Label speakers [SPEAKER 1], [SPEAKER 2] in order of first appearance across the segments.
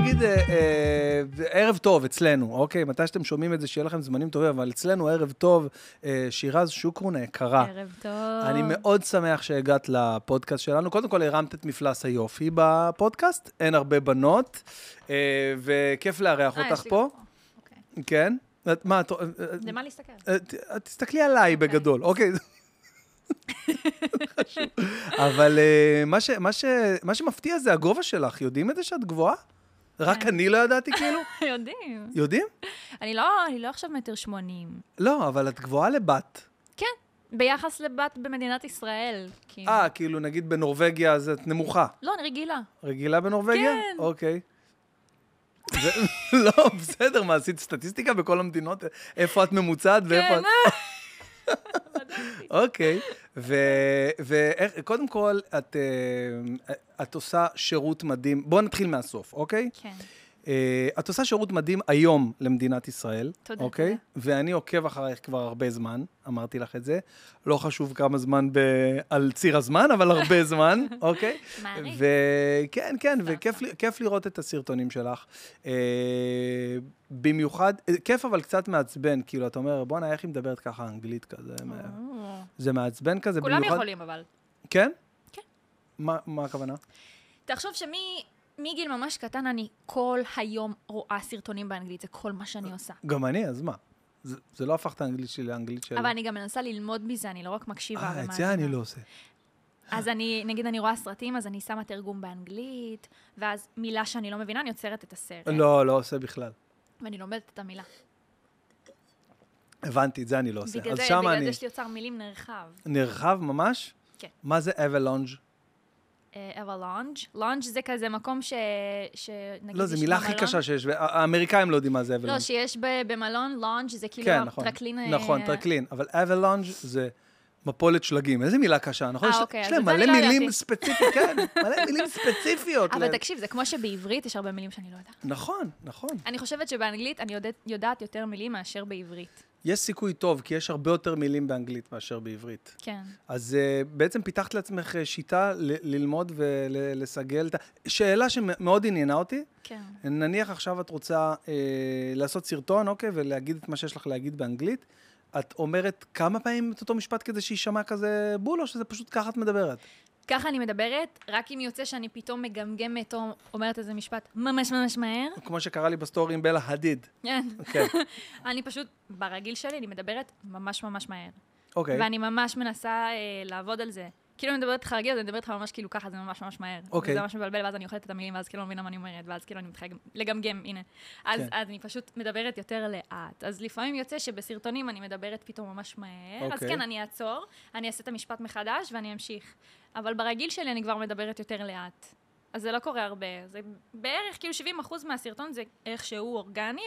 [SPEAKER 1] נגיד, אה, אה, ערב טוב אצלנו, אוקיי? מתי שאתם שומעים את זה, שיהיה לכם זמנים טובים, אבל אצלנו ערב טוב, אה, שירז שוקרון היקרה.
[SPEAKER 2] ערב טוב.
[SPEAKER 1] אה, אני מאוד שמח שהגעת לפודקאסט שלנו. קודם כל, הרמת את מפלס היופי בפודקאסט, אין הרבה בנות, אה, וכיף לארח
[SPEAKER 2] אה, יש
[SPEAKER 1] אותך
[SPEAKER 2] לי
[SPEAKER 1] פה.
[SPEAKER 2] גם אוקיי.
[SPEAKER 1] כן? את- מה, את... אה,
[SPEAKER 2] למה להסתכל?
[SPEAKER 1] אה, ת- אה, תסתכלי עליי בגדול, אוקיי? חשוב. אבל אה, מה ש- מה ש- מה שמפתיע זה הגובה שלך. יודעים את זה שאת גבוהה? רק
[SPEAKER 2] כן.
[SPEAKER 1] אני לא ידעתי כאילו?
[SPEAKER 2] יודעים.
[SPEAKER 1] יודעים?
[SPEAKER 2] אני לא, אני לא עכשיו מטר שמונים.
[SPEAKER 1] לא, אבל את גבוהה לבת.
[SPEAKER 2] כן, ביחס לבת במדינת ישראל. כאילו.
[SPEAKER 1] אה, כאילו נגיד בנורבגיה אז את נמוכה.
[SPEAKER 2] לא, אני רגילה.
[SPEAKER 1] רגילה בנורבגיה?
[SPEAKER 2] כן.
[SPEAKER 1] אוקיי. זה- לא, בסדר, מה, עשית סטטיסטיקה בכל המדינות? איפה את ממוצעת
[SPEAKER 2] כן.
[SPEAKER 1] ואיפה את... אוקיי, וקודם כל, את, אה, את עושה שירות מדהים. בואו נתחיל מהסוף, אוקיי?
[SPEAKER 2] כן.
[SPEAKER 1] אה, את עושה שירות מדהים היום למדינת ישראל.
[SPEAKER 2] תודה,
[SPEAKER 1] אוקיי? ואני עוקב אחרייך כבר הרבה זמן, אמרתי לך את זה. לא חשוב כמה זמן ב... על ציר הזמן, אבל הרבה זמן, אוקיי?
[SPEAKER 2] מעריך.
[SPEAKER 1] וכן, כן,
[SPEAKER 2] סתם,
[SPEAKER 1] וכיף לי- כיף לראות את הסרטונים שלך. אה, במיוחד, אה, כיף אבל קצת מעצבן, כאילו, אתה אומר, בואנה, איך היא מדברת ככה אנגלית כזה?
[SPEAKER 2] אה.
[SPEAKER 1] זה מעצבן כזה,
[SPEAKER 2] כולם
[SPEAKER 1] במיוחד...
[SPEAKER 2] יכולים, אבל.
[SPEAKER 1] כן?
[SPEAKER 2] כן.
[SPEAKER 1] מה, מה הכוונה?
[SPEAKER 2] תחשוב שמי... מגיל ממש קטן אני כל היום רואה סרטונים באנגלית, זה כל מה שאני עושה.
[SPEAKER 1] גם אני, אז מה? זה, זה לא הפך את האנגלית שלי לאנגלית שלי.
[SPEAKER 2] אבל אני גם מנסה ללמוד מזה, אני לא רק מקשיבה
[SPEAKER 1] אה, את
[SPEAKER 2] ומאזינה.
[SPEAKER 1] זה אני לא עושה.
[SPEAKER 2] כן. אז אני, נגיד אני רואה סרטים, אז אני שמה תרגום באנגלית, ואז מילה שאני לא מבינה, אני עוצרת את הסרט.
[SPEAKER 1] לא, לא עושה בכלל.
[SPEAKER 2] ואני לומדת את המילה.
[SPEAKER 1] הבנתי, את זה אני לא עושה.
[SPEAKER 2] בגלל
[SPEAKER 1] אז
[SPEAKER 2] זה,
[SPEAKER 1] שם
[SPEAKER 2] בגלל
[SPEAKER 1] אני
[SPEAKER 2] זה שלי אוצר מילים נרחב.
[SPEAKER 1] נרחב ממש.
[SPEAKER 2] כן.
[SPEAKER 1] מה זה אבלונג'?
[SPEAKER 2] אה, אבל לונג', לונג' זה כזה מקום ש... שנגיד
[SPEAKER 1] לא, זו
[SPEAKER 2] יש
[SPEAKER 1] מילה הכי
[SPEAKER 2] במלון.
[SPEAKER 1] קשה שיש, והאמריקאים לא יודעים מה זה אבלונג'.
[SPEAKER 2] לא, שיש ב- במלון לונג' זה כאילו
[SPEAKER 1] כן, נכון.
[SPEAKER 2] הטרקלין... אה,
[SPEAKER 1] נכון, טרקלין. אבל אבלונג' זה מפולת שלגים. איזה מילה קשה, נכון?
[SPEAKER 2] אה,
[SPEAKER 1] יש-
[SPEAKER 2] אוקיי,
[SPEAKER 1] יש
[SPEAKER 2] אז
[SPEAKER 1] להם
[SPEAKER 2] את זה
[SPEAKER 1] מלא
[SPEAKER 2] אני לא
[SPEAKER 1] מילים
[SPEAKER 2] ידעתי.
[SPEAKER 1] ספציפיות, כן, מלא מילים ספציפיות. ל-
[SPEAKER 2] אבל תקשיב, זה כמו שבעברית יש הרבה מילים שאני לא יודעת.
[SPEAKER 1] נכון, נכון.
[SPEAKER 2] אני חושבת שבאנגלית אני יודעת, יודעת יותר מילים מאשר בעברית.
[SPEAKER 1] יש סיכוי טוב, כי יש הרבה יותר מילים באנגלית מאשר בעברית.
[SPEAKER 2] כן.
[SPEAKER 1] אז uh, בעצם פיתחת לעצמך אה, שיטה ל- ללמוד ולסגל את ה... שאלה שמאוד עניינה אותי,
[SPEAKER 2] כן.
[SPEAKER 1] נניח עכשיו את רוצה אה, לעשות סרטון, אוקיי, ולהגיד את מה שיש לך להגיד באנגלית, את אומרת כמה פעמים את אותו משפט כזה שיישמע כזה בול, או שזה פשוט ככה את מדברת?
[SPEAKER 2] ככה אני מדברת, רק אם יוצא שאני פתאום מגמגמת או אומרת איזה משפט ממש ממש מהר.
[SPEAKER 1] כמו שקרה לי בסטורי עם בלה הדיד.
[SPEAKER 2] כן.
[SPEAKER 1] כן,
[SPEAKER 2] אני פשוט, ברגיל שלי, אני מדברת ממש ממש מהר.
[SPEAKER 1] אוקיי.
[SPEAKER 2] ואני ממש מנסה אה, לעבוד על זה. כאילו אני מדברת איתך רגיל, אז אני מדברת איתך ממש כאילו ככה, זה ממש ממש מהר.
[SPEAKER 1] אוקיי.
[SPEAKER 2] וזה ממש מבלבל, ואז אני אוכלת את המילים, ואז כאילו לא מבינה מה אני אומרת, ואז כאילו אני מתחילה גם- לגמגם, הנה. אז,
[SPEAKER 1] כן.
[SPEAKER 2] אז אני פשוט מדברת יותר לאט. אז לפעמים יוצא שבסרטונים אני מדברת פתאום ממש מהר, אז
[SPEAKER 1] אוקיי.
[SPEAKER 2] כן, אני אעצור, אני אעשה את המשפט מחדש ואני אמשיך. אבל ברגיל שלי אני כבר מדברת יותר לאט. אז זה לא קורה הרבה. זה בערך כאילו 70 אחוז מהסרטון זה איכשהו אורגני,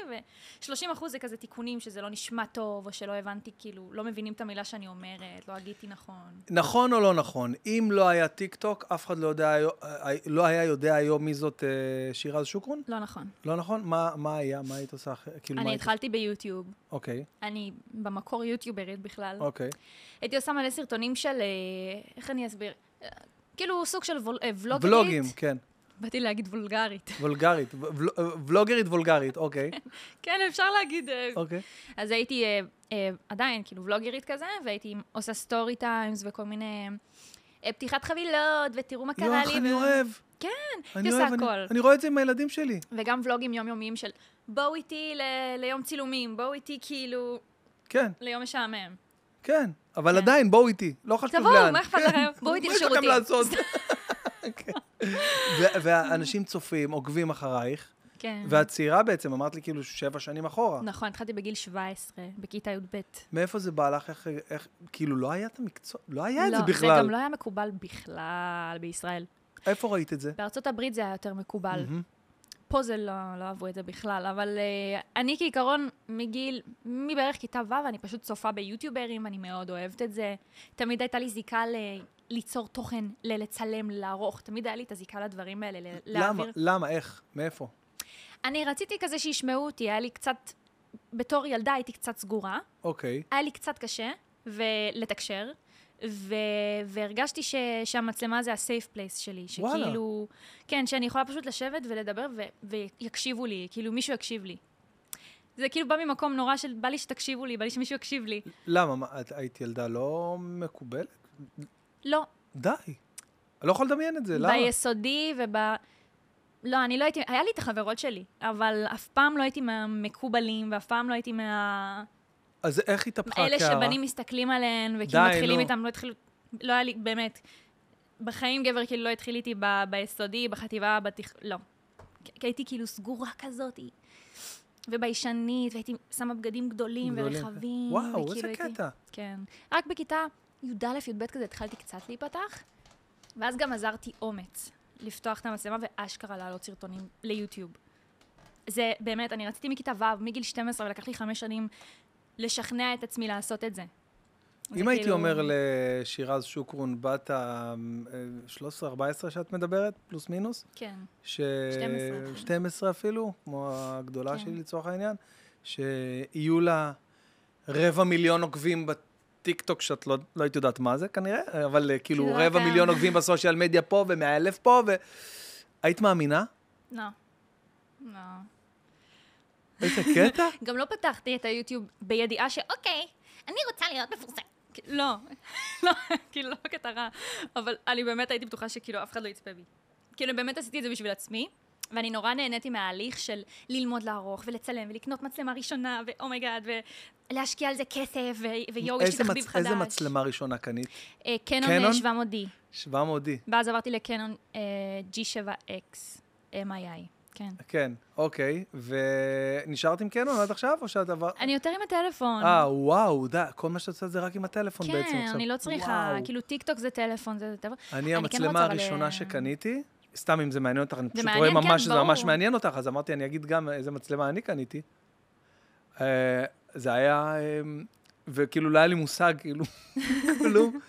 [SPEAKER 2] ו-30 אחוז זה כזה תיקונים שזה לא נשמע טוב, או שלא הבנתי, כאילו, לא מבינים את המילה שאני אומרת, לא הגיתי נכון.
[SPEAKER 1] נכון או לא נכון? אם לא היה טיק טוק, אף אחד לא, יודע, היום- אה, לא היה יודע היום מי זאת אה, שירז שוקרון?
[SPEAKER 2] לא נכון.
[SPEAKER 1] לא נכון? מה, מה היה? מה היית עושה אחרת? כאילו, מה
[SPEAKER 2] אני
[SPEAKER 1] היית...
[SPEAKER 2] התחלתי ביוטיוב.
[SPEAKER 1] אוקיי,
[SPEAKER 2] אני במקור יוטיוברית בכלל.
[SPEAKER 1] אוקיי.
[SPEAKER 2] הייתי עושה מלא סרטונים של, אה, איך אני אסביר? אה, כאילו סוג של וול- אה, ולוגרית.
[SPEAKER 1] ולוגים, כן.
[SPEAKER 2] באתי להגיד וולגרית.
[SPEAKER 1] וולגרית. ו- ול- אה, ולוגרית וולגרית, אוקיי.
[SPEAKER 2] כן, אפשר להגיד. אה,
[SPEAKER 1] אוקיי.
[SPEAKER 2] אז הייתי אה, אה, עדיין, כאילו, ולוגרית כזה, והייתי עושה סטורי טיימס וכל מיני... אה, פתיחת חבילות, ותראו מה
[SPEAKER 1] יואו,
[SPEAKER 2] קרה לי.
[SPEAKER 1] איך אני
[SPEAKER 2] ו-
[SPEAKER 1] אוהב.
[SPEAKER 2] כן,
[SPEAKER 1] אני
[SPEAKER 2] היא עושה
[SPEAKER 1] אוהב, אני-
[SPEAKER 2] הכל.
[SPEAKER 1] אני רואה את זה עם הילדים שלי.
[SPEAKER 2] וגם ולוגים יומיומיים של בואו איתי ל- ליום צילומים, בואו איתי כאילו
[SPEAKER 1] כן,
[SPEAKER 2] ליום משעמם.
[SPEAKER 1] כן. אבל
[SPEAKER 2] כן.
[SPEAKER 1] עדיין, בואו איתי. לא חשוב לאן.
[SPEAKER 2] תבואו, מה אכפת
[SPEAKER 1] כן.
[SPEAKER 2] לכם? בואו איתי
[SPEAKER 1] מה יש לכם
[SPEAKER 2] לשירותים.
[SPEAKER 1] לעשות? כן. ו- והאנשים צופים, עוקבים אחרייך,
[SPEAKER 2] כן.
[SPEAKER 1] ואת צעירה בעצם, אמרת לי כאילו שבע שנים אחורה.
[SPEAKER 2] נכון, התחלתי בגיל 17, בכיתה י"ב.
[SPEAKER 1] מאיפה זה בא לך? איך- איך... כאילו, לא היה את המקצוע, לא היה את
[SPEAKER 2] לא,
[SPEAKER 1] זה
[SPEAKER 2] זה
[SPEAKER 1] בכלל.
[SPEAKER 2] גם לא היה מקובל בכלל בישראל.
[SPEAKER 1] איפה ראית את זה?
[SPEAKER 2] בארצות הברית זה היה יותר מקובל.
[SPEAKER 1] מהמם.
[SPEAKER 2] פה זה לא, לא אהבו את זה בכלל, אבל uh, אני כעיקרון מגיל, מבערך כיתה ו', אני פשוט צופה ביוטיוברים, אני מאוד אוהבת את זה. תמיד הייתה לי זיקה ל... ליצור תוכן, ל- לצלם, לערוך, תמיד היה לי את הזיקה לדברים האלה, ל-
[SPEAKER 1] למה?
[SPEAKER 2] להעביר.
[SPEAKER 1] למה? איך? מאיפה?
[SPEAKER 2] אני רציתי כזה שישמעו אותי, היה לי קצת, בתור ילדה הייתי קצת סגורה,
[SPEAKER 1] אוקיי.
[SPEAKER 2] היה לי קצת קשה, ולתקשר, ו- והרגשתי ש- שהמצלמה זה הסייף פלייס שלי.
[SPEAKER 1] וואלה.
[SPEAKER 2] שכאילו, כן, שאני יכולה פשוט לשבת ולדבר ו- ויקשיבו לי, כאילו מישהו יקשיב לי. זה כאילו בא ממקום נורא של בא לי שתקשיבו לי, בא לי שמישהו יקשיב לי.
[SPEAKER 1] למה? מה, את היית ילדה לא מקובלת?
[SPEAKER 2] לא,
[SPEAKER 1] די. אני לא יכול לדמיין את זה, למה?
[SPEAKER 2] ביסודי וב... לא, אני לא הייתי, היה לי את החברות שלי, אבל אף פעם לא הייתי מהמקובלים, ואף פעם לא הייתי מה...
[SPEAKER 1] אז איך התהפכה
[SPEAKER 2] אלה
[SPEAKER 1] הקערה?
[SPEAKER 2] שבנים מסתכלים עליהן, וכאילו
[SPEAKER 1] די,
[SPEAKER 2] מתחילים
[SPEAKER 1] נו.
[SPEAKER 2] איתם, לא התחילו... לא היה לי, באמת. בחיים גבר כאילו לא התחיל איתי ב- ביסודי, בחטיבה, בתיכ... לא. כי- כי הייתי כאילו סגורה כזאת, וביישנית, והייתי שמה בגדים גדולים
[SPEAKER 1] גדולים.
[SPEAKER 2] ורחבים.
[SPEAKER 1] וואו,
[SPEAKER 2] וכאילו
[SPEAKER 1] איזה
[SPEAKER 2] הייתי-
[SPEAKER 1] קטע.
[SPEAKER 2] כן. רק בכיתה י"א-י"ב כזה התחלתי קצת להיפתח, ואז גם עזרתי אומץ לפתוח את המצלמה ואשכרה להעלות סרטונים ליוטיוב. זה באמת, אני רציתי מכיתה ו', מגיל 12, ולקח לי חמש שנים לשכנע את עצמי לעשות את זה.
[SPEAKER 1] אם
[SPEAKER 2] זה
[SPEAKER 1] הייתי
[SPEAKER 2] כאילו-
[SPEAKER 1] אומר לשירז שוקרון, בת אה, ה-13-14 שאת מדברת, פלוס מינוס,
[SPEAKER 2] כן.
[SPEAKER 1] ש...
[SPEAKER 2] 12.
[SPEAKER 1] 12 אפילו, כמו הגדולה
[SPEAKER 2] כן.
[SPEAKER 1] שלי לצורך העניין, שיהיו לה רבע מיליון עוקבים בטיקטוק, שאת לא, לא היית יודעת מה זה כנראה, אבל אה, כאילו
[SPEAKER 2] כאילו, לא
[SPEAKER 1] רבע
[SPEAKER 2] יודע.
[SPEAKER 1] מיליון עוקבים בסושיאל מדיה פה ומאה אלף פה, ו... היית מאמינה?
[SPEAKER 2] לא. לא.
[SPEAKER 1] איזה קטע?
[SPEAKER 2] גם לא פתחתי את היוטיוב בידיעה שאוקיי, אני רוצה להיות מפורסם. כי- לא, לא, כאילו לא כתרה, אבל אני באמת הייתי בטוחה שכאילו אף אחד לא יצפה בי. כאילו באמת עשיתי את זה בשביל עצמי, ואני נורא נהניתי מההליך של ללמוד לערוך ולצלם ולקנות מצלמה ראשונה, ואומייגאד, ולהשקיע על זה כסף, ו- ויואו, יש לי
[SPEAKER 1] איזה,
[SPEAKER 2] תחביב
[SPEAKER 1] מצ...
[SPEAKER 2] חדש.
[SPEAKER 1] איזה מצלמה ראשונה קנית?
[SPEAKER 2] אה, קנון
[SPEAKER 1] קנון?
[SPEAKER 2] אה, 700D,
[SPEAKER 1] 700D.
[SPEAKER 2] ואז עברתי לקנון אה, G7X, MII, כן.
[SPEAKER 1] כן, אוקיי. ונשארת עם קנון עד עכשיו, או שאת עברת...
[SPEAKER 2] אני יותר עם הטלפון.
[SPEAKER 1] אה, וואו, די, כל מה שאת עושה זה רק עם הטלפון בעצם
[SPEAKER 2] כן,
[SPEAKER 1] עכשיו.
[SPEAKER 2] אני לא צריכה,
[SPEAKER 1] וואו.
[SPEAKER 2] כאילו טיקטוק זה טלפון, זה זה טלפון.
[SPEAKER 1] אני,
[SPEAKER 2] כן
[SPEAKER 1] המצלמה
[SPEAKER 2] רוצה, אבל,
[SPEAKER 1] הראשונה
[SPEAKER 2] אה,
[SPEAKER 1] שקניתי, סתם אם זה מעניין אותך, אני פשוט רואה
[SPEAKER 2] מעניין, כן,
[SPEAKER 1] ממש שזה ממש
[SPEAKER 2] ברור.
[SPEAKER 1] מעניין אותך, אז אמרתי, אני אגיד גם איזה מצלמה אני קניתי. אה, זה היה, אה, וכאילו לא היה לי מושג, כאילו, כלום.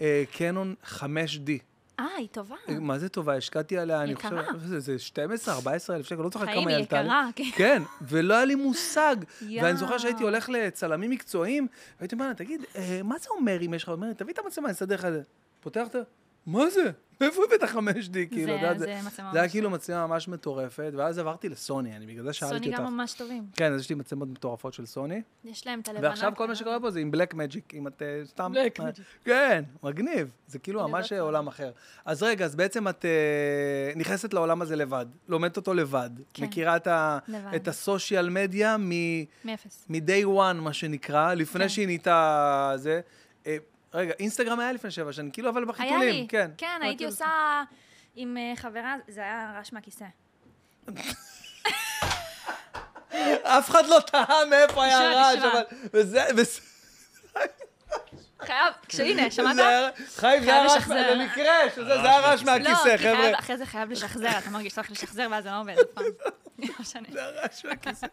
[SPEAKER 1] אה, קנון 5D.
[SPEAKER 2] אה, היא טובה.
[SPEAKER 1] מה זה טובה? השקעתי עליה, אני חושב,
[SPEAKER 2] יקרה.
[SPEAKER 1] זה- זה 12-14 אלף שקל, לא זוכר כמה היא
[SPEAKER 2] חיים, היא
[SPEAKER 1] עלתה לי.
[SPEAKER 2] יקרה, כן.
[SPEAKER 1] כן, ולא היה לי מושג. ואני
[SPEAKER 2] יואו.
[SPEAKER 1] זוכר שהייתי הולך לצלמים מקצועיים, והייתי אומר לה, תגיד, אה, מה זה אומר אם יש לך? אומרת, תביא את המצלמה, אני אסדר לך את זה. פותח את ה... מה זה? מאיפה הבאת 5D? כאילו, את יודעת,
[SPEAKER 2] זה מצלמה
[SPEAKER 1] זה היה
[SPEAKER 2] ממש לא.
[SPEAKER 1] כאילו מצלמה ממש מטורפת, ואז עברתי לסוני, אני בגלל זה שאלתי
[SPEAKER 2] סוני
[SPEAKER 1] אותך.
[SPEAKER 2] גם ממש טובים.
[SPEAKER 1] כן, אז יש לי מצלמות מטורפות של סוני,
[SPEAKER 2] יש להם את הלבנה.
[SPEAKER 1] ועכשיו כל מה
[SPEAKER 2] הקטנה.
[SPEAKER 1] שקורה פה זה עם בלק מג'יק, אם את אה, סתם...
[SPEAKER 2] Black
[SPEAKER 1] אה,
[SPEAKER 2] Magic.
[SPEAKER 1] כן, מגניב. זה כאילו
[SPEAKER 2] לבד
[SPEAKER 1] ממש אה,
[SPEAKER 2] פה.
[SPEAKER 1] עולם אחר. אז רגע, אז בעצם את אה, נכנסת לעולם הזה לבד, לומדת אותו לבד.
[SPEAKER 2] כן.
[SPEAKER 1] מכירה את ה-
[SPEAKER 2] לבד.
[SPEAKER 1] את הסושיאל מדיה מ...
[SPEAKER 2] מאפס.
[SPEAKER 1] מ-day one, מה שנקרא, לפני
[SPEAKER 2] כן.
[SPEAKER 1] שהיא נהייתה זה. אה, רגע, אינסטגרם היה לפני שבע שנים, כאילו, אבל
[SPEAKER 2] היה
[SPEAKER 1] בחיתולים.
[SPEAKER 2] לי.
[SPEAKER 1] כן,
[SPEAKER 2] כן,
[SPEAKER 1] אבל
[SPEAKER 2] הייתי
[SPEAKER 1] כאילו-
[SPEAKER 2] עושה עם אה, חברה, זה היה רעש מהכיסא.
[SPEAKER 1] אף אחד לא טעה מאיפה היה
[SPEAKER 2] תשמע,
[SPEAKER 1] הרעש,
[SPEAKER 2] תשמע.
[SPEAKER 1] אבל... וזה... וזה-
[SPEAKER 2] חייב, כשהנה, כן. שמעת?
[SPEAKER 1] זה היה- חיים, זה היה רעש,
[SPEAKER 2] לשחזר.
[SPEAKER 1] במקרה, שזה זה היה רעש
[SPEAKER 2] לא,
[SPEAKER 1] מהכיסא,
[SPEAKER 2] כי חייב-
[SPEAKER 1] חבר'ה.
[SPEAKER 2] אחרי זה חייב לשחזר, אתה מרגיש צריך לשחזר ואז זה לא עובד. אף פעם. לא משנה.
[SPEAKER 1] זה היה רעש מהכיסא.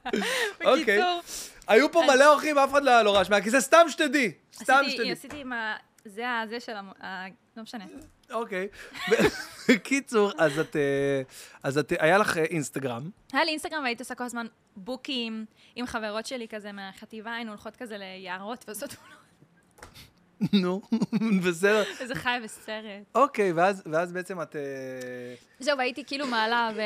[SPEAKER 1] אוקיי.
[SPEAKER 2] בקיצור,
[SPEAKER 1] היו פה מלא אורחים, אף אחד לא היה לו רעש מהכיסא, סתם שתדעי. סתם
[SPEAKER 2] עשיתי-
[SPEAKER 1] שתדעי.
[SPEAKER 2] עשיתי עם ה... זה ה- זה של המ... ה- לא משנה.
[SPEAKER 1] אוקיי. בקיצור, אז את... אה, אז את... היה לך אה, אינסטגרם.
[SPEAKER 2] היה לי אינסטגרם והייתי עושה כל הזמן בוקים עם חברות שלי כזה מהחטיבה, היינו הולכות כזה ליערות ועושות תמונות.
[SPEAKER 1] נו, בסדר.
[SPEAKER 2] איזה חי וסרט.
[SPEAKER 1] אוקיי, ואז ואז בעצם את... אה,
[SPEAKER 2] זהו, והייתי כאילו מעלה ו...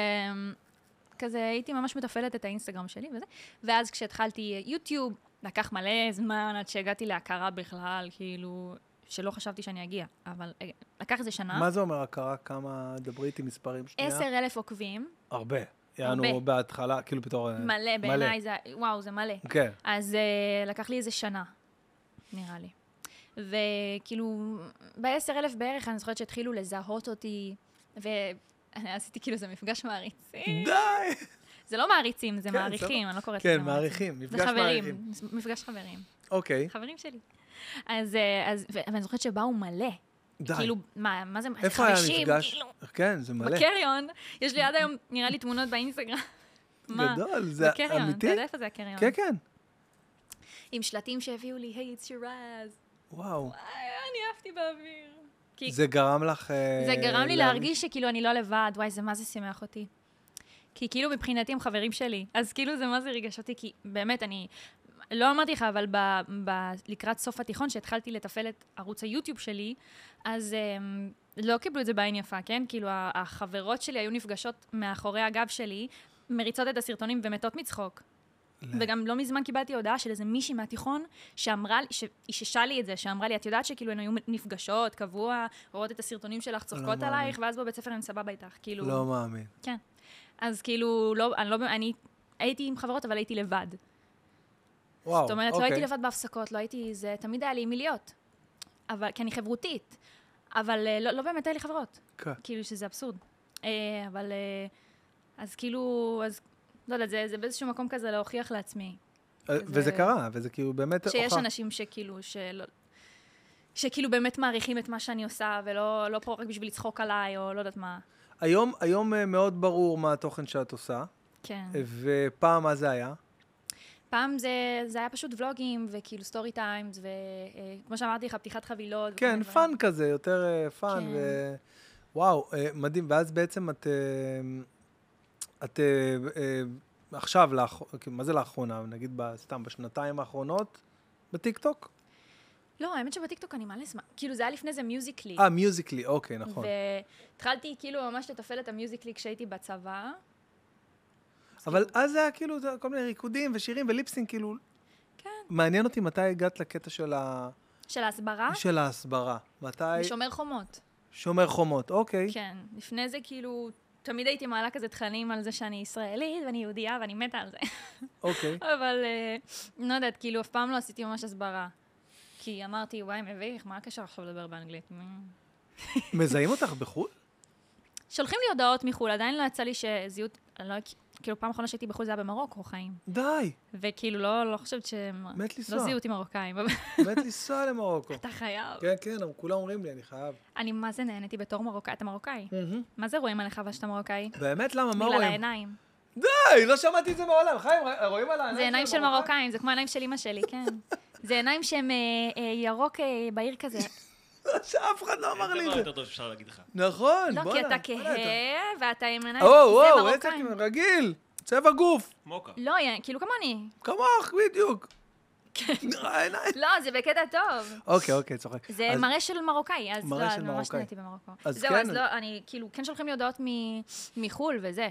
[SPEAKER 2] כזה הייתי ממש מתפעלת את האינסטגרם שלי וזה. ואז כשהתחלתי יוטיוב, לקח מלא זמן עד שהגעתי להכרה בכלל, כאילו, שלא חשבתי שאני אגיע, אבל אה, לקח איזה שנה.
[SPEAKER 1] מה זה אומר הכרה? כמה, דברי איתי מספרים שנייה.
[SPEAKER 2] עשר אלף עוקבים,
[SPEAKER 1] הרבה. יענו
[SPEAKER 2] הרבה.
[SPEAKER 1] בהתחלה, כאילו בתור... אה,
[SPEAKER 2] מלא, בעיניי זה, וואו, זה מלא.
[SPEAKER 1] כן.
[SPEAKER 2] אז uh, לקח לי איזה שנה, נראה לי. וכאילו, ב-10,000 בערך אני זוכרת שהתחילו לזהות אותי, ואני עשיתי כאילו איזה מפגש מעריצים.
[SPEAKER 1] די!
[SPEAKER 2] זה לא מעריצים, זה
[SPEAKER 1] כן,
[SPEAKER 2] מעריכים, אני לא קוראת לזה
[SPEAKER 1] כן,
[SPEAKER 2] מעריצים.
[SPEAKER 1] מעריכים,
[SPEAKER 2] זה
[SPEAKER 1] מפגש מעריכים.
[SPEAKER 2] חברים, מפגש חברים,
[SPEAKER 1] אוקיי,
[SPEAKER 2] חברים שלי. אז, אה, אז, ו- ואני זוכרת שבאו מלא.
[SPEAKER 1] די.
[SPEAKER 2] כאילו, מה, מה זה,
[SPEAKER 1] איפה היה
[SPEAKER 2] 50,
[SPEAKER 1] המפגש?
[SPEAKER 2] כאילו,
[SPEAKER 1] כן, זה מלא.
[SPEAKER 2] בקריון, יש לי עד היום, נראה לי, תמונות באינסטגרם. מה?
[SPEAKER 1] גדול, זה
[SPEAKER 2] בקריון,
[SPEAKER 1] אמיתי?
[SPEAKER 2] אתה יודע איפה זה הקריון?
[SPEAKER 1] כן, כן.
[SPEAKER 2] עם שלטים שהביאו לי, היי, it's שירז.
[SPEAKER 1] וואו.
[SPEAKER 2] אני עפתי באוויר. כי
[SPEAKER 1] זה גרם לך... אה,
[SPEAKER 2] זה גרם לי
[SPEAKER 1] להרגיש-
[SPEAKER 2] להרגיש שכאילו אני לא לבד, וואי, זה מה זה שימח אותי. כי כאילו מבחינתי הם חברים שלי, אז כאילו זה מה זה ריגש אותי, כי באמת, אני לא אמרתי לך, אבל ב, ב, לקראת סוף התיכון, שהתחלתי לתפעל את ערוץ היוטיוב שלי, אז הם, לא קיבלו את זה בעין יפה, כן? כאילו, ה- החברות שלי היו נפגשות מאחורי הגב שלי, מריצות את הסרטונים ומתות מצחוק. וגם לא מזמן קיבלתי הודעה של איזה מישהי מהתיכון שאמרה לי, שאיששה לי את זה, שאמרה לי, את יודעת שכאילו הן היו נפגשות קבוע, רואות את הסרטונים שלך, צוחקות
[SPEAKER 1] מאמין.
[SPEAKER 2] עלייך, ואז בבית ספר הן סבבה איתך, כאילו...
[SPEAKER 1] לא מאמין.
[SPEAKER 2] אז כאילו, לא, אני לא, אני הייתי עם חברות, אבל הייתי לבד.
[SPEAKER 1] וואו,
[SPEAKER 2] זאת אומרת, לא
[SPEAKER 1] אוקיי.
[SPEAKER 2] הייתי לבד בהפסקות, לא הייתי, זה תמיד היה לי עם מי להיות. אבל, כי אני חברותית. אבל אה, לא, לא באמת היה לי חברות.
[SPEAKER 1] כן.
[SPEAKER 2] כאילו, שזה אבסורד. אה, אבל, אה, אז כאילו, אז, לא יודעת, זה, זה באיזשהו מקום כזה להוכיח לעצמי.
[SPEAKER 1] אה,
[SPEAKER 2] זה-
[SPEAKER 1] וזה קרה, וזה כאילו באמת...
[SPEAKER 2] שיש
[SPEAKER 1] הוכח.
[SPEAKER 2] אנשים שכאילו, שלא... שכאילו באמת מעריכים את מה שאני עושה, ולא לא פה רק בשביל לצחוק עליי, או לא יודעת מה.
[SPEAKER 1] היום, היום אה, מאוד ברור מה התוכן שאת עושה,
[SPEAKER 2] כן.
[SPEAKER 1] אה. ופעם מה זה היה?
[SPEAKER 2] פעם זה, זה היה פשוט ולוגים, וכאילו סטורי טיימס, וכמו אה, שאמרתי לך, פתיחת חבילות. וכל
[SPEAKER 1] כן,
[SPEAKER 2] מיני
[SPEAKER 1] פאן
[SPEAKER 2] דברים.
[SPEAKER 1] כזה, יותר אה, פאן,
[SPEAKER 2] כן.
[SPEAKER 1] ו... וואו, אה, מדהים. ואז בעצם את... אה, את אה, אה, עכשיו, לאח- כאילו, מה זה לאחרונה? נגיד ב- סתם בשנתיים האחרונות, בטיקטוק?
[SPEAKER 2] לא, האמת שבטיקטוק אני מלא זמן. כאילו, זה היה לפני זה מיוזיקלי.
[SPEAKER 1] אה, מיוזיקלי, אוקיי, נכון.
[SPEAKER 2] והתחלתי כאילו ממש לתפעל את המיוזיקלי כשהייתי בצבא.
[SPEAKER 1] אבל אז זה היה כאילו זה כל מיני ריקודים ושירים וליפסינג, כאילו...
[SPEAKER 2] כן.
[SPEAKER 1] מעניין אותי מתי הגעת לקטע של, ה...
[SPEAKER 2] של ההסברה,
[SPEAKER 1] של ההסברה. מתי...
[SPEAKER 2] בשומר חומות.
[SPEAKER 1] שומר חומות, אוקיי.
[SPEAKER 2] כן. לפני זה כאילו, תמיד הייתי מעלה כזה תכנים על זה שאני ישראלית, ואני יהודייה, ואני מתה על זה.
[SPEAKER 1] אוקיי.
[SPEAKER 2] אבל אה, לא יודעת, כאילו, אף פעם לא עשיתי ממש הסברה. כי אמרתי, וואי, מביך, מה הקשר עכשיו לדבר באנגלית? מ-
[SPEAKER 1] מזהים אותך בחו"ל?
[SPEAKER 2] שולחים לי הודעות מחו"ל, עדיין לא יצא לי שזיהו, אני לא, כאילו פעם אחרונה שהייתי בחו"ל זה היה במרוקו חיים.
[SPEAKER 1] די,
[SPEAKER 2] וכאילו לא, לא חושבת שהם...
[SPEAKER 1] מת לנסוע.
[SPEAKER 2] לא זיהו אותי מרוקאים, אבל
[SPEAKER 1] מת לנסוע למרוקו.
[SPEAKER 2] אתה חייב.
[SPEAKER 1] כן, כן, הם כולם אומרים לי, אני חייב.
[SPEAKER 2] אני מה זה נהניתי בתור מרוקאי, אתה מרוקאי. מה זה רואים עליך אבל שאתה מרוקאי?
[SPEAKER 1] באמת, למה? מה
[SPEAKER 2] בגלל
[SPEAKER 1] רואים?
[SPEAKER 2] העיניים.
[SPEAKER 1] די, לא שמעתי את זה מעולם. חיים, ר- רואים על העיניים
[SPEAKER 2] זה עיניים של
[SPEAKER 1] מרוקאי?
[SPEAKER 2] מרוקאים, זה כמו העיניים של אימא שלי, כן. זה עיניים שהם אה, אה, ירוק אה, בעיר כזה.
[SPEAKER 1] שאף אחד לא אמר לי
[SPEAKER 3] דבר
[SPEAKER 1] את זה.
[SPEAKER 3] יותר טוב שאפשר להגיד לך.
[SPEAKER 1] נכון,
[SPEAKER 2] לא, כי
[SPEAKER 1] בוא'נה,
[SPEAKER 2] אתה
[SPEAKER 1] בוא'נה,
[SPEAKER 2] כהה, ואתה עם עיניים,
[SPEAKER 1] או,
[SPEAKER 2] זה
[SPEAKER 1] וואו, איזה
[SPEAKER 2] מרוקאים.
[SPEAKER 1] כיוון, רגיל. צבע גוף,
[SPEAKER 3] מוקה.
[SPEAKER 2] לא, יא- כאילו כמוני.
[SPEAKER 1] כמוך, בדיוק. העיניים.
[SPEAKER 2] לא, זה בקטע טוב.
[SPEAKER 1] אוקיי, אוקיי, צוחק.
[SPEAKER 2] זה
[SPEAKER 1] אז-
[SPEAKER 2] מראה של מרוקאי, אז
[SPEAKER 1] מראה
[SPEAKER 2] לא,
[SPEAKER 1] של
[SPEAKER 2] אז ממש
[SPEAKER 1] מרוקאי.
[SPEAKER 2] נהניתי במרוקו.
[SPEAKER 1] אז
[SPEAKER 2] זהו,
[SPEAKER 1] כן.
[SPEAKER 2] אז לא, אני, כאילו, כן שולחים לי הודעות מ- מחו"ל וזה,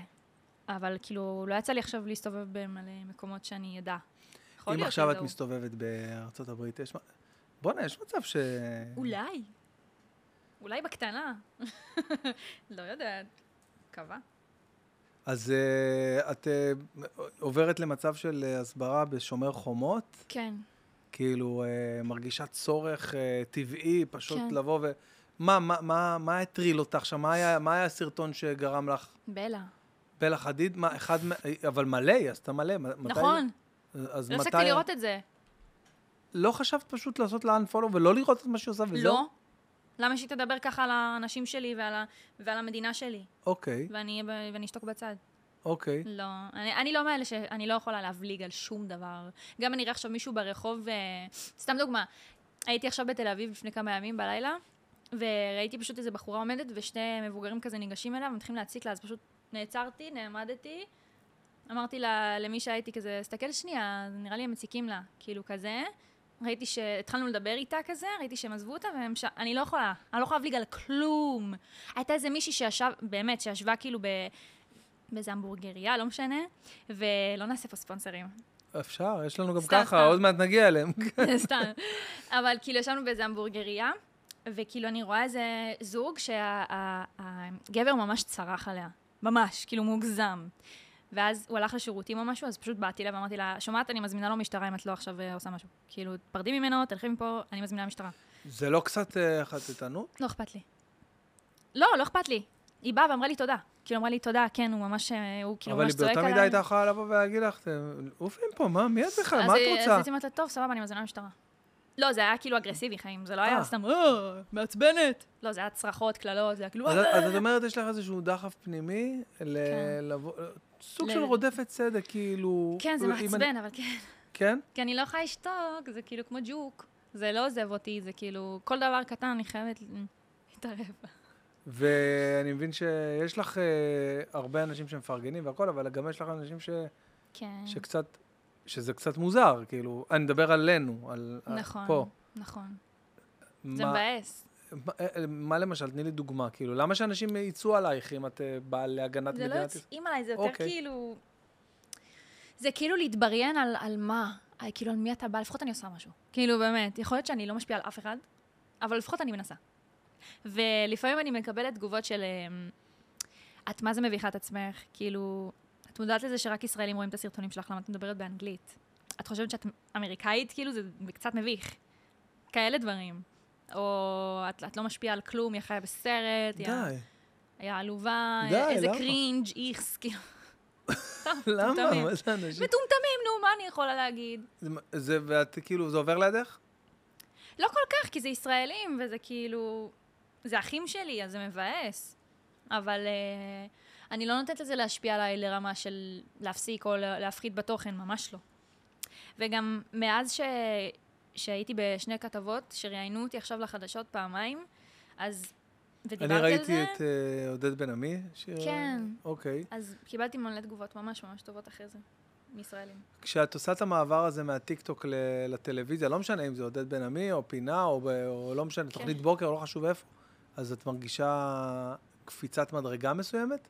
[SPEAKER 2] אבל כאילו, לא יצא לי עכשיו להסתובב במלא מקומות שאני אדע. יכול
[SPEAKER 1] אם
[SPEAKER 2] להיות לא.
[SPEAKER 1] עכשיו את
[SPEAKER 2] שידעו.
[SPEAKER 1] מסתובבת בארצות הברית, יש... מה- בוא'נה, יש מצב ש...
[SPEAKER 2] אולי. אולי בקטנה. לא יודעת. מקווה.
[SPEAKER 1] אז אה, את אה, עוברת למצב של אה, הסברה בשומר חומות?
[SPEAKER 2] כן.
[SPEAKER 1] כאילו, אה, מרגישה צורך אה, טבעי פשוט
[SPEAKER 2] כן.
[SPEAKER 1] לבוא ו... מה, מה, מה, מה הטריל אותך שם? מה היה, מה היה הסרטון שגרם לך?
[SPEAKER 2] בלה.
[SPEAKER 1] בלה חדיד? מה, אחד מה... אבל מלא, היא עשתה מלא. מ- מתי-
[SPEAKER 2] נכון,
[SPEAKER 1] אז
[SPEAKER 2] לא
[SPEAKER 1] מתי...
[SPEAKER 2] הפסקתי לראות את זה.
[SPEAKER 1] לא חשבת פשוט לעשות לה unfollow ולא לראות את מה שהיא עושה וזהו?
[SPEAKER 2] לא. למה שהיא תדבר ככה על האנשים שלי ועל ה- ועל המדינה שלי?
[SPEAKER 1] אוקיי,
[SPEAKER 2] ואני אהיה ב- ואני אשתוק בצד.
[SPEAKER 1] אוקיי.
[SPEAKER 2] לא, אני, אני לא מאלה שאני לא יכולה להבליג על שום דבר. גם אני אראה עכשיו מישהו ברחוב, אה, סתם דוגמה, הייתי עכשיו בתל אביב לפני כמה ימים בלילה, וראיתי פשוט איזה בחורה עומדת, ושני מבוגרים כזה ניגשים אליו, מתחילים להציק לה, אז פשוט נעצרתי, נעמדתי, אמרתי לה, למי שהייתי כזה, תסתכל שנייה, נראה לי הם מציקים לה, כאילו כזה. ראיתי שהתחלנו לדבר איתה כזה, ראיתי שהם עזבו אותה, והם ש... אני לא יכולה, אני לא יכולה להבליג על כלום. הייתה איזה מישהי שישב, באמת, שישבה כאילו ב... באיזה המבורגריה, לא משנה, ולא נעשה פה ספונסרים.
[SPEAKER 1] אפשר, יש לנו גם
[SPEAKER 2] סתם,
[SPEAKER 1] ככה,
[SPEAKER 2] סתם.
[SPEAKER 1] עוד מעט נגיע אליהם.
[SPEAKER 2] סתם. אבל כאילו ישבנו באיזה המבורגריה, וכאילו אני רואה איזה זוג שהגבר ממש צרח עליה. ממש, כאילו מוגזם. ואז הוא הלך לשירותים או משהו, אז פשוט באתי אליה ואמרתי לה, שומעת, אני מזמינה לו משטרה אם את לא עכשיו אה, עושה משהו. כאילו, תרדי ממנו, תלכי מפה, אני מזמינה משטרה.
[SPEAKER 1] זה לא קצת אה, חטטנות?
[SPEAKER 2] לא אכפת לי. לא, לא אכפת לי. היא באה ואמרה לי תודה. כאילו, אמרה לי תודה, כן, הוא ממש, אה, הוא כאילו
[SPEAKER 1] אבל
[SPEAKER 2] ממש
[SPEAKER 1] היא
[SPEAKER 2] צועק עליי.
[SPEAKER 1] באותה מידה הייתה יכולה לבוא ולהגיד לך, "אתם עופים פה, מה, מי את בכלל? מה
[SPEAKER 2] אז
[SPEAKER 1] את
[SPEAKER 2] היא-
[SPEAKER 1] רוצה?
[SPEAKER 2] אז הייתי אומרת לה, טוב, סבבה, אני מזמינה משטרה. לא, זה היה כאילו אגרסיבי, חיים. זה לא היה
[SPEAKER 1] אה.
[SPEAKER 2] סתם, "אה, מעצבנת. לא, זה היה צרחות, קללות, זה היה כאילו...
[SPEAKER 1] אז,
[SPEAKER 2] "אה".
[SPEAKER 1] אז את אומרת, יש לך איזשהו דחף פנימי, ל...
[SPEAKER 2] כן.
[SPEAKER 1] לבוא... סוג
[SPEAKER 2] ל-
[SPEAKER 1] של רודפת צדק, כאילו...
[SPEAKER 2] כן, זה
[SPEAKER 1] אם אני-
[SPEAKER 2] מעצבן, אבל כן.
[SPEAKER 1] כן?
[SPEAKER 2] כי אני לא יכולה לשתוק, זה כאילו כמו ג'וק. זה לא עוזב אותי, זה כאילו... כל דבר קטן, אני חייבת להתערב.
[SPEAKER 1] ואני מבין שיש לך
[SPEAKER 2] Mm.
[SPEAKER 1] אה, הרבה אנשים שמפרגנים והכול, אבל גם יש לך אנשים ש...
[SPEAKER 2] כן.
[SPEAKER 1] שקצת שזה קצת מוזר, כאילו, אני מדבר עלינו, על על-
[SPEAKER 2] נכון.
[SPEAKER 1] אה, פה.
[SPEAKER 2] נכון. זה
[SPEAKER 1] מה-
[SPEAKER 2] מבאס.
[SPEAKER 1] מה- אה, מה למשל, תני לי דוגמה, כאילו, למה שאנשים יצאו עלייך אם את אה, באה להגנת
[SPEAKER 2] זה לא
[SPEAKER 1] מדינת ישראל?
[SPEAKER 2] יוצאים עליי, זה יותר
[SPEAKER 1] אוקיי.
[SPEAKER 2] כאילו... זה כאילו להתבריין על, על מה, על, כאילו על מי אתה בא, לפחות אני עושה משהו. כאילו באמת, יכול להיות שאני לא משפיעה על אף אחד, אבל לפחות אני מנסה. ולפעמים אני מקבלת תגובות של... אמ, את מה זה מביכה את עצמך? כאילו, את מודעת לזה שרק ישראלים רואים את הסרטונים שלך, למה את מדברת באנגלית? את חושבת שאת אמריקאית? כאילו, זה קצת מביך. כאלה דברים. או את, את לא משפיעה על כלום, היא חיה בסרט, היא ה-
[SPEAKER 1] די,
[SPEAKER 2] היא העלובה,
[SPEAKER 1] די,
[SPEAKER 2] אה, איזה
[SPEAKER 1] למה?
[SPEAKER 2] קרינג', איכס, כאילו.
[SPEAKER 1] למה?
[SPEAKER 2] מטומטמים.
[SPEAKER 1] מה זה אנשים?
[SPEAKER 2] מטומטמים, נו, מה אני יכולה להגיד?
[SPEAKER 1] זה- זה, ואת, כאילו, זה עובר לידך?
[SPEAKER 2] לא כל כך, כי זה ישראלים, וזה כאילו... זה אחים שלי, אז זה מבאס. אבל אה, אני לא נותנת לזה להשפיע עליי לרמה של להפסיק או לה- להפחית בתוכן, ממש לא. וגם מאז ש... שהייתי בשני כתבות, שראיינו אותי עכשיו לחדשות פעמיים, אז... ודיברתי
[SPEAKER 1] אני
[SPEAKER 2] על
[SPEAKER 1] ראיתי
[SPEAKER 2] זה,
[SPEAKER 1] את אה, עודד בן עמי. ש-
[SPEAKER 2] כן.
[SPEAKER 1] אוקיי.
[SPEAKER 2] אז קיבלתי מלא תגובות ממש ממש טובות אחרי זה, מישראלים.
[SPEAKER 1] כשאת עושה את המעבר הזה מהטיקטוק ל- לטלוויזיה, לא משנה אם זה עודד בן עמי, או פינה, או, ב- או לא משנה,
[SPEAKER 2] כן.
[SPEAKER 1] תוכנית בוקר, לא חשוב איפה, אז את מרגישה קפיצת מדרגה מסוימת?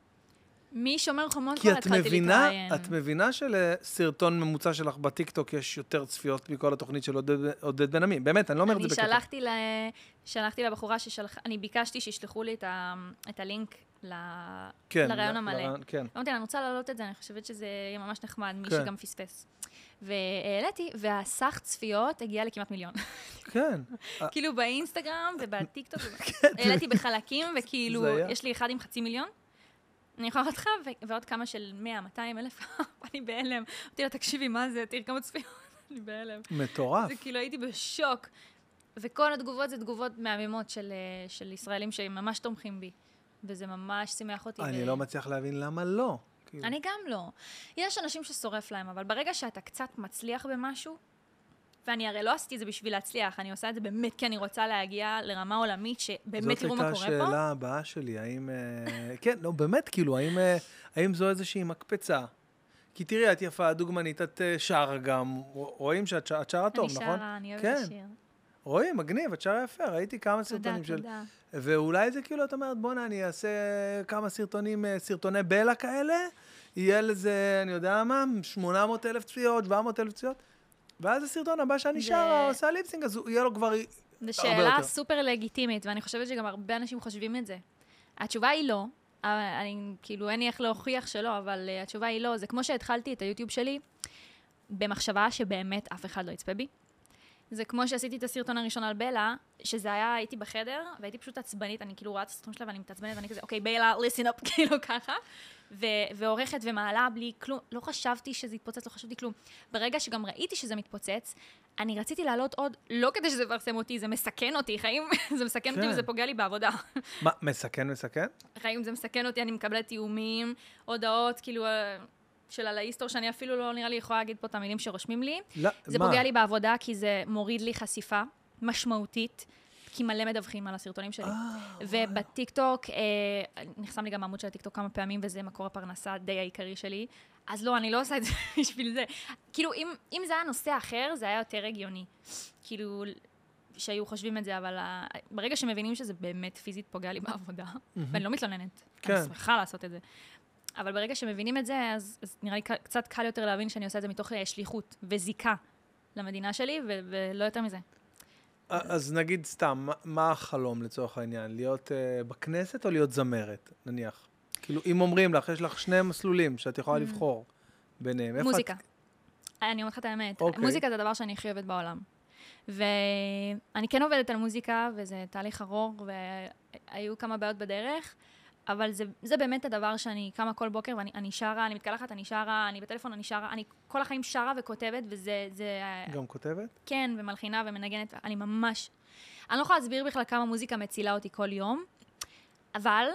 [SPEAKER 2] משומר חומות
[SPEAKER 1] כי
[SPEAKER 2] כבר
[SPEAKER 1] את
[SPEAKER 2] התחלתי
[SPEAKER 1] מבינה,
[SPEAKER 2] להתראיין.
[SPEAKER 1] את לא מבינה שלסרטון ממוצע שלך בטיקטוק יש יותר צפיות מכל התוכנית של עודד, עודד בן עמי. באמת, אני לא אומר את זה
[SPEAKER 2] אני
[SPEAKER 1] בקטע.
[SPEAKER 2] שלחתי, לה, שלחתי לבחורה ששלחה, אני ביקשתי שישלחו לי את, ה, את הלינק ל...
[SPEAKER 1] כן,
[SPEAKER 2] לראיון
[SPEAKER 1] ל-
[SPEAKER 2] המלא.
[SPEAKER 1] לראיון, כן.
[SPEAKER 2] אמרתי לה, אני רוצה להעלות את זה, אני חושבת שזה יהיה ממש נחמד, מי
[SPEAKER 1] כן.
[SPEAKER 2] שגם פספס. והעליתי, והסך צפיות הגיע לכמעט מיליון.
[SPEAKER 1] כן.
[SPEAKER 2] כאילו באינסטגרם ובטיקטוק, העליתי בחלקים, וכאילו,
[SPEAKER 1] זה היה.
[SPEAKER 2] יש לי אחד עם חצי מיליון, אני יכולה לראות לך, ו- ועוד כמה של 100, 200 אלף, אני בהלם. אמרתי לה, תקשיבי, מה זה, תראי כמה צפיות, אני בהלם.
[SPEAKER 1] מטורף.
[SPEAKER 2] זה כאילו הייתי בשוק. וכל התגובות זה תגובות מהממות של, אה, של ישראלים שממש תומכים בי. וזה ממש שימח אותי.
[SPEAKER 1] אני
[SPEAKER 2] ו-
[SPEAKER 1] לא מצליח להבין למה לא. כאילו,
[SPEAKER 2] אני גם לא. יש אנשים ששורף להם, אבל ברגע שאתה קצת מצליח במשהו, ואני הרי לא עשיתי את זה בשביל להצליח, אני עושה את זה באמת כי אני רוצה להגיע לרמה עולמית, שבאמת תראו מה
[SPEAKER 1] זאת
[SPEAKER 2] קורה
[SPEAKER 1] הייתה
[SPEAKER 2] פה.
[SPEAKER 1] השאלה הבאה שלי, האם... אה, כן, לא, באמת, כאילו, האם, אה, האם זו איזושהי מקפצה? כי תראי, את יפה, דוגמנית, את אה, שרה גם, רואים שאת שר- את שרה טוב,
[SPEAKER 2] אני
[SPEAKER 1] נכון?
[SPEAKER 2] שרה, אני אוהבת
[SPEAKER 1] כן,
[SPEAKER 2] לשיר.
[SPEAKER 1] רואים, מגניב, את שרה יפה, ראיתי כמה
[SPEAKER 2] תודה,
[SPEAKER 1] סרטונים של...
[SPEAKER 2] תודה.
[SPEAKER 1] ואולי זה כאילו, את אומרת, בואנה, אני אעשה כמה סרטונים, אה, סרטוני בלע כאלה, יהיה לזה, אני יודע מה, 800 אלף צפיות, 700 אלף צפיות, ואז הסרטון הבא שאני
[SPEAKER 2] זה-
[SPEAKER 1] שרה, עושה ליפסינג, אז הוא- יהיה לו כבר...
[SPEAKER 2] זו
[SPEAKER 1] הרבה
[SPEAKER 2] שאלה
[SPEAKER 1] יותר.
[SPEAKER 2] סופר לגיטימית, ואני חושבת שגם הרבה אנשים חושבים את זה. התשובה היא לא. אבל אני, כאילו, אין לי איך להוכיח שלא, אבל אה, התשובה היא לא. זה כמו שהתחלתי את היוטיוב שלי במחשבה שבאמת אף אחד לא יצפה בי. זה כמו שעשיתי את הסרטון הראשון על בלה, שזה היה, הייתי בחדר, והייתי פשוט עצבנית, אני כאילו רואה את הסרטון שלה ואני מתעצבנת, ואני כזה, אוקיי, בלה, listen up, כאילו ככה. ו- ועורכת ומעלה בלי כלום, לא חשבתי שזה יתפוצץ, לא חשבתי כלום. ברגע שגם ראיתי שזה מתפוצץ, אני רציתי לעלות עוד, לא כדי שזה יפרסם אותי, זה מסכן אותי, חיים, זה מסכן אותי
[SPEAKER 1] כן.
[SPEAKER 2] וזה פוגע לי בעבודה.
[SPEAKER 1] מה, מסכן, מסכן?
[SPEAKER 2] חיים, זה מסכן אותי, אני מקבלת איומים, הודעות, כאילו, אה, של על ההיסטור, שאני אפילו לא נראה לי יכולה להגיד פה את המילים שרושמים לי.
[SPEAKER 1] לא,
[SPEAKER 2] זה
[SPEAKER 1] מה?
[SPEAKER 2] פוגע לי בעבודה, כי זה מוריד לי חשיפה משמעותית, כי מלא מדווחים על הסרטונים
[SPEAKER 1] אה,
[SPEAKER 2] שלי. ובטיקטוק, אה, נחסם לי גם העמוד של הטיקטוק כמה פעמים, וזה מקור הפרנסה די העיקרי שלי. אז לא, אני לא עושה את זה בשביל זה. כאילו, אם, אם זה היה נושא אחר, זה היה יותר הגיוני. כאילו, שהיו חושבים את זה, אבל ה... ברגע שמבינים שזה באמת פיזית פוגע לי בעבודה, ואני לא מתלוננת,
[SPEAKER 1] כן.
[SPEAKER 2] אני שמחה לעשות את זה. אבל ברגע שמבינים את זה, אז, אז נראה לי ק- קצת קל יותר להבין שאני עושה את זה מתוך אה, שליחות וזיקה למדינה שלי, ו- ולא יותר מזה.
[SPEAKER 1] אז נגיד סתם, מה- מה החלום לצורך העניין? להיות אה, בכנסת או להיות זמרת, נניח? כאילו, אם אומרים לך, יש לך שני מסלולים שאת יכולה לבחור ביניהם. איפה את-
[SPEAKER 2] Mm. מוזיקה. אני אומרת לך את האמת,
[SPEAKER 1] אוקיי.
[SPEAKER 2] מוזיקה זה הדבר שאני הכי אוהבת בעולם. ואני כן עובדת על מוזיקה, וזה תהליך ארוך, והיו כמה בעיות בדרך, אבל זה, זה באמת הדבר שאני קמה כל בוקר ואני אני שרה, אני מתקלחת, אני שרה, אני בטלפון, אני שרה, אני כל החיים שרה וכותבת, וזה זה,
[SPEAKER 1] גם כותבת?
[SPEAKER 2] כן, ומלחינה ומנגנת, אני ממש... אני לא יכולה להסביר בכלל כמה מוזיקה מצילה אותי כל יום, אבל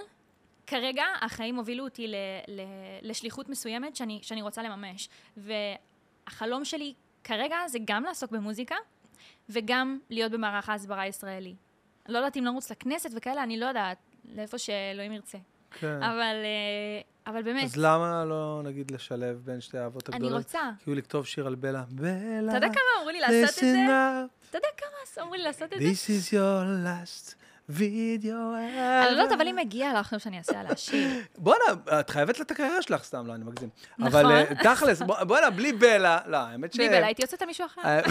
[SPEAKER 2] כרגע החיים הובילו אותי ל, ל, לשליחות מסוימת שאני, שאני רוצה לממש. והחלום שלי כרגע זה גם לעסוק במוזיקה, וגם להיות במערך ההסברה הישראלי. לא יודעת אם לרוץ לכנסת וכאלה, אני לא יודעת לאיפה שאלוהים ירצה.
[SPEAKER 1] כן.
[SPEAKER 2] אבל אה, אבל באמת,
[SPEAKER 1] אז למה לא, נגיד, לשלב בין שתי האהבות
[SPEAKER 2] אני
[SPEAKER 1] הגדולות?
[SPEAKER 2] רוצה.
[SPEAKER 1] כאילו לכתוב שיר על בלה. בלה,
[SPEAKER 2] אתה יודע כמה אמרו לי לעשות את זה?
[SPEAKER 1] listen up,
[SPEAKER 2] אתה יודע כמה אמרו לי לעשות את זה?
[SPEAKER 1] this is your last video ever.
[SPEAKER 2] אני לא יודעת, אבל אם מגיע לך עכשיו שאני אעשה על השיר.
[SPEAKER 1] בואנה, את חייבת לה את הקריירה שלך סתם, לא, אני מגזים.
[SPEAKER 2] נכון.
[SPEAKER 1] אבל אה, תכלס, בוא- בואנה, בלי בלה, לא, האמת ש...
[SPEAKER 2] בלי בלה, הייתי יוצאת על מישהו אחר.
[SPEAKER 1] אה,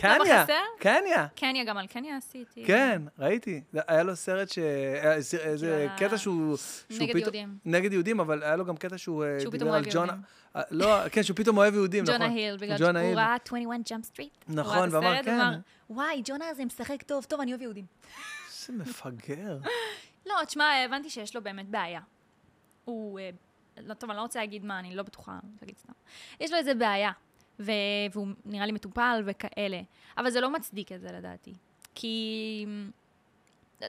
[SPEAKER 1] קניה,
[SPEAKER 2] חסר?
[SPEAKER 1] קניה.
[SPEAKER 2] קניה, גם על קניה עשיתי.
[SPEAKER 1] כן, ראיתי. זה- היה לו סרט ש... היה סיר- איזה
[SPEAKER 2] כאילו,
[SPEAKER 1] קטע שהוא... שהוא
[SPEAKER 2] נגד
[SPEAKER 1] פתאום-
[SPEAKER 2] יהודים.
[SPEAKER 1] נגד יהודים, אבל היה לו גם קטע שהוא... אה,
[SPEAKER 2] שהוא
[SPEAKER 1] דיבר
[SPEAKER 2] פתאום
[SPEAKER 1] על
[SPEAKER 2] אוהב
[SPEAKER 1] ג'ון-
[SPEAKER 2] יהודים.
[SPEAKER 1] אה, לא, כן, שהוא פתאום אוהב יהודים, נכון.
[SPEAKER 2] ג'ונה היל, בגלל שהוא
[SPEAKER 1] ג'ונה היל.
[SPEAKER 2] ראה 21 ג'אמפ סטריט.
[SPEAKER 1] נכון, ואמר, כן.
[SPEAKER 2] וואי, ג'ונה הזה משחק טוב, טוב, אני אוהב יהודים.
[SPEAKER 1] איזה מפגר.
[SPEAKER 2] לא, תשמע, הבנתי שיש לו באמת בעיה. הוא... אה, לא, טוב, אני לא רוצה להגיד מה, אני לא בטוחה, אני רוצה להגיד סתם. יש לו איזה בעיה, ו... והוא נראה לי מטופל וכאלה. אבל זה לא מצדיק את זה, לדעתי. כי...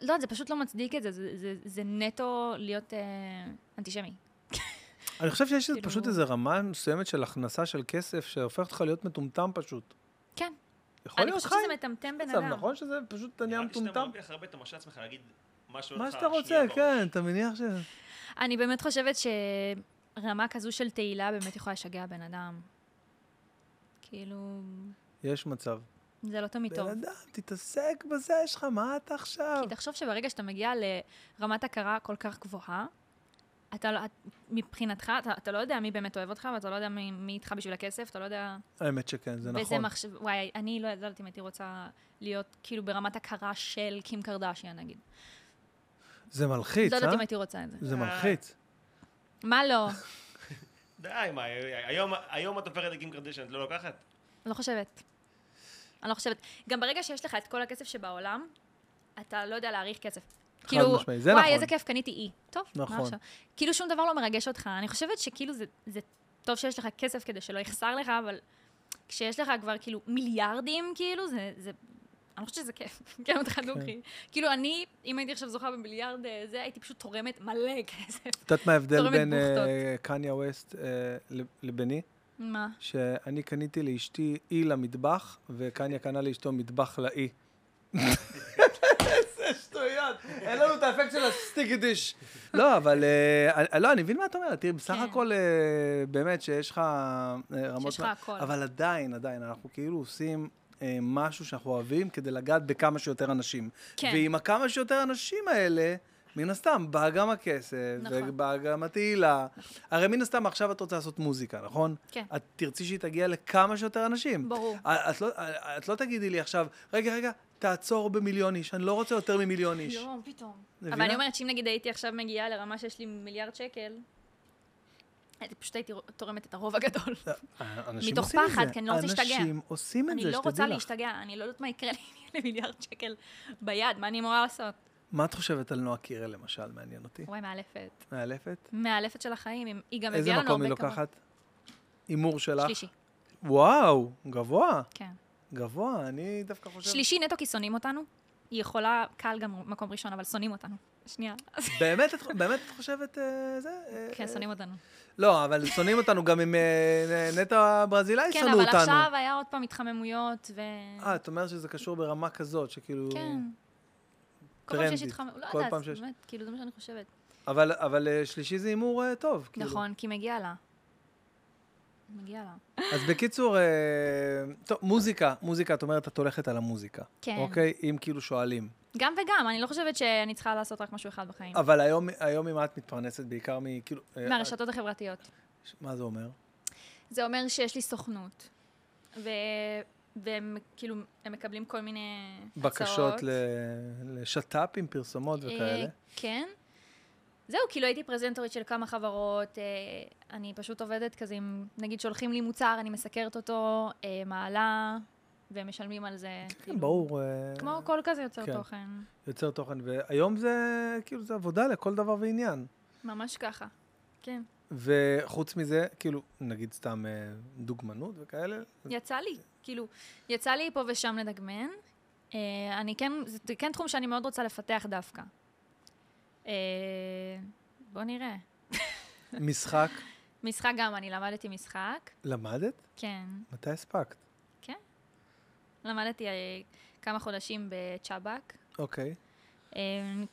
[SPEAKER 2] לא, זה פשוט לא מצדיק את זה, זה, זה, זה נטו להיות אה, אנטישמי.
[SPEAKER 1] אני חושב שיש
[SPEAKER 2] כאילו-
[SPEAKER 1] פשוט איזו רמה מסוימת של הכנסה של כסף שהופך אותך להיות מטומטם פשוט.
[SPEAKER 2] כן.
[SPEAKER 1] יכול
[SPEAKER 2] אני
[SPEAKER 1] להיות
[SPEAKER 2] חושבת
[SPEAKER 1] חיים.
[SPEAKER 2] שזה מטמטם בן
[SPEAKER 1] מצב,
[SPEAKER 2] אדם.
[SPEAKER 1] נכון שזה פשוט נהיה
[SPEAKER 3] נראה לי שאתה
[SPEAKER 1] מטומטם?
[SPEAKER 3] מרוויח הרבה, אתה מרשה לעצמך להגיד מה שעולה
[SPEAKER 1] מה
[SPEAKER 3] לך
[SPEAKER 1] שאתה רוצה,
[SPEAKER 3] שנייה בראש.
[SPEAKER 1] כן, אתה מניח ש...
[SPEAKER 2] אני באמת חושבת שרמה כזו של תהילה באמת יכולה לשגע בן אדם. כאילו,
[SPEAKER 1] יש מצב.
[SPEAKER 2] זה לא תמיד
[SPEAKER 1] בן
[SPEAKER 2] טוב.
[SPEAKER 1] אדם, תתעסק בזה שלך, מה אתה עכשיו?
[SPEAKER 2] כי תחשוב שברגע שאתה מגיע לרמת הכרה כל כך גבוהה, אתה לא, את- מבחינתך, אתה, אתה לא יודע מי באמת אוהב אותך, ואתה לא יודע מי, מי איתך בשביל הכסף, אתה לא יודע...
[SPEAKER 1] האמת שכן, זה
[SPEAKER 2] וזה
[SPEAKER 1] נכון.
[SPEAKER 2] מחשב... וואי, אני לא יודעת אם הייתי רוצה להיות כאילו ברמת הכרה של קים קרדשיה, נגיד.
[SPEAKER 1] זה מלחיץ,
[SPEAKER 2] לא יודעת
[SPEAKER 1] אה?
[SPEAKER 2] אם הייתי רוצה את זה.
[SPEAKER 1] זה מלחיץ.
[SPEAKER 2] מה לא?
[SPEAKER 3] די, מה, אה, היום- היום את עופרת לקים קרדשן, את לא לוקחת?
[SPEAKER 2] לא חושבת. אני לא חושבת. גם ברגע שיש לך את כל הכסף שבעולם, אתה לא יודע להעריך כסף. כאילו,
[SPEAKER 1] משמעית, זה
[SPEAKER 2] וואי,
[SPEAKER 1] נכון.
[SPEAKER 2] איזה כיף, קניתי אי. טוב, מה
[SPEAKER 1] נכון.
[SPEAKER 2] עכשיו? כאילו שום דבר לא מרגש אותך. אני חושבת שכאילו זה, זה טוב שיש לך כסף כדי שלא יחסר לך, אבל כשיש לך כבר כאילו מיליארדים, כאילו, זה... זה... אני חושבת שזה כיף, כן, אותך דוקרי. כאילו, אני, אם הייתי עכשיו זוכה במיליארד אה, זה, הייתי פשוט תורמת מלא כסף.
[SPEAKER 1] את יודעת מה ההבדל
[SPEAKER 2] תורמת
[SPEAKER 1] בין אה,
[SPEAKER 2] בוכטות.
[SPEAKER 1] קניה ווסט אה, לב- לביני?
[SPEAKER 2] מה?
[SPEAKER 1] שאני קניתי לאשתי אי למטבח, וקניה קנה לאשתו מטבח לאי. איזה שטויות, אין לנו את האפקט של הסטיקי דיש. לא, אבל... אה, אני- לא, אני מבין מה את אומרת. תראי, בסך
[SPEAKER 2] כן.
[SPEAKER 1] הכל, אה, באמת, שיש לך אה, רמות...
[SPEAKER 2] שיש לך הכל.
[SPEAKER 1] אבל עדיין, עדיין, אנחנו כאילו עושים... אה, משהו שאנחנו אוהבים כדי לגעת בכמה שיותר אנשים.
[SPEAKER 2] כן.
[SPEAKER 1] ועם הכמה שיותר אנשים האלה, מן הסתם, בא גם הכסף,
[SPEAKER 2] נכון.
[SPEAKER 1] ובאה גם התהילה. הרי מן הסתם עכשיו את רוצה לעשות מוזיקה, נכון?
[SPEAKER 2] כן.
[SPEAKER 1] את תרצי שהיא תגיע לכמה שיותר אנשים.
[SPEAKER 2] ברור.
[SPEAKER 1] אה, את לא, אה, את לא תגידי לי עכשיו, רגע, רגע, תעצור במיליון איש, אני לא רוצה יותר ממיליון איש.
[SPEAKER 2] לא, פתאום. אבל
[SPEAKER 1] מבינה?
[SPEAKER 2] אני אומרת שאם נגיד הייתי עכשיו מגיעה לרמה שיש לי מיליארד שקל, הייתי פשוט הייתי תורמת את הרוב הגדול.
[SPEAKER 1] אה, אנשים
[SPEAKER 2] מתוך
[SPEAKER 1] עושים את
[SPEAKER 2] פחד,
[SPEAKER 1] זה.
[SPEAKER 2] כי אני לא רוצה להשתגע.
[SPEAKER 1] אנשים עושים לא, את
[SPEAKER 2] אני
[SPEAKER 1] זה,
[SPEAKER 2] לא
[SPEAKER 1] שתדעי
[SPEAKER 2] רוצה
[SPEAKER 1] לך.
[SPEAKER 2] להשתגע, אני לא יודעת מה יקרה לי אם יהיה לי מיליארד שקל ביד, מה אני אמורה לעשות?
[SPEAKER 1] מה את חושבת על נועה קירל, למשל, מעניין אותי?
[SPEAKER 2] וואי, מאלפת.
[SPEAKER 1] מאלפת?
[SPEAKER 2] מאלפת של החיים, היא- היא גם
[SPEAKER 1] איזה
[SPEAKER 2] מביאה לנו
[SPEAKER 1] מקום היא
[SPEAKER 2] הרבה כבוד.
[SPEAKER 1] לוקחת? הימור שלך?
[SPEAKER 2] שלישי,
[SPEAKER 1] וואו, גבוה,
[SPEAKER 2] כן.
[SPEAKER 1] גבוה, אני דווקא חושב...
[SPEAKER 2] שלישי נטו כי שונאים אותנו. היא יכולה, קל גם מקום ראשון, אבל שונאים אותנו. שנייה.
[SPEAKER 1] באמת את- באמת את חושבת אה, זה? אה,
[SPEAKER 2] כן,
[SPEAKER 1] אה,
[SPEAKER 2] שונאים אותנו.
[SPEAKER 1] לא, אבל שונאים אותנו גם עם אה, נטו הברזילאי
[SPEAKER 2] כן,
[SPEAKER 1] שנאו אותנו.
[SPEAKER 2] אבל עכשיו היה עוד פעם התחממויות, ו...
[SPEAKER 1] אה, את אומרת שזה קשור ברמה כזאת, שכאילו...
[SPEAKER 2] כן. כל פעם שיש
[SPEAKER 1] טרנדית.
[SPEAKER 2] התחממות, לא
[SPEAKER 1] כל פעם
[SPEAKER 2] יודעת,
[SPEAKER 1] שיש-
[SPEAKER 2] באמת, כאילו, זה מה שאני חושבת.
[SPEAKER 1] אבל, אבל אה, שלישי זה הימור אה, טוב. כאילו.
[SPEAKER 2] נכון, כי מגיע לה. מגיע לה.
[SPEAKER 1] אז בקיצור, אה, טוב, מוזיקה, מוזיקה, את אומרת, את הולכת על המוזיקה.
[SPEAKER 2] כן.
[SPEAKER 1] אוקיי? אם כאילו שואלים.
[SPEAKER 2] גם וגם, אני לא חושבת שאני צריכה לעשות רק משהו אחד בחיים.
[SPEAKER 1] אבל היום, היום ממה את מתפרנסת? בעיקר מכאילו... אה,
[SPEAKER 2] מהרשתות החברתיות.
[SPEAKER 1] ש- מה זה אומר?
[SPEAKER 2] זה אומר שיש לי סוכנות, ו... והם כאילו, הם מקבלים כל מיני הצעות.
[SPEAKER 1] בקשות ל... לשת"פ עם פרסומות
[SPEAKER 2] אה,
[SPEAKER 1] וכאלה.
[SPEAKER 2] כן. זהו, כאילו הייתי פרזנטורית של כמה חברות, אה, אני פשוט עובדת כזה עם, נגיד שולחים לי מוצר, אני מסקרת אותו, אה, מעלה, והם משלמים על זה.
[SPEAKER 1] כן,
[SPEAKER 2] כאילו,
[SPEAKER 1] ברור. אה,
[SPEAKER 2] כמו כל כזה יוצר
[SPEAKER 1] כן.
[SPEAKER 2] תוכן,
[SPEAKER 1] יוצר תוכן. והיום זה כאילו, זה עבודה לכל דבר ועניין.
[SPEAKER 2] ממש ככה. כן.
[SPEAKER 1] וחוץ מזה, כאילו, נגיד סתם אה, דוגמנות וכאלה,
[SPEAKER 2] יצא לי, כאילו, יצא לי פה ושם לדגמן. אה, אני כן, זה כן תחום שאני מאוד רוצה לפתח דווקא. אה, בוא נראה.
[SPEAKER 1] משחק,
[SPEAKER 2] משחק גם, אני למדתי משחק,
[SPEAKER 1] למדת?
[SPEAKER 2] כן,
[SPEAKER 1] מתי הספקת?
[SPEAKER 2] כן. למדתי אה, כמה חודשים בצ'אבק.
[SPEAKER 1] אוקיי.
[SPEAKER 2] אה,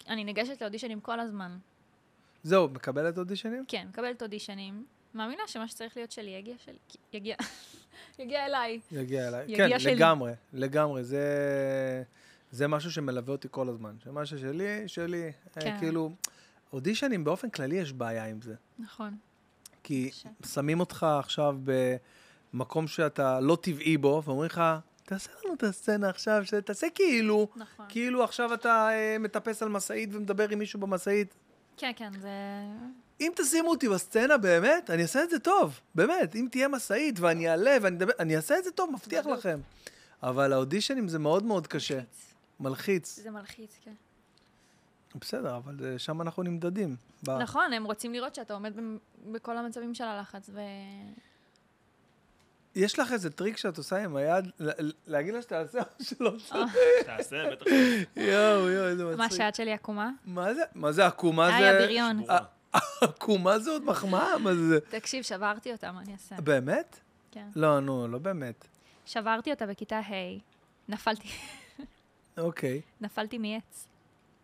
[SPEAKER 2] אני ניגשת לאודישנים כל הזמן.
[SPEAKER 1] זהו, מקבלת אודישנים?
[SPEAKER 2] כן, מקבלת אודישנים. מאמינה שמה שצריך להיות שלי יגיע שלי. יגיע. יגיע אליי.
[SPEAKER 1] יגיע אליי.
[SPEAKER 2] יגיע
[SPEAKER 1] כן,
[SPEAKER 2] שלי.
[SPEAKER 1] לגמרי, לגמרי. זה, זה משהו שמלווה אותי כל הזמן. שמה ששלי, שלי. אה,
[SPEAKER 2] כן.
[SPEAKER 1] כאילו, אודישנים באופן כללי יש בעיה עם זה.
[SPEAKER 2] נכון.
[SPEAKER 1] כי
[SPEAKER 2] ש-
[SPEAKER 1] שמים אותך עכשיו במקום שאתה לא טבעי בו, ואומרים לך, תעשה לנו את הסצנה עכשיו, ש- תעשה כאילו.
[SPEAKER 2] נכון.
[SPEAKER 1] כאילו עכשיו אתה אה, מטפס על משאית ומדבר עם מישהו במשאית.
[SPEAKER 2] כן, כן, זה...
[SPEAKER 1] אם תשימו אותי בסצנה באמת, אני אעשה את זה טוב. באמת, אם תהיה משאית ואני אעלה ואני אדבר, אני אעשה את זה טוב, מבטיח
[SPEAKER 2] בדיוק.
[SPEAKER 1] לכם. אבל האודישנים זה מאוד מאוד קשה. מלחיץ.
[SPEAKER 2] זה מלחיץ, כן.
[SPEAKER 1] בסדר, אבל אה, שם אנחנו נמדדים. ב-
[SPEAKER 2] נכון, הם רוצים לראות שאתה עומד במ- בכל המצבים של הלחץ, ו...
[SPEAKER 1] יש לך איזה טריק שאת עושה עם היד, ל- ל- להגיד לה שתעשה או שלא?
[SPEAKER 3] תעשה, בטח.
[SPEAKER 1] לא יואו, יואו, איזה
[SPEAKER 2] אה. מה,
[SPEAKER 1] מצחיק.
[SPEAKER 2] שהיד שלי עקומה?
[SPEAKER 1] מה זה? מה זה עקומה?
[SPEAKER 2] היי,
[SPEAKER 1] זה-
[SPEAKER 2] הבריון.
[SPEAKER 1] אה, עקומה זה עוד מחמאה? מה זה?
[SPEAKER 2] תקשיב, שברתי אותה, מה אני אעשה?
[SPEAKER 1] באמת?
[SPEAKER 2] כן.
[SPEAKER 1] לא, נו, לא באמת.
[SPEAKER 2] שברתי אותה בכיתה ה'. נפלתי,
[SPEAKER 1] אוקיי.
[SPEAKER 2] נפלתי מעץ.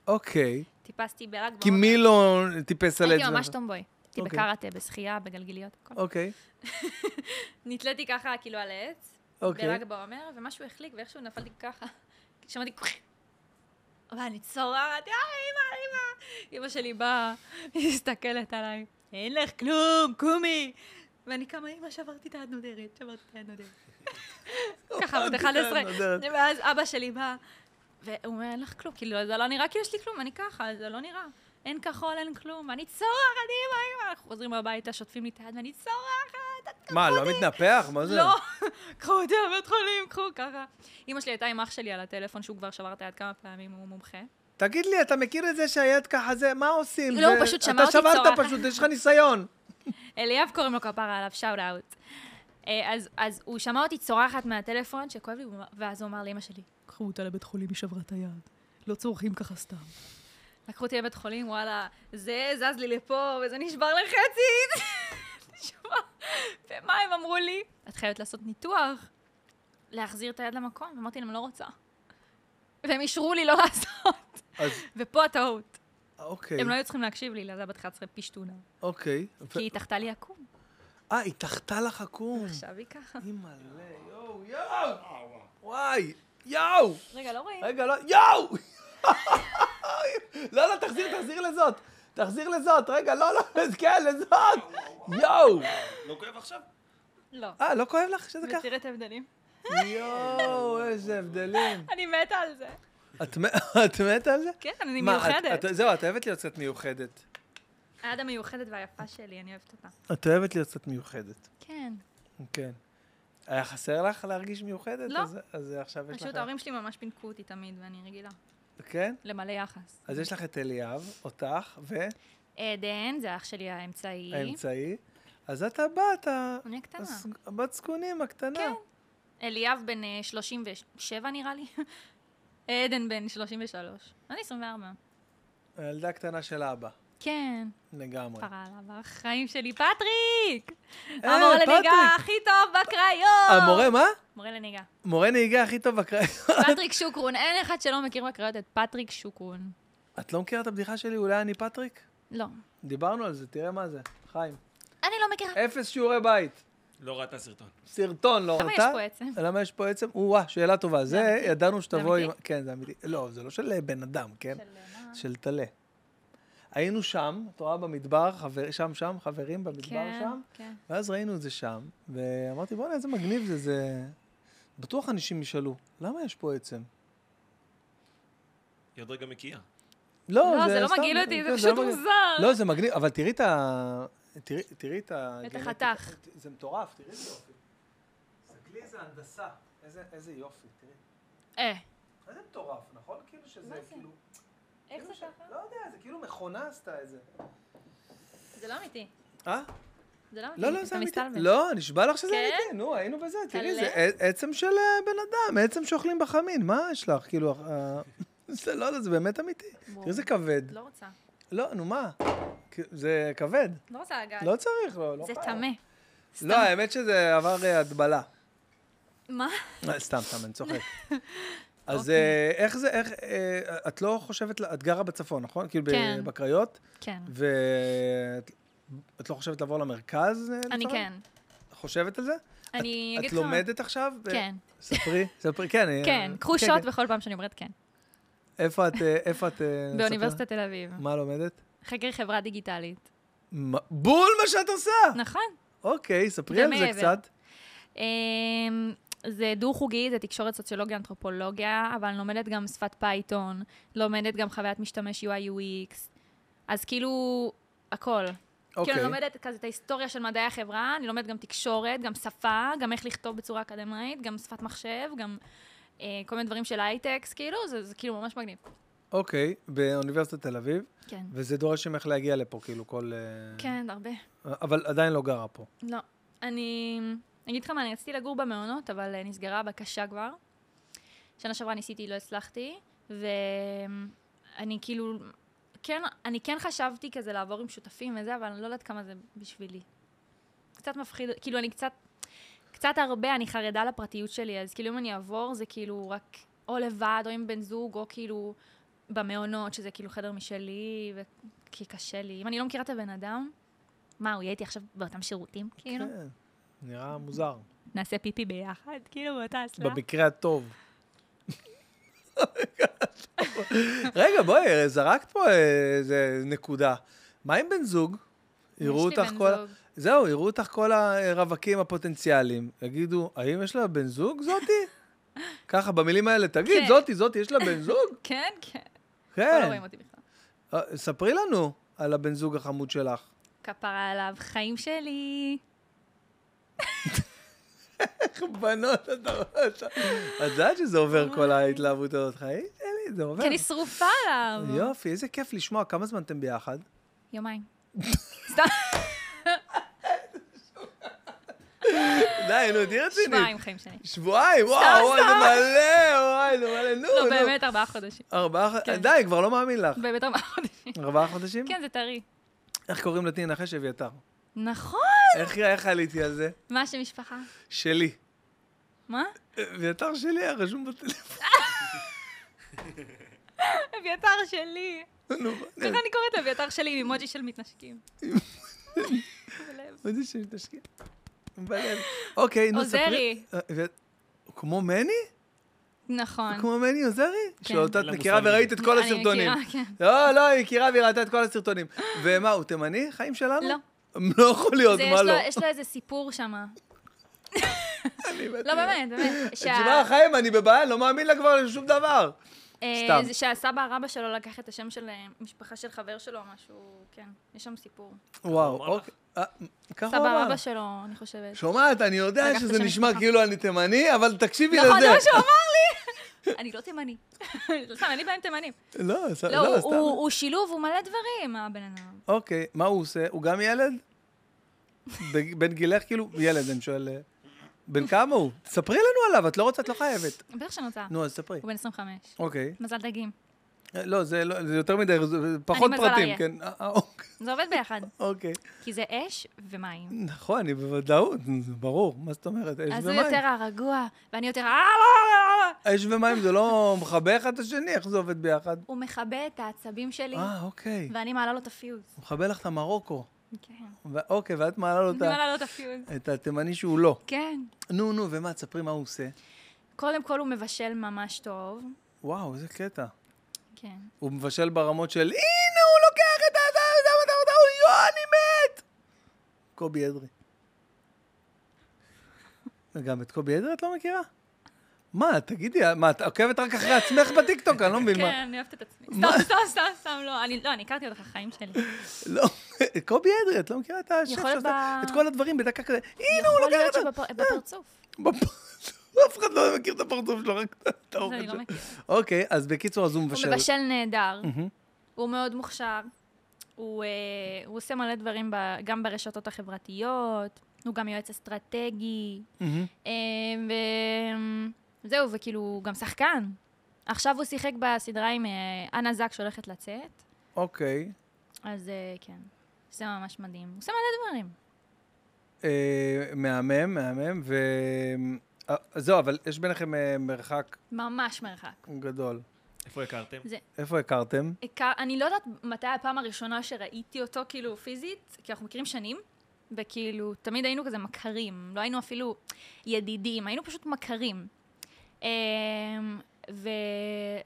[SPEAKER 1] אוקיי.
[SPEAKER 2] טיפסתי בל"ג
[SPEAKER 1] כי מי לא טיפס על את זה?
[SPEAKER 2] לא הייתי ממש טומבוי. הייתי
[SPEAKER 1] אוקיי.
[SPEAKER 2] בקראטה, בשחייה, בגלגיליות, הכל.
[SPEAKER 1] אוקיי.
[SPEAKER 2] נתליתי ככה, כאילו, על העץ.
[SPEAKER 1] אוקיי.
[SPEAKER 2] בל"ג בעומר, ומשהו החליק, ואיכשהו נפלתי ככה. שמעתי... ואני צורחת, אה, אמא, אמא. אמא שלי באה, היא מסתכלת עליי, אין לך כלום, קומי. ואני קמה, אמא, שברתי את היד נודרת, שברתי את היד נודרת. ככה, עוד
[SPEAKER 1] אוקיי, את היד
[SPEAKER 2] 11.
[SPEAKER 1] נודרת.
[SPEAKER 2] ואז אבא שלי בא, והוא אומר, אין לך כלום. כאילו, זה לא נראה כאילו יש לי כלום, אני ככה, זה לא נראה. אין כחול, אין כלום. אני צורחת, אמא, אמא. אנחנו חוזרים הביתה, שוטפים לי את היד, ואני צורחת, את
[SPEAKER 1] מה, לא מתנפח? מה זה?
[SPEAKER 2] "אוקיי." לא, קחו אותי לבית חולים, קחו ככה. אמא שלי הייתה עם אח שלי על הטלפון, שהוא כבר שבר את היד כמה פעמים, הוא מומחה.
[SPEAKER 1] תגיד לי, אתה מכיר את זה שהיד ככה זה? מה עושים?
[SPEAKER 2] לא, הוא
[SPEAKER 1] זה-
[SPEAKER 2] פשוט שמע אותי
[SPEAKER 1] אתה שברת
[SPEAKER 2] צורחת.
[SPEAKER 1] פשוט, יש לך ניסיון.
[SPEAKER 2] אליאב קוראים לו כפרה עליו, שאוט אאוט. אז, אז הוא שמע אותי צורחת מהטלפון, שכואב לי, ואז הוא אמר לאמא שלי,
[SPEAKER 4] קחו אותה לבית חולים, היא שברה את היד. לא צורכים ככה סתם.
[SPEAKER 2] לקחו אותי לבית חולים, וואלה, זה זז לי לפה, וזה נשבר לחצי. תשמע, ומה הם אמרו לי? את חייבת לעשות ניתוח, להחזיר את היד למקום. אמרתי להם, לא רוצה. והם אישרו לי לא לעשות.
[SPEAKER 1] אז
[SPEAKER 2] ופה הטעות.
[SPEAKER 1] אוקיי,
[SPEAKER 2] הם לא היו צריכים להקשיב לי, לזה בת 11 פשטונה.
[SPEAKER 1] אוקיי. ו-
[SPEAKER 2] כי היא תחתה לי עקום.
[SPEAKER 1] אה, היא תחתה לך עקום.
[SPEAKER 2] עכשיו היא ככה.
[SPEAKER 1] אימא'לה, יואו, יואו! וואי, יואו!
[SPEAKER 2] רגע, לא רואים?
[SPEAKER 1] רגע, לא, יואו! לא, לא, תחזיר, תחזיר לזאת. תחזיר לזאת, רגע, לא, לא, כן, לזאת! יואו!
[SPEAKER 3] לא כואב עכשיו?
[SPEAKER 2] לא.
[SPEAKER 1] אה, לא כואב לך שזה ככה?
[SPEAKER 2] ותראה את ההבדלים.
[SPEAKER 1] יואו, איזה הבדלים.
[SPEAKER 2] אני מתה על זה.
[SPEAKER 1] את מ- את מתה על זה?
[SPEAKER 2] כן, אני
[SPEAKER 1] מה, את-
[SPEAKER 2] מיוחדת.
[SPEAKER 1] את- זהו, את אוהבת להיות קצת מיוחדת.
[SPEAKER 2] היד המיוחדת והיפה שלי, אני אוהבת אותה.
[SPEAKER 1] את אוהבת להיות קצת מיוחדת.
[SPEAKER 2] כן.
[SPEAKER 1] כן. היה חסר לך להרגיש מיוחדת?
[SPEAKER 2] לא.
[SPEAKER 1] אז- אז עכשיו יש לך...
[SPEAKER 2] פשוט ההורים שלי ממש פינקו אותי תמיד, ואני רגילה.
[SPEAKER 1] כן?
[SPEAKER 2] למלא יחס.
[SPEAKER 1] אז יש לך את אליאב, אותך,
[SPEAKER 2] עדן, זה אח שלי האמצעי.
[SPEAKER 1] והאמצעי. אז את הבת, ה-
[SPEAKER 2] אני הקטנה.
[SPEAKER 1] הס- הבת זקונים הקטנה.
[SPEAKER 2] כן. אליאב בן אה, 37 נראה לי. עדן בן 33. אני 24.
[SPEAKER 1] הילדה הקטנה של אבא.
[SPEAKER 2] כן.
[SPEAKER 1] לגמרי.
[SPEAKER 2] פרה עליו, החיים שלי. פטריק!
[SPEAKER 1] נכון. אה,
[SPEAKER 2] המורה לנהיגה
[SPEAKER 1] פטריק.
[SPEAKER 2] הכי טוב בקריות!
[SPEAKER 1] המורה אה? מה?
[SPEAKER 2] מורה לנהיגה.
[SPEAKER 1] מורה נהיגה הכי טוב בקריירה.
[SPEAKER 2] פטריק שוקרון, אין אחד שלא מכיר בקריות את פטריק שוקרון.
[SPEAKER 1] את לא מכירה את הבדיחה שלי, אולי אני פטריק?
[SPEAKER 2] לא.
[SPEAKER 1] דיברנו על זה, תראה מה זה. חיים.
[SPEAKER 2] אני לא מכירה...
[SPEAKER 1] אפס שיעורי בית.
[SPEAKER 3] לא ראתה סרטון.
[SPEAKER 1] סרטון לא
[SPEAKER 2] למה יש פה עצם?
[SPEAKER 1] למה יש פה עצם? או-אה, שאלה טובה. זה,
[SPEAKER 2] אמיתי?
[SPEAKER 1] ידענו שתבוא
[SPEAKER 2] זה
[SPEAKER 1] עם...
[SPEAKER 2] אמיתי?
[SPEAKER 1] כן, זה אמיתי. לא, זה לא של אה, בן אדם, כן?
[SPEAKER 2] של, אה, מה?
[SPEAKER 1] של טלה. היינו שם, את רואה במדבר, חבר- שם, שם, חברים במדבר
[SPEAKER 2] כן,
[SPEAKER 1] שם,
[SPEAKER 2] כן.
[SPEAKER 1] ואז ראינו את זה שם, ואמרתי, בוא'נה, איזה מגניב זה, זה... בטוח אנשים ישאלו, למה יש פה עצם?
[SPEAKER 3] היא עוד רגע מקיאה.
[SPEAKER 2] לא, זה לא
[SPEAKER 1] סתם-
[SPEAKER 2] מגעיל אותי, זה
[SPEAKER 1] כן,
[SPEAKER 2] פשוט
[SPEAKER 1] לא מגעיל.
[SPEAKER 2] מוזר.
[SPEAKER 1] לא, זה מגניב, אבל תראי את ה... תראי- תראי את ה...
[SPEAKER 2] את
[SPEAKER 1] גנטיקה.
[SPEAKER 2] החתך.
[SPEAKER 1] זה מטורף, תראי איזה יופי. תסתכלי איזה הנדסה, איזה- איזה יופי, תראי.
[SPEAKER 2] אה,
[SPEAKER 1] איזה מטורף, נכון? כאילו שזה
[SPEAKER 2] מה זה?
[SPEAKER 1] כאילו...
[SPEAKER 2] איך זה
[SPEAKER 1] כאילו ש-
[SPEAKER 2] ככה?
[SPEAKER 1] לא יודע, זה כאילו מכונה עשתה את זה.
[SPEAKER 2] זה לא אמיתי.
[SPEAKER 1] אה?
[SPEAKER 2] זה לא אמיתי.
[SPEAKER 1] לא, לא,
[SPEAKER 2] אתה
[SPEAKER 1] זה אמיתי.
[SPEAKER 2] מסתלבט.
[SPEAKER 1] לא, נשבע לך שזה
[SPEAKER 2] כן?
[SPEAKER 1] אמיתי. נו, היינו בזה, תראי,
[SPEAKER 2] תלה?
[SPEAKER 1] זה ע- עצם של אה, בן אדם, עצם שאוכלים בחמין, מה יש לך? כאילו, אה, זה לא, לא, זה באמת אמיתי.
[SPEAKER 2] וואו.
[SPEAKER 1] תראי, זה כבד.
[SPEAKER 2] לא רוצה.
[SPEAKER 1] לא, נו, מה? כ- זה כבד.
[SPEAKER 2] לא רוצה לגעת.
[SPEAKER 1] לא צריך, לא, לא
[SPEAKER 2] זה
[SPEAKER 1] חייב.
[SPEAKER 2] טמא.
[SPEAKER 1] לא, האמת שזה עבר אה, הדבלה.
[SPEAKER 2] מה?
[SPEAKER 1] אה, סתם, סתם, אני צוחק. אז
[SPEAKER 2] אוקיי.
[SPEAKER 1] אה, איך זה, איך, אה, את לא חושבת, ל- את גרה בצפון, נכון? כאילו ב-
[SPEAKER 2] כן.
[SPEAKER 1] בקריות,
[SPEAKER 2] כן.
[SPEAKER 1] ואת את לא חושבת לעבור למרכז? אה,
[SPEAKER 2] אני
[SPEAKER 1] לצורך?
[SPEAKER 2] כן.
[SPEAKER 1] חושבת על זה?
[SPEAKER 2] אני
[SPEAKER 1] את-
[SPEAKER 2] אגיד לך...
[SPEAKER 1] את לומדת עכשיו? ב-
[SPEAKER 2] כן,
[SPEAKER 1] ספרי, ספרי, כן. אה,
[SPEAKER 2] כן. קחו
[SPEAKER 1] כן,
[SPEAKER 2] שוט
[SPEAKER 1] כן.
[SPEAKER 2] בכל פעם שאני אומרת כן.
[SPEAKER 1] איפה את, אה, איפה את... אה, ספרי?
[SPEAKER 2] באוניברסיטת תל אביב.
[SPEAKER 1] מה לומדת?
[SPEAKER 2] חקר חברה דיגיטלית.
[SPEAKER 1] מה- בול מה שאת עושה!
[SPEAKER 2] נכון.
[SPEAKER 1] אוקיי, ספרי על זה
[SPEAKER 2] ומעבר.
[SPEAKER 1] קצת.
[SPEAKER 2] אמ, זה דו-חוגי, זה תקשורת סוציולוגיה, אנתרופולוגיה, אבל אני לומדת גם שפת פייתון, לומדת גם חוויית משתמש UI/UX. אז כאילו, הכל. כאילו,
[SPEAKER 1] אוקיי.
[SPEAKER 2] אני לומדת כזה את ההיסטוריה של מדעי החברה, אני לומדת גם תקשורת, גם שפה, גם איך לכתוב בצורה אקדמאית, גם שפת מחשב, גם אה, כל מיני דברים של הייטקס, כאילו, זה, זה כאילו ממש מגניב.
[SPEAKER 1] אוקיי, באוניברסיטת תל אביב,
[SPEAKER 2] כן.
[SPEAKER 1] וזה דורש ממך להגיע לפה, כאילו, כל... אה,
[SPEAKER 2] כן, הרבה.
[SPEAKER 1] אבל עדיין לא גרה פה.
[SPEAKER 2] לא. אני אגיד לך מה, אני רציתי לגור במעונות, אבל אה, נסגרה הבקשה כבר. שנה שעברה ניסיתי, לא הצלחתי, ואני כאילו, כן, אני כן חשבתי כזה לעבור עם שותפים וזה, אבל אני לא יודעת כמה זה בשבילי. קצת מפחיד, כאילו אני קצת, קצת הרבה, אני חרדה לפרטיות שלי, אז כאילו אם אני אעבור זה כאילו רק או לבד, או עם בן זוג, או כאילו במעונות, שזה כאילו חדר משלי, ו... כי קשה לי. אם אני לא מכירה את הבן אדם, מה, הוא יהיה איתי עכשיו באותם שירותים? כאילו, לא?
[SPEAKER 1] כן, נראה מוזר.
[SPEAKER 2] נעשה פיפי ביחד, כאילו באותה הצלעה.
[SPEAKER 1] במקרה הטוב. רגע, בואי, זרקת פה אה, איזה נקודה. מה עם בן זוג?
[SPEAKER 2] יש
[SPEAKER 1] יראו
[SPEAKER 2] לי
[SPEAKER 1] אותך
[SPEAKER 2] בן
[SPEAKER 1] כל...
[SPEAKER 2] זוג.
[SPEAKER 1] זהו, יראו אותך כל הרווקים הפוטנציאליים. יגידו, האם יש לה בן זוג זאתי? ככה, במילים האלה, תגיד,
[SPEAKER 2] כן.
[SPEAKER 1] זאתי, זאתי, יש לה בן זוג?
[SPEAKER 2] כן, כן. פה לא
[SPEAKER 1] כן.
[SPEAKER 2] רואים אותי בכלל.
[SPEAKER 1] אה, ספרי לנו על הבן זוג החמוד שלך.
[SPEAKER 2] כפרה עליו, חיים שלי.
[SPEAKER 1] כן. בנות, אתה רואה, אתה- את יודעת שזה עובר כל ההתלהבות הזאת, חיים שלי, זה עובר.
[SPEAKER 2] כי אני שרופה עליו.
[SPEAKER 1] יופי, איזה כיף לשמוע. כמה זמן אתם ביחד?
[SPEAKER 2] יומיים. סתם,
[SPEAKER 1] די, נו, תהיי רצינית.
[SPEAKER 2] שבועיים חיים שלי.
[SPEAKER 1] שבועיים, וואו, וואי, זה מלא, וואי, זה מלא, נו,
[SPEAKER 2] לא,
[SPEAKER 1] נו.
[SPEAKER 2] באמת ארבעה חודשים.
[SPEAKER 1] ארבעה חודשים,
[SPEAKER 2] כן.
[SPEAKER 1] די, כבר לא מאמין לך.
[SPEAKER 2] באמת ארבעה חודשים.
[SPEAKER 1] ארבעה חודשים?
[SPEAKER 2] כן, זה טרי.
[SPEAKER 1] איך קוראים לתי נחש אביתר?
[SPEAKER 2] נכון.
[SPEAKER 1] איך איך עליתי על זה?
[SPEAKER 2] מה שמשפחה?
[SPEAKER 1] שלי.
[SPEAKER 2] מה?
[SPEAKER 1] אביתר שלי היה רשום בטלפון.
[SPEAKER 2] אביתר שלי.
[SPEAKER 1] נו,
[SPEAKER 2] ככה אני קוראת לאביתר שלי עם אימוג'י של מתנשקים. בלב.
[SPEAKER 1] מה זה שמתשקיע? בלב. אוקיי, נו, ספרי.
[SPEAKER 2] עוזרי.
[SPEAKER 1] אה, ו- כמו מני?
[SPEAKER 2] נכון.
[SPEAKER 1] כמו מני עוזרי?
[SPEAKER 2] כן.
[SPEAKER 1] שאותה את
[SPEAKER 3] אין לה
[SPEAKER 1] מכירה
[SPEAKER 3] מושג.
[SPEAKER 1] וראית את כל
[SPEAKER 2] אני
[SPEAKER 1] הסרטונים.
[SPEAKER 2] מכירה, כן.
[SPEAKER 1] לא, לא, היא מכירה והיא ראתה את כל הסרטונים. ומה, הוא תימני? חיים שלנו?
[SPEAKER 2] לא.
[SPEAKER 1] לא יכול להיות,
[SPEAKER 2] זה, יש
[SPEAKER 1] מה
[SPEAKER 2] לו-
[SPEAKER 1] לא?
[SPEAKER 2] יש לו איזה סיפור שם.
[SPEAKER 1] אני מת.
[SPEAKER 2] לא, באמת, באמת. שה-
[SPEAKER 1] תשמע, חיים, אני בבעיה, לא מאמין לה כבר לשום דבר.
[SPEAKER 2] אה,
[SPEAKER 1] סתם.
[SPEAKER 2] זה שהסבא רבא שלו לקח את השם של אה, משפחה של חבר שלו או משהו, כן. יש שם סיפור.
[SPEAKER 1] וואו,
[SPEAKER 3] אמר לך.
[SPEAKER 1] אוקיי. אה, ככה הוא
[SPEAKER 2] סבא
[SPEAKER 1] אמר.
[SPEAKER 2] רבא שלו, אני חושבת.
[SPEAKER 1] שומעת, אני יודע
[SPEAKER 2] לקחת
[SPEAKER 1] שזה
[SPEAKER 2] שם
[SPEAKER 1] נשמע
[SPEAKER 2] משפחה.
[SPEAKER 1] כאילו אני תימני, אבל תקשיבי לזה.
[SPEAKER 2] נכון, זה מה שהוא אמר לי. אני לא תימני. סתם, אין לי בעיה עם תימנים.
[SPEAKER 1] לא, ס-
[SPEAKER 2] לא,
[SPEAKER 1] לא,
[SPEAKER 2] הוא-
[SPEAKER 1] סתם.
[SPEAKER 2] הוא הוא שילוב, הוא מלא דברים, הבן אדם.
[SPEAKER 1] אוקיי, מה הוא עושה? הוא גם ילד? ב- בן גילך כאילו, ילד, אני שואל. אה, בן כמה הוא? ספרי לנו עליו, את לא רוצה, את לא חייבת.
[SPEAKER 2] בטח שאני רוצה.
[SPEAKER 1] נו, אז ספרי.
[SPEAKER 2] הוא בן 25.
[SPEAKER 1] אוקיי.
[SPEAKER 2] מזל דגים.
[SPEAKER 1] אה, לא, זה לא- זה יותר מדי, זה פחות
[SPEAKER 2] מזל
[SPEAKER 1] פרטים,
[SPEAKER 2] אריה.
[SPEAKER 1] כן. אה, אה, אוקיי,
[SPEAKER 2] זה עובד ביחד,
[SPEAKER 1] אוקיי.
[SPEAKER 2] כי זה אש ומים.
[SPEAKER 1] נכון, אני בוודאות, זה ברור. מה זאת אומרת? אש
[SPEAKER 2] אז הוא יותר
[SPEAKER 1] ומים.
[SPEAKER 2] הרגוע, ואני יותר... "אה, לא, לא, לא, לא."
[SPEAKER 1] אש ומים זה לא מכבה אחד את השני, איך זה עובד ביחד?
[SPEAKER 2] הוא מכבה את העצבים שלי,
[SPEAKER 1] אה, אוקיי.
[SPEAKER 2] ואני מעלה לו את הפיוז.
[SPEAKER 1] הוא מכבה לך את המרוקו.
[SPEAKER 2] כן.
[SPEAKER 1] ו- אוקיי, ואת מעלה לו
[SPEAKER 2] אני
[SPEAKER 1] את ה-
[SPEAKER 2] מעלה לו את הפיוז.
[SPEAKER 1] את התימני שהוא לא.
[SPEAKER 2] כן.
[SPEAKER 1] נו, נו, ומה, תספרי מה הוא עושה.
[SPEAKER 2] קודם כל הוא מבשל ממש טוב.
[SPEAKER 1] וואו, איזה קטע.
[SPEAKER 2] כן.
[SPEAKER 1] הוא מבשל ברמות של, הנה, הוא לוקח את האדם, אדם, אדם, אדם, יואו, אני מת! קובי אדרי. גם את קובי אדרי את לא מכירה? מה, תגידי, מה, את עוקבת רק אחרי עצמך בטיקטוק? אני לא מבין מה.
[SPEAKER 2] כן, אני אוהבת את עצמי. סתם, סתם, סתם, סתם, לא. אני- לא, אני הכרתי אותך החיים שלי.
[SPEAKER 1] לא, קובי אדרי, את לא מכירה את השף
[SPEAKER 2] כן. יכול
[SPEAKER 1] שעושה
[SPEAKER 2] ב-
[SPEAKER 1] את כל הדברים בדקה כזה, הנה, הוא
[SPEAKER 2] יכול
[SPEAKER 1] לוקח
[SPEAKER 2] להיות
[SPEAKER 1] את ה...
[SPEAKER 2] שבפרצוף.
[SPEAKER 1] בפרצוף. אף אחד לא מכיר את הפרצוף שלו, רק את האוכל
[SPEAKER 2] אני לא
[SPEAKER 1] שלו.
[SPEAKER 2] מכירה.
[SPEAKER 1] אוקיי, אז בקיצור, אז הוא
[SPEAKER 2] הוא
[SPEAKER 1] אה, מבשל.
[SPEAKER 2] מבשל נהדר,
[SPEAKER 1] מהמם.
[SPEAKER 2] הוא מאוד מוכשר, הוא אה, הוא עושה מלא דברים ב- גם ברשתות החברתיות, הוא גם יועץ אסטרטגי,
[SPEAKER 1] מהמם.
[SPEAKER 2] אה, ו- זהו, וכאילו, הוא גם שחקן. עכשיו הוא שיחק בסדרה עם אה, אנה זק שהולכת לצאת,
[SPEAKER 1] אוקיי.
[SPEAKER 2] אז אה, כן, זה ממש מדהים. הוא עושה מלא דברים.
[SPEAKER 1] אה, מהמם, מהמם, אה, זהו, אבל יש ביניכם אה, מרחק
[SPEAKER 2] ממש מרחק.
[SPEAKER 1] גדול.
[SPEAKER 3] איפה הכרתם?
[SPEAKER 1] איפה הכרתם?
[SPEAKER 2] הכר- אני לא יודעת מתי הפעם הראשונה שראיתי אותו כאילו פיזית, כי אנחנו מכירים שנים, וכאילו תמיד היינו כזה מכרים, לא היינו אפילו ידידים, היינו פשוט מכרים. אמ, ו...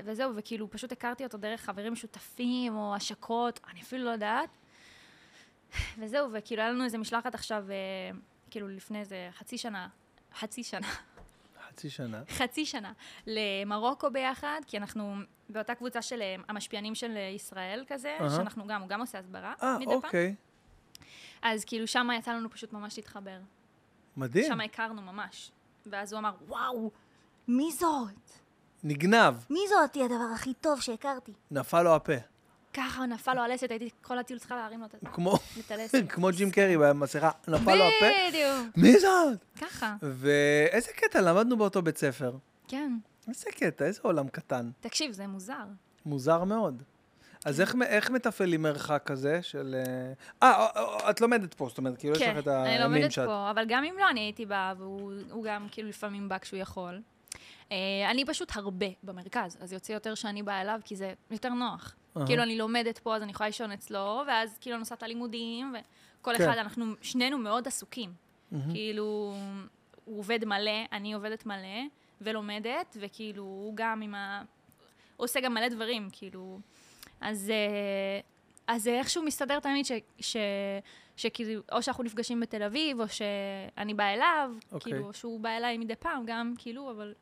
[SPEAKER 2] וזהו, וכאילו פשוט הכרתי אותו דרך חברים משותפים או השקות, אני אפילו לא יודעת. וזהו, וכאילו היה לנו איזה משלחת עכשיו, אה, כאילו לפני איזה חצי שנה, חצי שנה,
[SPEAKER 1] חצי שנה.
[SPEAKER 2] חצי שנה למרוקו ביחד, כי אנחנו באותה קבוצה של אה, המשפיענים של אה, ישראל כזה,
[SPEAKER 1] אהה.
[SPEAKER 2] שאנחנו גם, הוא גם עושה הסברה
[SPEAKER 1] אה,
[SPEAKER 2] מדי פעם.
[SPEAKER 1] אוקיי.
[SPEAKER 2] אז כאילו שם יצא לנו פשוט ממש להתחבר.
[SPEAKER 1] מדהים.
[SPEAKER 2] שם הכרנו ממש. ואז הוא אמר, וואו, מי זאת?
[SPEAKER 1] נגנב,
[SPEAKER 5] מי זאת? היא הדבר הכי טוב שהכרתי.
[SPEAKER 1] נפל לו הפה.
[SPEAKER 2] ככה הוא נפל לו הלסת, הייתי כל הטיול צריכה להרים לו את זה.
[SPEAKER 1] כמו-
[SPEAKER 2] את הלסת.
[SPEAKER 1] כמו ג'ים קרי במסכה, נפל לו הפה.
[SPEAKER 2] בדיוק,
[SPEAKER 1] מי זאת?
[SPEAKER 2] ככה,
[SPEAKER 1] ואיזה קטע, למדנו באותו בית ספר.
[SPEAKER 2] כן.
[SPEAKER 1] איזה קטע, איזה עולם קטן.
[SPEAKER 2] תקשיב, זה מוזר.
[SPEAKER 1] מוזר מאוד.
[SPEAKER 2] כן.
[SPEAKER 1] אז איך, איך מתפעלים מרחק כזה של... אה, אה, אה, את לומדת פה, זאת אומרת, כאילו יש לך את
[SPEAKER 2] כן. אני לומדת
[SPEAKER 1] המין שאת...
[SPEAKER 2] פה, אבל גם אם לא, אני הייתי באה, והוא הוא גם כאילו לפעמים בא כשהוא יכול. אה, אני פשוט הרבה במרכז, אז יוצא יותר שאני באה אליו, כי זה יותר נוח.
[SPEAKER 1] אהה.
[SPEAKER 2] כאילו, אני לומדת פה, אז אני יכולה לישון אצלו, ואז כאילו נוסעת ללימודים, וכל
[SPEAKER 1] כן.
[SPEAKER 2] אחד, אנחנו שנינו מאוד עסוקים. כאילו, הוא עובד מלא, אני עובדת מלא, ולומדת, וכאילו, הוא גם עם ה... הוא עושה גם מלא דברים, כאילו... אז, אה, אז זה איכשהו מסתדר תמיד ש, ש, שכאילו, או שאנחנו נפגשים בתל אביב, או שאני באה אליו, okay.
[SPEAKER 1] אוקיי.
[SPEAKER 2] כאילו, או שהוא בא אליי מדי פעם גם, כאילו, אבל...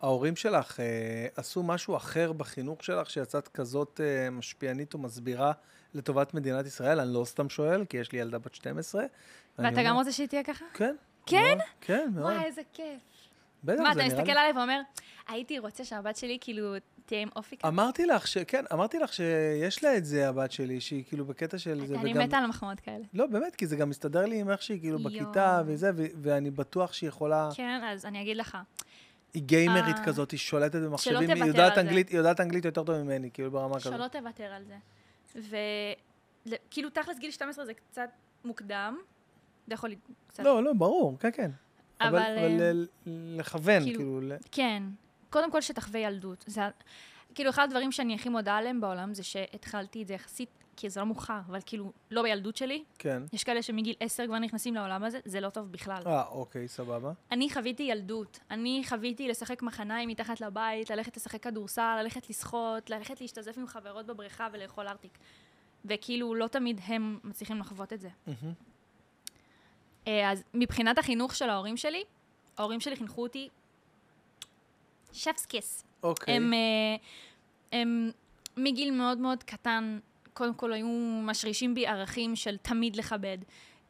[SPEAKER 1] ההורים שלך אה, עשו משהו אחר בחינוך שלך, שיצאת כזאת אה, משפיענית ומסבירה לטובת מדינת ישראל? אני לא סתם שואל, כי יש לי ילדה בת 12. ואני
[SPEAKER 2] ואתה גם
[SPEAKER 1] אומר-
[SPEAKER 2] רוצה שהיא תהיה ככה?
[SPEAKER 1] כן.
[SPEAKER 2] כן?
[SPEAKER 1] מאוד, כן, מאוד.
[SPEAKER 2] וואי, איזה כיף.
[SPEAKER 1] בטח,
[SPEAKER 2] מה,
[SPEAKER 1] לא, זה
[SPEAKER 2] אתה
[SPEAKER 1] נראה לי...
[SPEAKER 2] מסתכל עליי ואומר, הייתי רוצה שהבת שלי, כאילו, תהיה עם אופי כזה.
[SPEAKER 1] אמרתי לך ש... כן, אמרתי לך שיש לה את זה, הבת שלי, שהיא כאילו בקטע של זה,
[SPEAKER 2] אני
[SPEAKER 1] וגם-
[SPEAKER 2] מתה על מחמאות כאלה.
[SPEAKER 1] לא, באמת, כי זה גם מסתדר לי עם איך שהיא כאילו
[SPEAKER 2] יואו.
[SPEAKER 1] בכיתה וזה, ו- ואני בטוח שהיא יכולה...
[SPEAKER 2] כן, אז אני אגיד לך.
[SPEAKER 1] היא גיימרית
[SPEAKER 2] אה.
[SPEAKER 1] כזאת, היא שולטת במחשבים, היא
[SPEAKER 2] תוותר
[SPEAKER 1] יודעת
[SPEAKER 2] על זה.
[SPEAKER 1] אנגלית, היא יודעת אנגלית יותר טוב ממני, כאילו ברמה כזאת.
[SPEAKER 2] שלא תוותר על זה. וכאילו, תכלס גיל 12 זה קצת מוקדם. זה יכול להיות קצת...
[SPEAKER 1] לא, לא, ברור, כן, כן. אבל, אבל,
[SPEAKER 2] אבל,
[SPEAKER 1] אבל
[SPEAKER 2] אה,
[SPEAKER 1] ל- לכוון,
[SPEAKER 2] כאילו-
[SPEAKER 1] כאילו, ל-
[SPEAKER 2] כן. קודם כל שתחווה ילדות. זה... ה- כאילו, אחד הדברים שאני הכי מודה עליהם בעולם זה שהתחלתי את זה יחסית, כי זה לא מאוחר, אבל כאילו, לא בילדות שלי.
[SPEAKER 1] כן.
[SPEAKER 2] יש כאלה שמגיל 10 כבר נכנסים לעולם הזה, זה לא טוב בכלל.
[SPEAKER 1] אה, אוקיי, סבבה.
[SPEAKER 2] אני חוויתי ילדות. אני חוויתי לשחק מחניים מתחת לבית, ללכת לשחק כדורסל, ללכת לשחות, ללכת להשתזף עם חברות בבריכה ולאכול ארטיק. וכאילו, לא תמיד הם מצליחים לחוות את זה.
[SPEAKER 1] מהמם.
[SPEAKER 2] אה, אז מבחינת החינוך של ההורים שלי, ההורים שלי חינכו אותי שפס כיס.
[SPEAKER 1] אוקיי.
[SPEAKER 2] הם, אה, הם מגיל מאוד מאוד קטן, קודם כל היו משרישים בי ערכים של תמיד לכבד,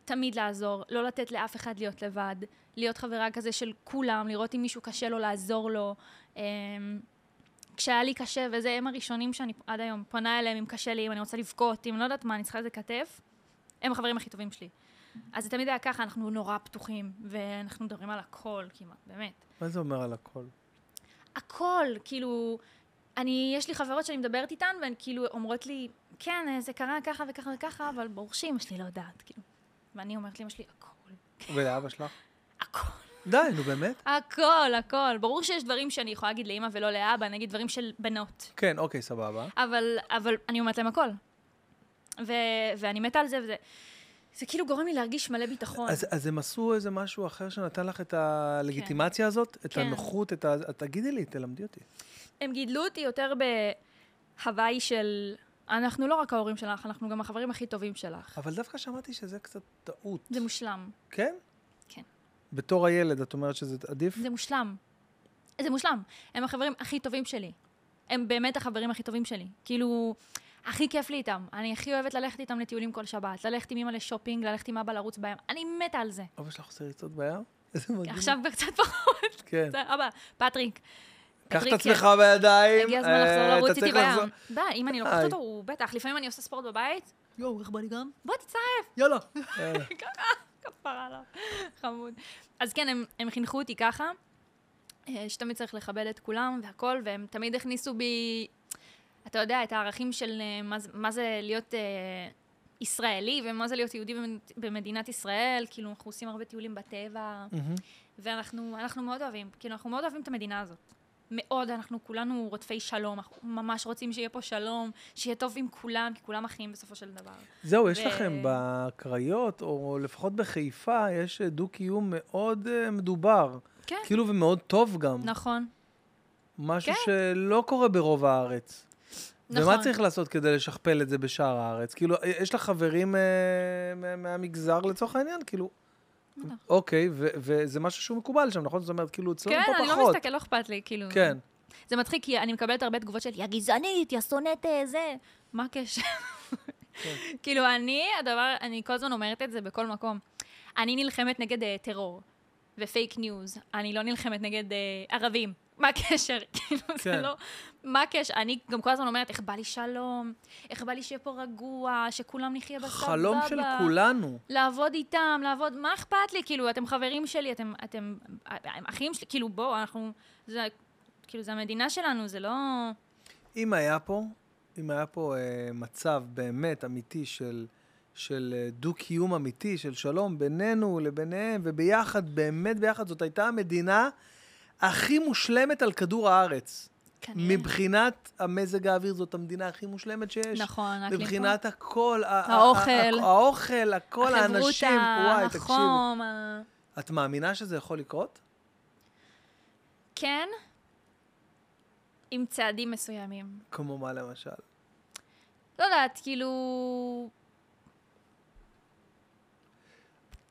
[SPEAKER 2] תמיד לעזור, לא לתת לאף אחד להיות לבד, להיות חברה כזה של כולם, לראות אם מישהו קשה לו לעזור לו. אה, כשהיה לי קשה, וזה הם הראשונים שאני עד היום פונה אליהם, אם קשה לי, אם אני רוצה לבכות, אם לא יודעת מה, אני צריכה איזה כתף, הם החברים הכי טובים שלי. אז זה תמיד היה ככה, אנחנו נורא פתוחים, ואנחנו מדברים על הכל כמעט, באמת.
[SPEAKER 1] מה זה אומר על הכל?
[SPEAKER 2] הכל, כאילו, אני, יש לי חברות שאני מדברת איתן, והן כאילו אומרות לי, כן, אה, זה קרה ככה וככה וככה, אבל ברור שאימא שלי לא יודעת, כאילו. ואני אומרת לאמא שלי, הכל,
[SPEAKER 1] ולאבא שלך?
[SPEAKER 2] הכל.
[SPEAKER 1] די, נו באמת?
[SPEAKER 2] הכל, הכל. ברור שיש דברים שאני יכולה להגיד לאמא ולא לאבא, נגיד דברים של בנות.
[SPEAKER 1] כן, אוקיי, סבבה.
[SPEAKER 2] אבל, אבל אני אומרת להם הכל. ו, ואני מתה על זה, וזה... זה כאילו גורם לי להרגיש מלא ביטחון.
[SPEAKER 1] אז, אז הם עשו איזה משהו אחר שנתן לך את הלגיטימציה הזאת? את
[SPEAKER 2] כן.
[SPEAKER 1] הנוחות, את ה... את- תגידי לי, תלמדי אותי.
[SPEAKER 2] הם גידלו אותי יותר בהוואי של... אנחנו לא רק ההורים שלך, אנחנו גם החברים הכי טובים שלך.
[SPEAKER 1] אבל דווקא שמעתי שזה קצת טעות.
[SPEAKER 2] זה מושלם.
[SPEAKER 1] כן?
[SPEAKER 2] כן.
[SPEAKER 1] בתור הילד, את אומרת שזה עדיף?
[SPEAKER 2] זה מושלם. זה מושלם. הם החברים הכי טובים שלי. הם באמת החברים הכי טובים שלי. כאילו, הכי כיף לי איתם. אני הכי אוהבת ללכת איתם לטיולים כל שבת, ללכת עם אמא לשופינג, ללכת עם אבא לרוץ בים. אני מתה על זה.
[SPEAKER 1] אבא שלך עושה ריצות ביער? איזה מדהים.
[SPEAKER 2] עכשיו כבר קצת פחות.
[SPEAKER 1] כן.
[SPEAKER 2] אבא, פטריק,
[SPEAKER 1] קח את
[SPEAKER 2] פטריק,
[SPEAKER 1] עצמך בידיים.
[SPEAKER 2] הגיע הזמן
[SPEAKER 1] אה,
[SPEAKER 2] לחזור
[SPEAKER 1] אתה
[SPEAKER 2] לרוץ
[SPEAKER 1] צריך
[SPEAKER 2] איתי
[SPEAKER 1] לחזור- אה,
[SPEAKER 2] בים. די, אם אני לא לוקחת
[SPEAKER 1] די.
[SPEAKER 2] אותו, הוא בטח. לפעמים אני עושה ספורט בבית,
[SPEAKER 4] יואו, איך בא לי גם?
[SPEAKER 2] בוא תצטרף.
[SPEAKER 1] יאללה. יאללה.
[SPEAKER 2] כפרה עליו. חמוד. אז כן, הם, הם חינכו אותי ככה, אה, שתמיד צריך לכבד את כולם והכל, והם תמיד הכניסו בי, אתה יודע, את הערכים של אה, מה, זה- מה זה להיות אה, ישראלי, ומה זה להיות יהודי במד- במדינת ישראל, כאילו אנחנו עושים הרבה טיולים בטבע,
[SPEAKER 1] מהמם.
[SPEAKER 2] ואנחנו אנחנו מאוד אוהבים, כאילו אנחנו מאוד אוהבים את המדינה הזאת. מאוד, אנחנו כולנו רודפי שלום, אנחנו ממש רוצים שיהיה פה שלום, שיהיה טוב עם כולם, כי כולם אחים בסופו של דבר.
[SPEAKER 1] זהו, יש
[SPEAKER 2] ו-
[SPEAKER 1] לכם בקריות, או לפחות בחיפה, יש אה, דו-קיום מאוד אה, מדובר.
[SPEAKER 2] כן,
[SPEAKER 1] כאילו, ומאוד טוב גם.
[SPEAKER 2] נכון.
[SPEAKER 1] משהו
[SPEAKER 2] כן.
[SPEAKER 1] שלא קורה ברוב הארץ. ומה
[SPEAKER 2] נכון.
[SPEAKER 1] צריך לעשות כדי לשכפל את זה בשאר הארץ? כאילו, אה, יש לך חברים אה, מה- מהמגזר לצורך העניין? כאילו,
[SPEAKER 2] בטח.
[SPEAKER 1] אוקיי, ו- וזה משהו שהוא מקובל שם, נכון? זאת אומרת, כאילו, אצלנו
[SPEAKER 2] כן,
[SPEAKER 1] פה
[SPEAKER 2] אני
[SPEAKER 1] פחות.
[SPEAKER 2] לא מסתכל, לא אכפת לי, כאילו.
[SPEAKER 1] כן.
[SPEAKER 2] זה מצחיק, כי אני מקבלת הרבה תגובות של,
[SPEAKER 5] יא
[SPEAKER 2] יא,
[SPEAKER 5] גזענית, יא שונאת אה, זה.
[SPEAKER 2] מה הקשר?
[SPEAKER 1] כן.
[SPEAKER 2] כאילו, אני, הדבר, אני כל הזמן אומרת את זה בכל מקום. אני נלחמת נגד אה, טרור ופייק ניוז, אני לא נלחמת נגד אה, ערבים. מה הקשר? כאילו, זה
[SPEAKER 1] כן.
[SPEAKER 2] לא... מה הקשר? אני גם כל הזמן אומרת, איך בא לי שלום, איך בא לי שיהיה פה רגוע, שכולם נחיה בסבבה.
[SPEAKER 1] חלום של כולנו.
[SPEAKER 2] לעבוד איתם, לעבוד, מה אכפת לי? כאילו, אתם חברים שלי, אתם, אתם, אתם אחים שלי, כאילו, בואו, אנחנו, זה, כאילו, זה המדינה שלנו, זה לא...
[SPEAKER 1] אם היה פה, אם היה פה אה, מצב באמת אמיתי של, של אה, דו-קיום אמיתי, של שלום בינינו לביניהם, וביחד, באמת ביחד, זאת הייתה המדינה הכי מושלמת על כדור הארץ.
[SPEAKER 2] כנראה.
[SPEAKER 1] מבחינת המזג האוויר, זאת המדינה הכי מושלמת שיש.
[SPEAKER 2] נכון, האקלים פה.
[SPEAKER 1] מבחינת הכל, ה- ה-
[SPEAKER 2] האוכל. נכון.
[SPEAKER 1] ה- האוכל, הכל, האנשים, וואי,
[SPEAKER 2] החברותא,
[SPEAKER 1] תקשיבו.
[SPEAKER 2] החום, ה-
[SPEAKER 1] את מאמינה שזה יכול לקרות?
[SPEAKER 2] כן, עם צעדים מסוימים.
[SPEAKER 1] כמו מה למשל?
[SPEAKER 2] לא יודעת, כאילו...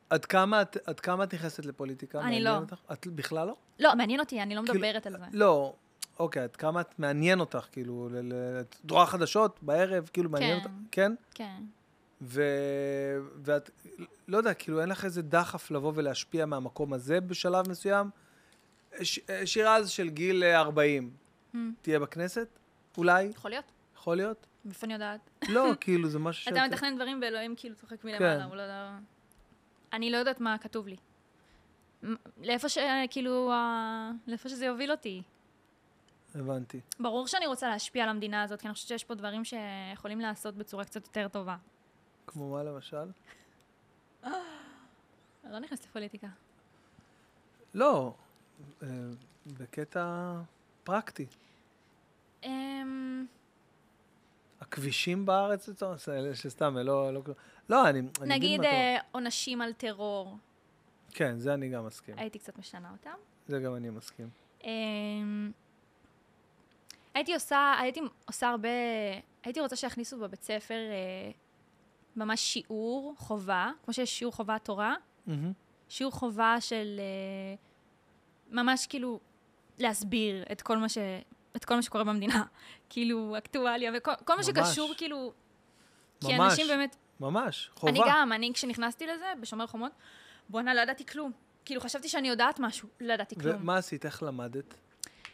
[SPEAKER 1] עד כמה את, עד כמה את נכנסת לפוליטיקה?
[SPEAKER 2] אני
[SPEAKER 1] מעניין
[SPEAKER 2] לא.
[SPEAKER 1] אותך? את בכלל לא?
[SPEAKER 2] לא, מעניין אותי, אני לא
[SPEAKER 1] כאילו,
[SPEAKER 2] מדברת על זה.
[SPEAKER 1] לא, אוקיי, עד כמה את מעניין אותך, כאילו, ל- ל- את רואה חדשות בערב, כאילו, מעניין
[SPEAKER 2] כן.
[SPEAKER 1] אותך? כן.
[SPEAKER 2] כן.
[SPEAKER 1] ו... ואת, לא יודע, כאילו, אין לך איזה דחף לבוא ולהשפיע מהמקום הזה בשלב מסוים? ש... שירה אז של גיל אה, 40,
[SPEAKER 2] Mm.
[SPEAKER 1] תהיה בכנסת? אולי?
[SPEAKER 2] יכול להיות,
[SPEAKER 1] יכול להיות?
[SPEAKER 2] מאיפה אני יודעת?
[SPEAKER 1] לא, כאילו, זה משהו
[SPEAKER 2] אתה מתכנן דברים ואלוהים כאילו צוחק
[SPEAKER 1] כן.
[SPEAKER 2] מלמעלה, הוא לא יודע... אני לא יודעת מה כתוב לי. מ- לאיפה ש... כאילו... ה- לאיפה שזה יוביל אותי.
[SPEAKER 1] הבנתי.
[SPEAKER 2] ברור שאני רוצה להשפיע על המדינה הזאת, כי אני חושבת שיש פה דברים שיכולים לעשות בצורה קצת יותר טובה.
[SPEAKER 1] כמו מה למשל?
[SPEAKER 2] אני לא נכנסת לפוליטיקה.
[SPEAKER 1] לא, אה, בקטע פרקטי.
[SPEAKER 2] אמ,
[SPEAKER 1] הכבישים בארץ, לצורך- שסתם, לא... לא, לא אני, אני אגיד מה
[SPEAKER 2] נגיד
[SPEAKER 1] אתה אומר.
[SPEAKER 2] אה, עונשים על טרור,
[SPEAKER 1] כן, זה אני גם מסכים.
[SPEAKER 2] הייתי קצת משנה אותם.
[SPEAKER 1] זה גם אני מסכים.
[SPEAKER 2] אמ, הייתי עושה, הייתי עושה הרבה, הייתי רוצה שיכניסו בבית ספר אה, ממש שיעור חובה, כמו שיש שיעור חובה תורה, שיעור חובה של אה, ממש כאילו להסביר את כל מה, ש, את כל מה שקורה במדינה, כאילו אקטואליה וכל כל מה
[SPEAKER 1] ממש.
[SPEAKER 2] שקשור כאילו, כי
[SPEAKER 1] ממש.
[SPEAKER 2] אנשים באמת
[SPEAKER 1] ממש, חובה.
[SPEAKER 2] אני גם, אני כשנכנסתי לזה, בשומר חומות, בואנה, לא ידעתי כלום. כאילו, חשבתי שאני יודעת משהו, לא ידעתי כלום.
[SPEAKER 1] ומה עשית? איך למדת?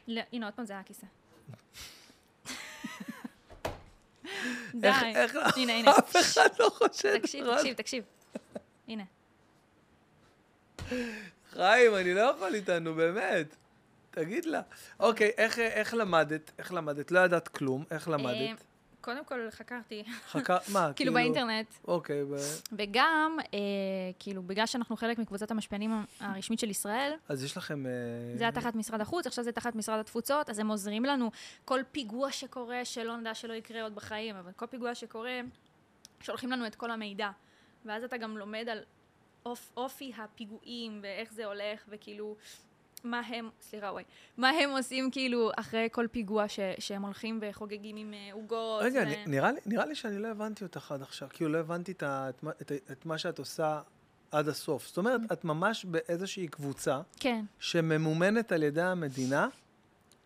[SPEAKER 2] לא, הנה, עוד פעם זה היה הכיסא. די.
[SPEAKER 1] איך, איך,
[SPEAKER 2] הנה, הנה.
[SPEAKER 1] אף אחד לא חושב.
[SPEAKER 2] תקשיב,
[SPEAKER 1] רק-
[SPEAKER 2] תקשיב, תקשיב. הנה.
[SPEAKER 1] חיים, אני לא יכול איתנו, באמת. תגיד לה. אוקיי, איך, איך למדת? איך למדת? לא ידעת כלום, איך
[SPEAKER 2] אה,
[SPEAKER 1] למדת?
[SPEAKER 2] קודם כל חקרתי,
[SPEAKER 1] חכה, מה,
[SPEAKER 2] כאילו באינטרנט,
[SPEAKER 1] אוקיי, ב...
[SPEAKER 2] וגם, אה, כאילו, בגלל שאנחנו חלק מקבוצת המשפיענים הרשמית של ישראל,
[SPEAKER 1] אז יש לכם... אה,
[SPEAKER 2] זה היה תחת משרד החוץ, עכשיו זה תחת משרד התפוצות, אז הם עוזרים לנו. כל פיגוע שקורה, שלא נדע שלא יקרה עוד בחיים, אבל כל פיגוע שקורה, שולחים לנו את כל המידע. ואז אתה גם לומד על אופ, אופי הפיגועים, ואיך זה הולך, וכאילו, מה הם, סליחה, וואי, מה הם עושים כאילו אחרי כל פיגוע ש, שהם הולכים וחוגגים עם אה, עוגות.
[SPEAKER 1] רגע,
[SPEAKER 2] ו-
[SPEAKER 1] נ- נראה לי- נראה לי שאני לא הבנתי אותך עד עכשיו. כאילו, לא הבנתי את ה- את מה- את ה- את מה שאת עושה עד הסוף. זאת אומרת,
[SPEAKER 2] אוקיי.
[SPEAKER 1] את ממש באיזושהי קבוצה
[SPEAKER 2] כן,
[SPEAKER 1] שממומנת על ידי המדינה,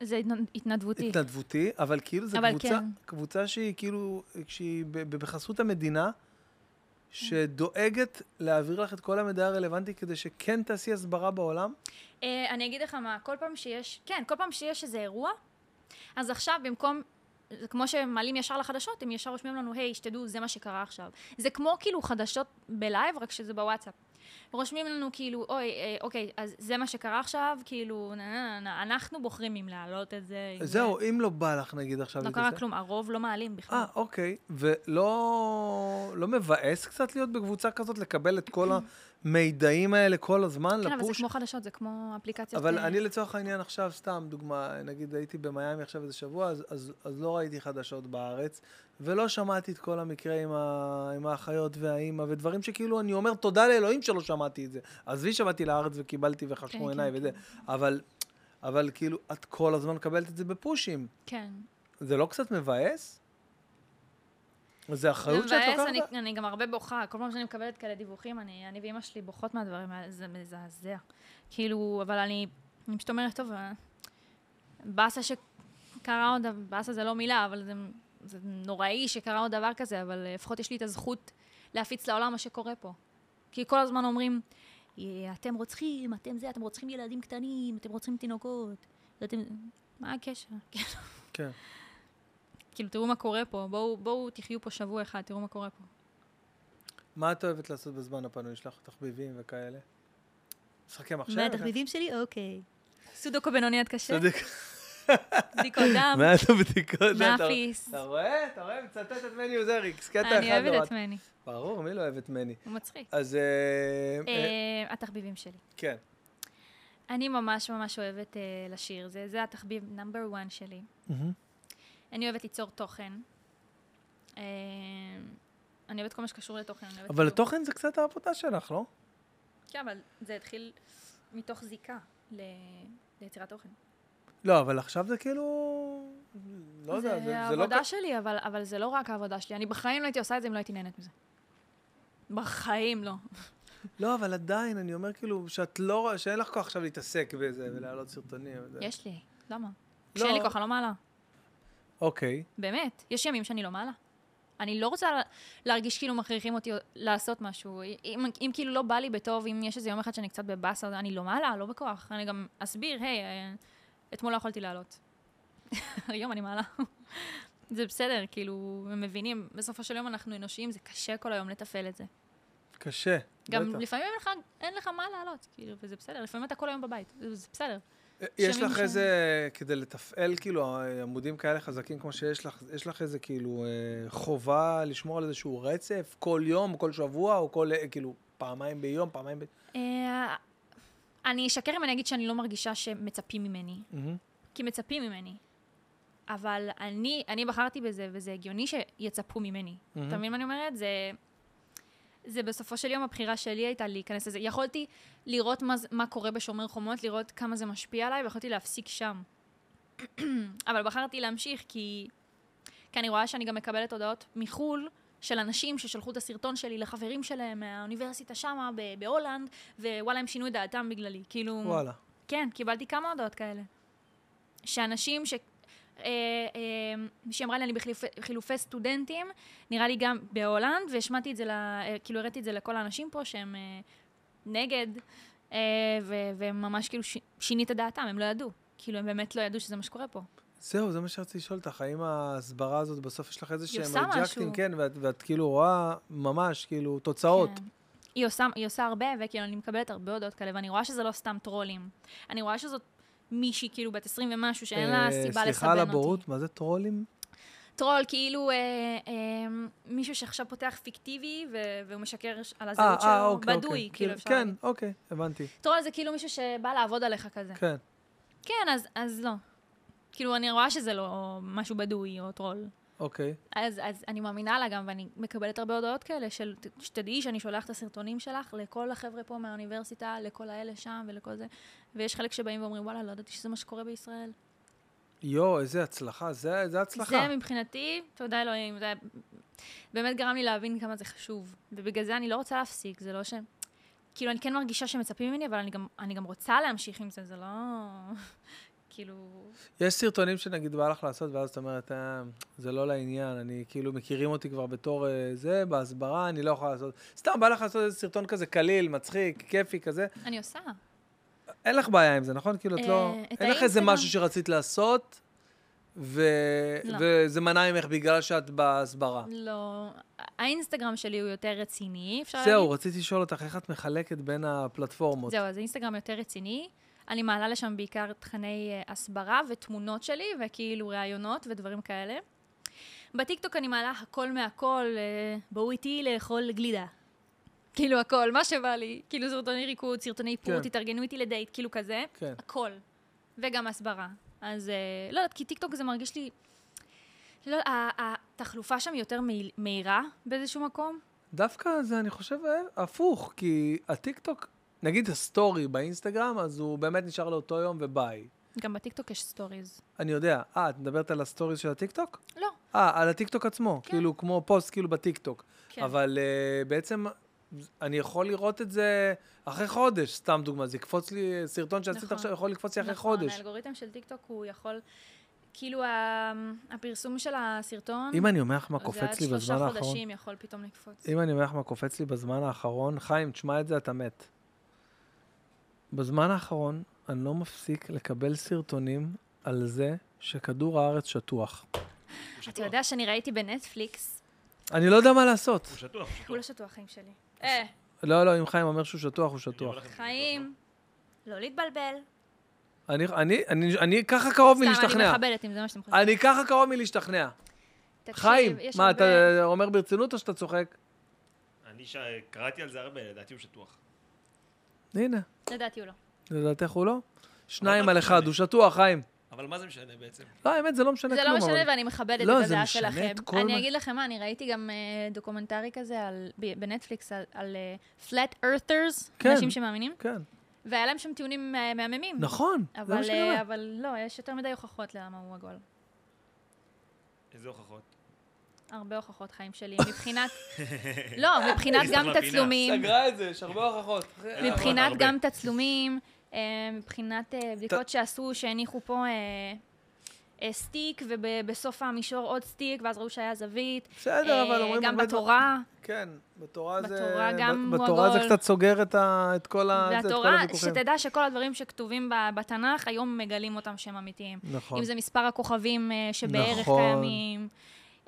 [SPEAKER 2] זה התנ- התנדבותי.
[SPEAKER 1] התנדבותי, אבל כאילו זו
[SPEAKER 2] אבל
[SPEAKER 1] קבוצה,
[SPEAKER 2] כן.
[SPEAKER 1] קבוצה שהיא כאילו, שהיא ב- ב- בחסות המדינה, שדואגת להעביר לך את כל המידע הרלוונטי כדי שכן תעשי הסברה בעולם.
[SPEAKER 2] אה, אני אגיד לך מה, כל פעם שיש, כן, כל פעם שיש איזה אירוע, אז עכשיו במקום, זה כמו שמעלים ישר לחדשות, הם ישר רושמים לנו, היי, שתדעו, זה מה שקרה עכשיו. זה כמו כאילו חדשות בלייב, רק שזה בוואטסאפ. רושמים לנו כאילו, אוי, אה, אוקיי, אז זה מה שקרה עכשיו, כאילו, נה, נה, נה, נה, אנחנו בוחרים אם להעלות את זה. אם
[SPEAKER 1] זהו, אם לא בא לך נגיד עכשיו...
[SPEAKER 2] זה. לא
[SPEAKER 1] להתעסק-
[SPEAKER 2] קרה כלום, הרוב לא מעלים בכלל.
[SPEAKER 1] אה, אוקיי. ולא לא מבאס קצת להיות בקבוצה כזאת, לקבל את כל המידעים האלה כל הזמן,
[SPEAKER 2] כן, אבל זה
[SPEAKER 1] לפוש?
[SPEAKER 2] כמו חדשות, זה כמו אפליקציות.
[SPEAKER 1] לא, אבל
[SPEAKER 2] אה,
[SPEAKER 1] אני לא- לצורך העניין עכשיו, סתם דוגמה, נגיד הייתי במיאמי עכשיו איזה שבוע, אז, אז, אז לא ראיתי חדשות בארץ, ולא שמעתי את כל המקרה עם, ה, עם האחיות והאימא, ודברים שכאילו אני אומר תודה לאלוהים שלא שמעתי את זה. עזבי שבאתי לארץ וקיבלתי
[SPEAKER 2] כן,
[SPEAKER 1] וחשכו
[SPEAKER 2] כן,
[SPEAKER 1] עיניי וזה, אבל, אבל כאילו, את כל הזמן מקבלת את זה בפושים.
[SPEAKER 2] כן.
[SPEAKER 1] זה לא קצת מבאס? זה אחריות שאת
[SPEAKER 2] מבאס,
[SPEAKER 1] לוקחת?
[SPEAKER 2] אני, אני גם הרבה בוכה. כל פעם שאני מקבלת כאלה דיווחים, אני, אני ואימא שלי בוכות מהדברים האלה, זה מזעזע. כאילו, אבל אני, אני פשוט אומרת, טוב, אה, באסה שקרה עוד, באסה זה לא מילה, אבל זה, זה נוראי שקרה עוד דבר כזה, אבל אה, לפחות יש לי את הזכות להפיץ לעולם מה שקורה פה. כי כל הזמן אומרים,
[SPEAKER 5] "אה, אתם רוצחים, אתם זה, אתם רוצחים ילדים קטנים, אתם רוצחים תינוקות. אתם...
[SPEAKER 2] מה הקשר?
[SPEAKER 1] כן.
[SPEAKER 2] כאילו, תראו מה קורה פה, בואו, בואו תחיו פה שבוע אחד, תראו מה קורה פה.
[SPEAKER 1] מה את אוהבת לעשות בזמן הפנוי שלך? תחביבים וכאלה? משחקי מחשב?
[SPEAKER 5] מהתחביבים שלי? אוקיי.
[SPEAKER 2] סודוקו בינוני עד קשה,
[SPEAKER 1] צודק.
[SPEAKER 2] בדיקות דם,
[SPEAKER 1] מעט הבדיקות. זה, אתה-
[SPEAKER 2] מאפיס.
[SPEAKER 1] אתה רואה? אתה רואה? מצטט את מני עוזריקס. קטע אחד.
[SPEAKER 2] אני אוהבת את
[SPEAKER 1] מני.
[SPEAKER 2] מני,
[SPEAKER 1] ברור, מי לא אוהב את מני?
[SPEAKER 2] הוא מצחיק.
[SPEAKER 1] אז... אה, אה,
[SPEAKER 2] אה, אוקיי. התחביבים שלי.
[SPEAKER 1] כן.
[SPEAKER 2] אני ממש ממש אוהבת אה, לשיר, זה, זה התחביב נאמבר 1 שלי. אני אוהבת ליצור תוכן. אה, אני אוהבת כל מה שקשור לתוכן. אני אוהבת
[SPEAKER 1] אבל
[SPEAKER 2] כאילו-
[SPEAKER 1] התוכן זה קצת העבודה שלך, לא?
[SPEAKER 2] כן, אבל זה התחיל מתוך זיקה ל... ליצירת תוכן.
[SPEAKER 1] לא, אבל עכשיו זה כאילו... לא יודע, זה- זה לא...
[SPEAKER 2] העבודה
[SPEAKER 1] כ-
[SPEAKER 2] שלי, אבל, אבל זה לא רק העבודה שלי. אני בחיים לא הייתי עושה את זה אם לא הייתי נהנית מזה. בחיים לא.
[SPEAKER 1] לא, אבל עדיין, אני אומר כאילו, שאת לא... רואה- שאין לך כוח עכשיו להתעסק בזה ולהעלות סרטונים. וזה.
[SPEAKER 2] יש לי, למה? כשאין לי כוח, אני לא מעלה.
[SPEAKER 1] אוקיי.
[SPEAKER 2] באמת, יש ימים שאני לא מעלה. אני לא רוצה לה- להרגיש כאילו מכריחים אותי לעשות משהו. אם, אם כאילו לא בא לי בטוב, אם יש איזה יום אחד שאני קצת בבאסה, אני לא מעלה, לא בכוח. אני גם אסביר, היי, אה, אתמול לא יכולתי לעלות. היום אני מעלה. זה בסדר, כאילו, הם מבינים, בסופו של יום אנחנו אנושיים, זה קשה כל היום לתפעל את זה.
[SPEAKER 1] קשה.
[SPEAKER 2] גם
[SPEAKER 1] בטח.
[SPEAKER 2] לפעמים אין לך, אין לך מה לעלות, כאילו, וזה בסדר. לפעמים אתה כל היום בבית, זה זה בסדר.
[SPEAKER 1] אה, יש
[SPEAKER 2] שמן
[SPEAKER 1] לך
[SPEAKER 2] שם.
[SPEAKER 1] איזה, כדי לתפעל כאילו עמודים כאלה חזקים כמו שיש לך, יש לך איזה כאילו אה, חובה לשמור על איזשהו רצף כל יום, כל שבוע, או כל אה, כאילו פעמיים ביום, פעמיים ב...
[SPEAKER 2] אה, אני אשקר אם אני אגיד שאני לא מרגישה שמצפים ממני. כי מצפים ממני. אבל אני, אני בחרתי בזה, וזה הגיוני שיצפו ממני. Mm-hmm. אתה מבין מה אני אומרת? זה, זה בסופו של יום הבחירה שלי הייתה להיכנס לזה. יכולתי לראות מה, זה- מה קורה בשומר חומות, לראות כמה זה משפיע עליי, ויכולתי להפסיק שם. אבל בחרתי להמשיך, כי, כי אני רואה שאני גם מקבלת הודעות מחו"ל. של אנשים ששלחו את הסרטון שלי לחברים שלהם מהאוניברסיטה שמה ב- בהולנד, ווואלה, הם שינו את דעתם בגללי. כאילו...
[SPEAKER 1] וואלה.
[SPEAKER 2] כן, קיבלתי כמה הודעות כאלה. שאנשים ש... אה, אה, מישהי אמרה לי, אני בחילופי חילופי סטודנטים, נראה לי גם בהולנד, והשמעתי את זה, ל, אה, כאילו הראיתי את זה לכל האנשים פה שהם אה, נגד, אה, ו- והם ממש כאילו ש, שינית את דעתם, הם לא ידעו. כאילו, הם באמת לא ידעו שזה מה שקורה פה.
[SPEAKER 1] זהו, זה מה שרציתי לשאול אותך, האם ההסברה הזאת בסוף יש לך איזה
[SPEAKER 2] היא
[SPEAKER 1] שהם
[SPEAKER 2] עושה
[SPEAKER 1] רג'קטים,
[SPEAKER 2] משהו.
[SPEAKER 1] כן, ואת, ואת כאילו רואה ממש כאילו תוצאות.
[SPEAKER 2] כן. היא עושה, היא עושה הרבה, וכאילו, אני מקבלת הרבה הודעות כאלה, ואני רואה שזה לא סתם טרולים. אני רואה שזאת מישהי, כאילו, בת 20 ומשהו, שאין לה
[SPEAKER 1] אה,
[SPEAKER 2] סיבה לסבן אותי.
[SPEAKER 1] סליחה על הבורות, מה זה טרולים?
[SPEAKER 2] טרול, כאילו אה, אה, מישהו שעכשיו פותח פיקטיבי ו- והוא משקר ש- על
[SPEAKER 1] אה,
[SPEAKER 2] הזהות שלו,
[SPEAKER 1] אה, אוקיי,
[SPEAKER 2] בדוי,
[SPEAKER 1] אוקיי.
[SPEAKER 2] כאילו אפשר
[SPEAKER 1] כן,
[SPEAKER 2] להגיד.
[SPEAKER 1] אוקיי, הבנתי.
[SPEAKER 2] טרול זה כאילו מישהו שבא לעבוד עליך כזה.
[SPEAKER 1] כן.
[SPEAKER 2] כן, אז, אז לא. כאילו, אני רואה שזה לא משהו בדוי או טרול.
[SPEAKER 1] אוקיי.
[SPEAKER 2] אז, אז אני מאמינה לה גם, ואני מקבלת הרבה הודעות כאלה של, ת- שתדעי שאני שולחת את הסרטונים שלך לכל החבר'ה פה מהאוניברסיטה, לכל האלה שם ולכל זה. ויש חלק שבאים ואומרים, וואלה, לא ידעתי שזה מה שקורה בישראל.
[SPEAKER 1] יואו, איזה הצלחה, זה, זה הצלחה.
[SPEAKER 2] זה מבחינתי, תודה אלוהים, זה באמת גרם לי להבין כמה זה חשוב. ובגלל זה אני לא רוצה להפסיק, זה לא ש... כאילו, אני כן מרגישה שמצפים ממני, אבל אני גם, אני גם רוצה להמשיך עם זה, זה לא... כאילו...
[SPEAKER 1] יש סרטונים שנגיד בא לך לעשות, ואז את אומרת, אה, זה לא לעניין, אני כאילו, מכירים אותי כבר בתור אה, זה, בהסברה, אני לא יכולה לעשות. סתם, בא לך לעשות איזה סרטון כזה קליל, מצחיק, כיפי, כזה.
[SPEAKER 2] אני עושה.
[SPEAKER 1] אין לך בעיה עם זה, נכון? כאילו, את לא...
[SPEAKER 2] אה, את
[SPEAKER 1] אין לך איזה
[SPEAKER 2] האינסטגרם.
[SPEAKER 1] משהו שרצית לעשות, ו-
[SPEAKER 2] לא.
[SPEAKER 1] וזה מנע ממך בגלל שאת בהסברה.
[SPEAKER 2] לא, האינסטגרם שלי הוא יותר רציני, אפשר להגיד.
[SPEAKER 1] זהו, רציתי לשאול אותך, איך את מחלקת בין הפלטפורמות?
[SPEAKER 2] זהו, אז אינסטגרם יותר רציני. אני מעלה לשם בעיקר תכני אה, הסברה ותמונות שלי, וכאילו ראיונות ודברים כאלה. בטיקטוק אני מעלה הכל מהכל, אה, בואו איתי לאכול גלידה. כאילו הכל, מה שבא לי. כאילו סרטוני ריקוד, סרטוני איפור,
[SPEAKER 1] כן.
[SPEAKER 2] תתארגנו איתי לדייט, כאילו כזה.
[SPEAKER 1] כן.
[SPEAKER 2] הכל. וגם הסברה. אז אה, לא יודעת, כי טיקטוק זה מרגיש לי... לא, ה- התחלופה שם יותר מהיל- מהירה באיזשהו מקום.
[SPEAKER 1] דווקא זה, אני חושב, אה, הפוך, כי הטיקטוק, נגיד הסטורי באינסטגרם, אז הוא באמת נשאר לאותו יום וביי.
[SPEAKER 2] גם בטיקטוק יש סטוריז.
[SPEAKER 1] אני יודע. אה, את מדברת על הסטוריז של הטיקטוק?
[SPEAKER 2] לא,
[SPEAKER 1] אה, על הטיקטוק עצמו.
[SPEAKER 2] כן.
[SPEAKER 1] כאילו, כמו פוסט, כאילו, בטיקטוק.
[SPEAKER 2] כן.
[SPEAKER 1] אבל אה, בעצם, אני יכול לראות את זה אחרי חודש, סתם דוגמה. זה יקפוץ לי, סרטון שעשית
[SPEAKER 2] נכון.
[SPEAKER 1] עכשיו יכול לקפוץ לי אחרי
[SPEAKER 2] נכון,
[SPEAKER 1] חודש.
[SPEAKER 2] האלגוריתם של טיקטוק הוא יכול, כאילו ה- הפרסום של הסרטון,
[SPEAKER 1] אם אני אומר לך מה
[SPEAKER 2] זה
[SPEAKER 1] קופץ
[SPEAKER 2] עד
[SPEAKER 1] לי בזמן
[SPEAKER 2] שלושה
[SPEAKER 1] האחרון...
[SPEAKER 2] חודשים יכול פתאום לקפוץ.
[SPEAKER 1] אם אני אומר לך מה קופץ לי בזמן האחרון, חיים, תשמע את זה, אתה מת. בזמן האחרון, אני לא מפסיק לקבל סרטונים על זה שכדור הארץ שטוח.
[SPEAKER 2] אתה יודע שאני ראיתי בנטפליקס,
[SPEAKER 1] אני לא יודע מה לעשות.
[SPEAKER 3] הוא שטוח, הוא
[SPEAKER 2] הוא לא
[SPEAKER 3] שטוח.
[SPEAKER 2] שטוח חיים שלי. אה,
[SPEAKER 1] לא, לא, אם חיים אומר שהוא שטוח, הוא
[SPEAKER 3] אני אומר
[SPEAKER 1] שטוח.
[SPEAKER 3] לכם, הוא שטוח,
[SPEAKER 2] חיים, לא להתבלבל.
[SPEAKER 1] אני, אני, אני, אני ככה קרוב
[SPEAKER 2] סתם, אני
[SPEAKER 1] מלהשתכנע.
[SPEAKER 2] מכבדת אם זה מה שאתם חושבים.
[SPEAKER 1] אני ככה קרוב מלהשתכנע.
[SPEAKER 2] תקשיב,
[SPEAKER 1] אה, חיים,
[SPEAKER 2] יש
[SPEAKER 1] מה, אתה
[SPEAKER 2] הרבה-
[SPEAKER 1] אומר ברצינות או שאתה צוחק?
[SPEAKER 3] לא? אני ש- קראתי על זה הרבה, לדעתי הוא שטוח.
[SPEAKER 1] הנה,
[SPEAKER 2] לדעתי הוא לא.
[SPEAKER 1] לדעתך הוא לא? שניים
[SPEAKER 3] אבל
[SPEAKER 1] על
[SPEAKER 3] מה
[SPEAKER 1] אחד,
[SPEAKER 3] משנה?
[SPEAKER 1] הוא שטוח, חיים.
[SPEAKER 3] אבל מה זה משנה בעצם?
[SPEAKER 1] לא, האמת, זה לא משנה
[SPEAKER 2] זה
[SPEAKER 1] כלום.
[SPEAKER 2] לא משנה,
[SPEAKER 1] אבל-
[SPEAKER 2] ואני מכבדת
[SPEAKER 1] לא,
[SPEAKER 2] את
[SPEAKER 1] זה
[SPEAKER 2] הדעה
[SPEAKER 1] משנה
[SPEAKER 2] שלכם.
[SPEAKER 1] את כל מה-
[SPEAKER 2] אני אגיד לכם מה, אני ראיתי גם אה, דוקומנטרי כזה על- ב- בנטפליקס על- על אה, flat earthers,
[SPEAKER 1] כן.
[SPEAKER 2] אנשים שמאמינים,
[SPEAKER 1] כן,
[SPEAKER 2] והיה להם שם טיעונים אה, מהממים.
[SPEAKER 1] נכון, זה מה
[SPEAKER 2] אבל,
[SPEAKER 1] שאני אומר.
[SPEAKER 2] אה, אבל לא, יש יותר מדי הוכחות ללמה הוא עגול.
[SPEAKER 3] איזה הוכחות?
[SPEAKER 2] הרבה הוכחות חיים שלי. מבחינת... לא, מבחינת גם
[SPEAKER 3] הסתכלה בפינה.
[SPEAKER 2] תצלומים,
[SPEAKER 1] סגרה את זה, יש הרבה הוכחות.
[SPEAKER 2] מבחינת
[SPEAKER 3] הרבה.
[SPEAKER 2] גם תצלומים, אה, מבחינת אה, בדיקות שעשו, שהניחו פה אה, אה, סטיק, ובסוף המישור עוד סטיק, ואז ראו שהיה זזית.
[SPEAKER 1] בסדר, אבל
[SPEAKER 2] אה,
[SPEAKER 1] אומרים...
[SPEAKER 2] גם
[SPEAKER 1] הרבה דברים-
[SPEAKER 2] בתורה,
[SPEAKER 1] כן, בתורה זה...
[SPEAKER 2] בתורה גם
[SPEAKER 1] ב-
[SPEAKER 2] הוא
[SPEAKER 1] בתורה זה
[SPEAKER 2] עגול.
[SPEAKER 1] קצת סוגר את ה- את כל ה- אה, זה, את כל
[SPEAKER 2] והתורה,
[SPEAKER 1] הוויכוחים.
[SPEAKER 2] שתדע שכל הדברים שכתובים ב- בתנ"ך, היום מגלים אותם שהם אמיתיים.
[SPEAKER 1] נכון.
[SPEAKER 2] אם זה מספר הכוכבים אה, שבערך
[SPEAKER 1] נכון.
[SPEAKER 2] קיימים,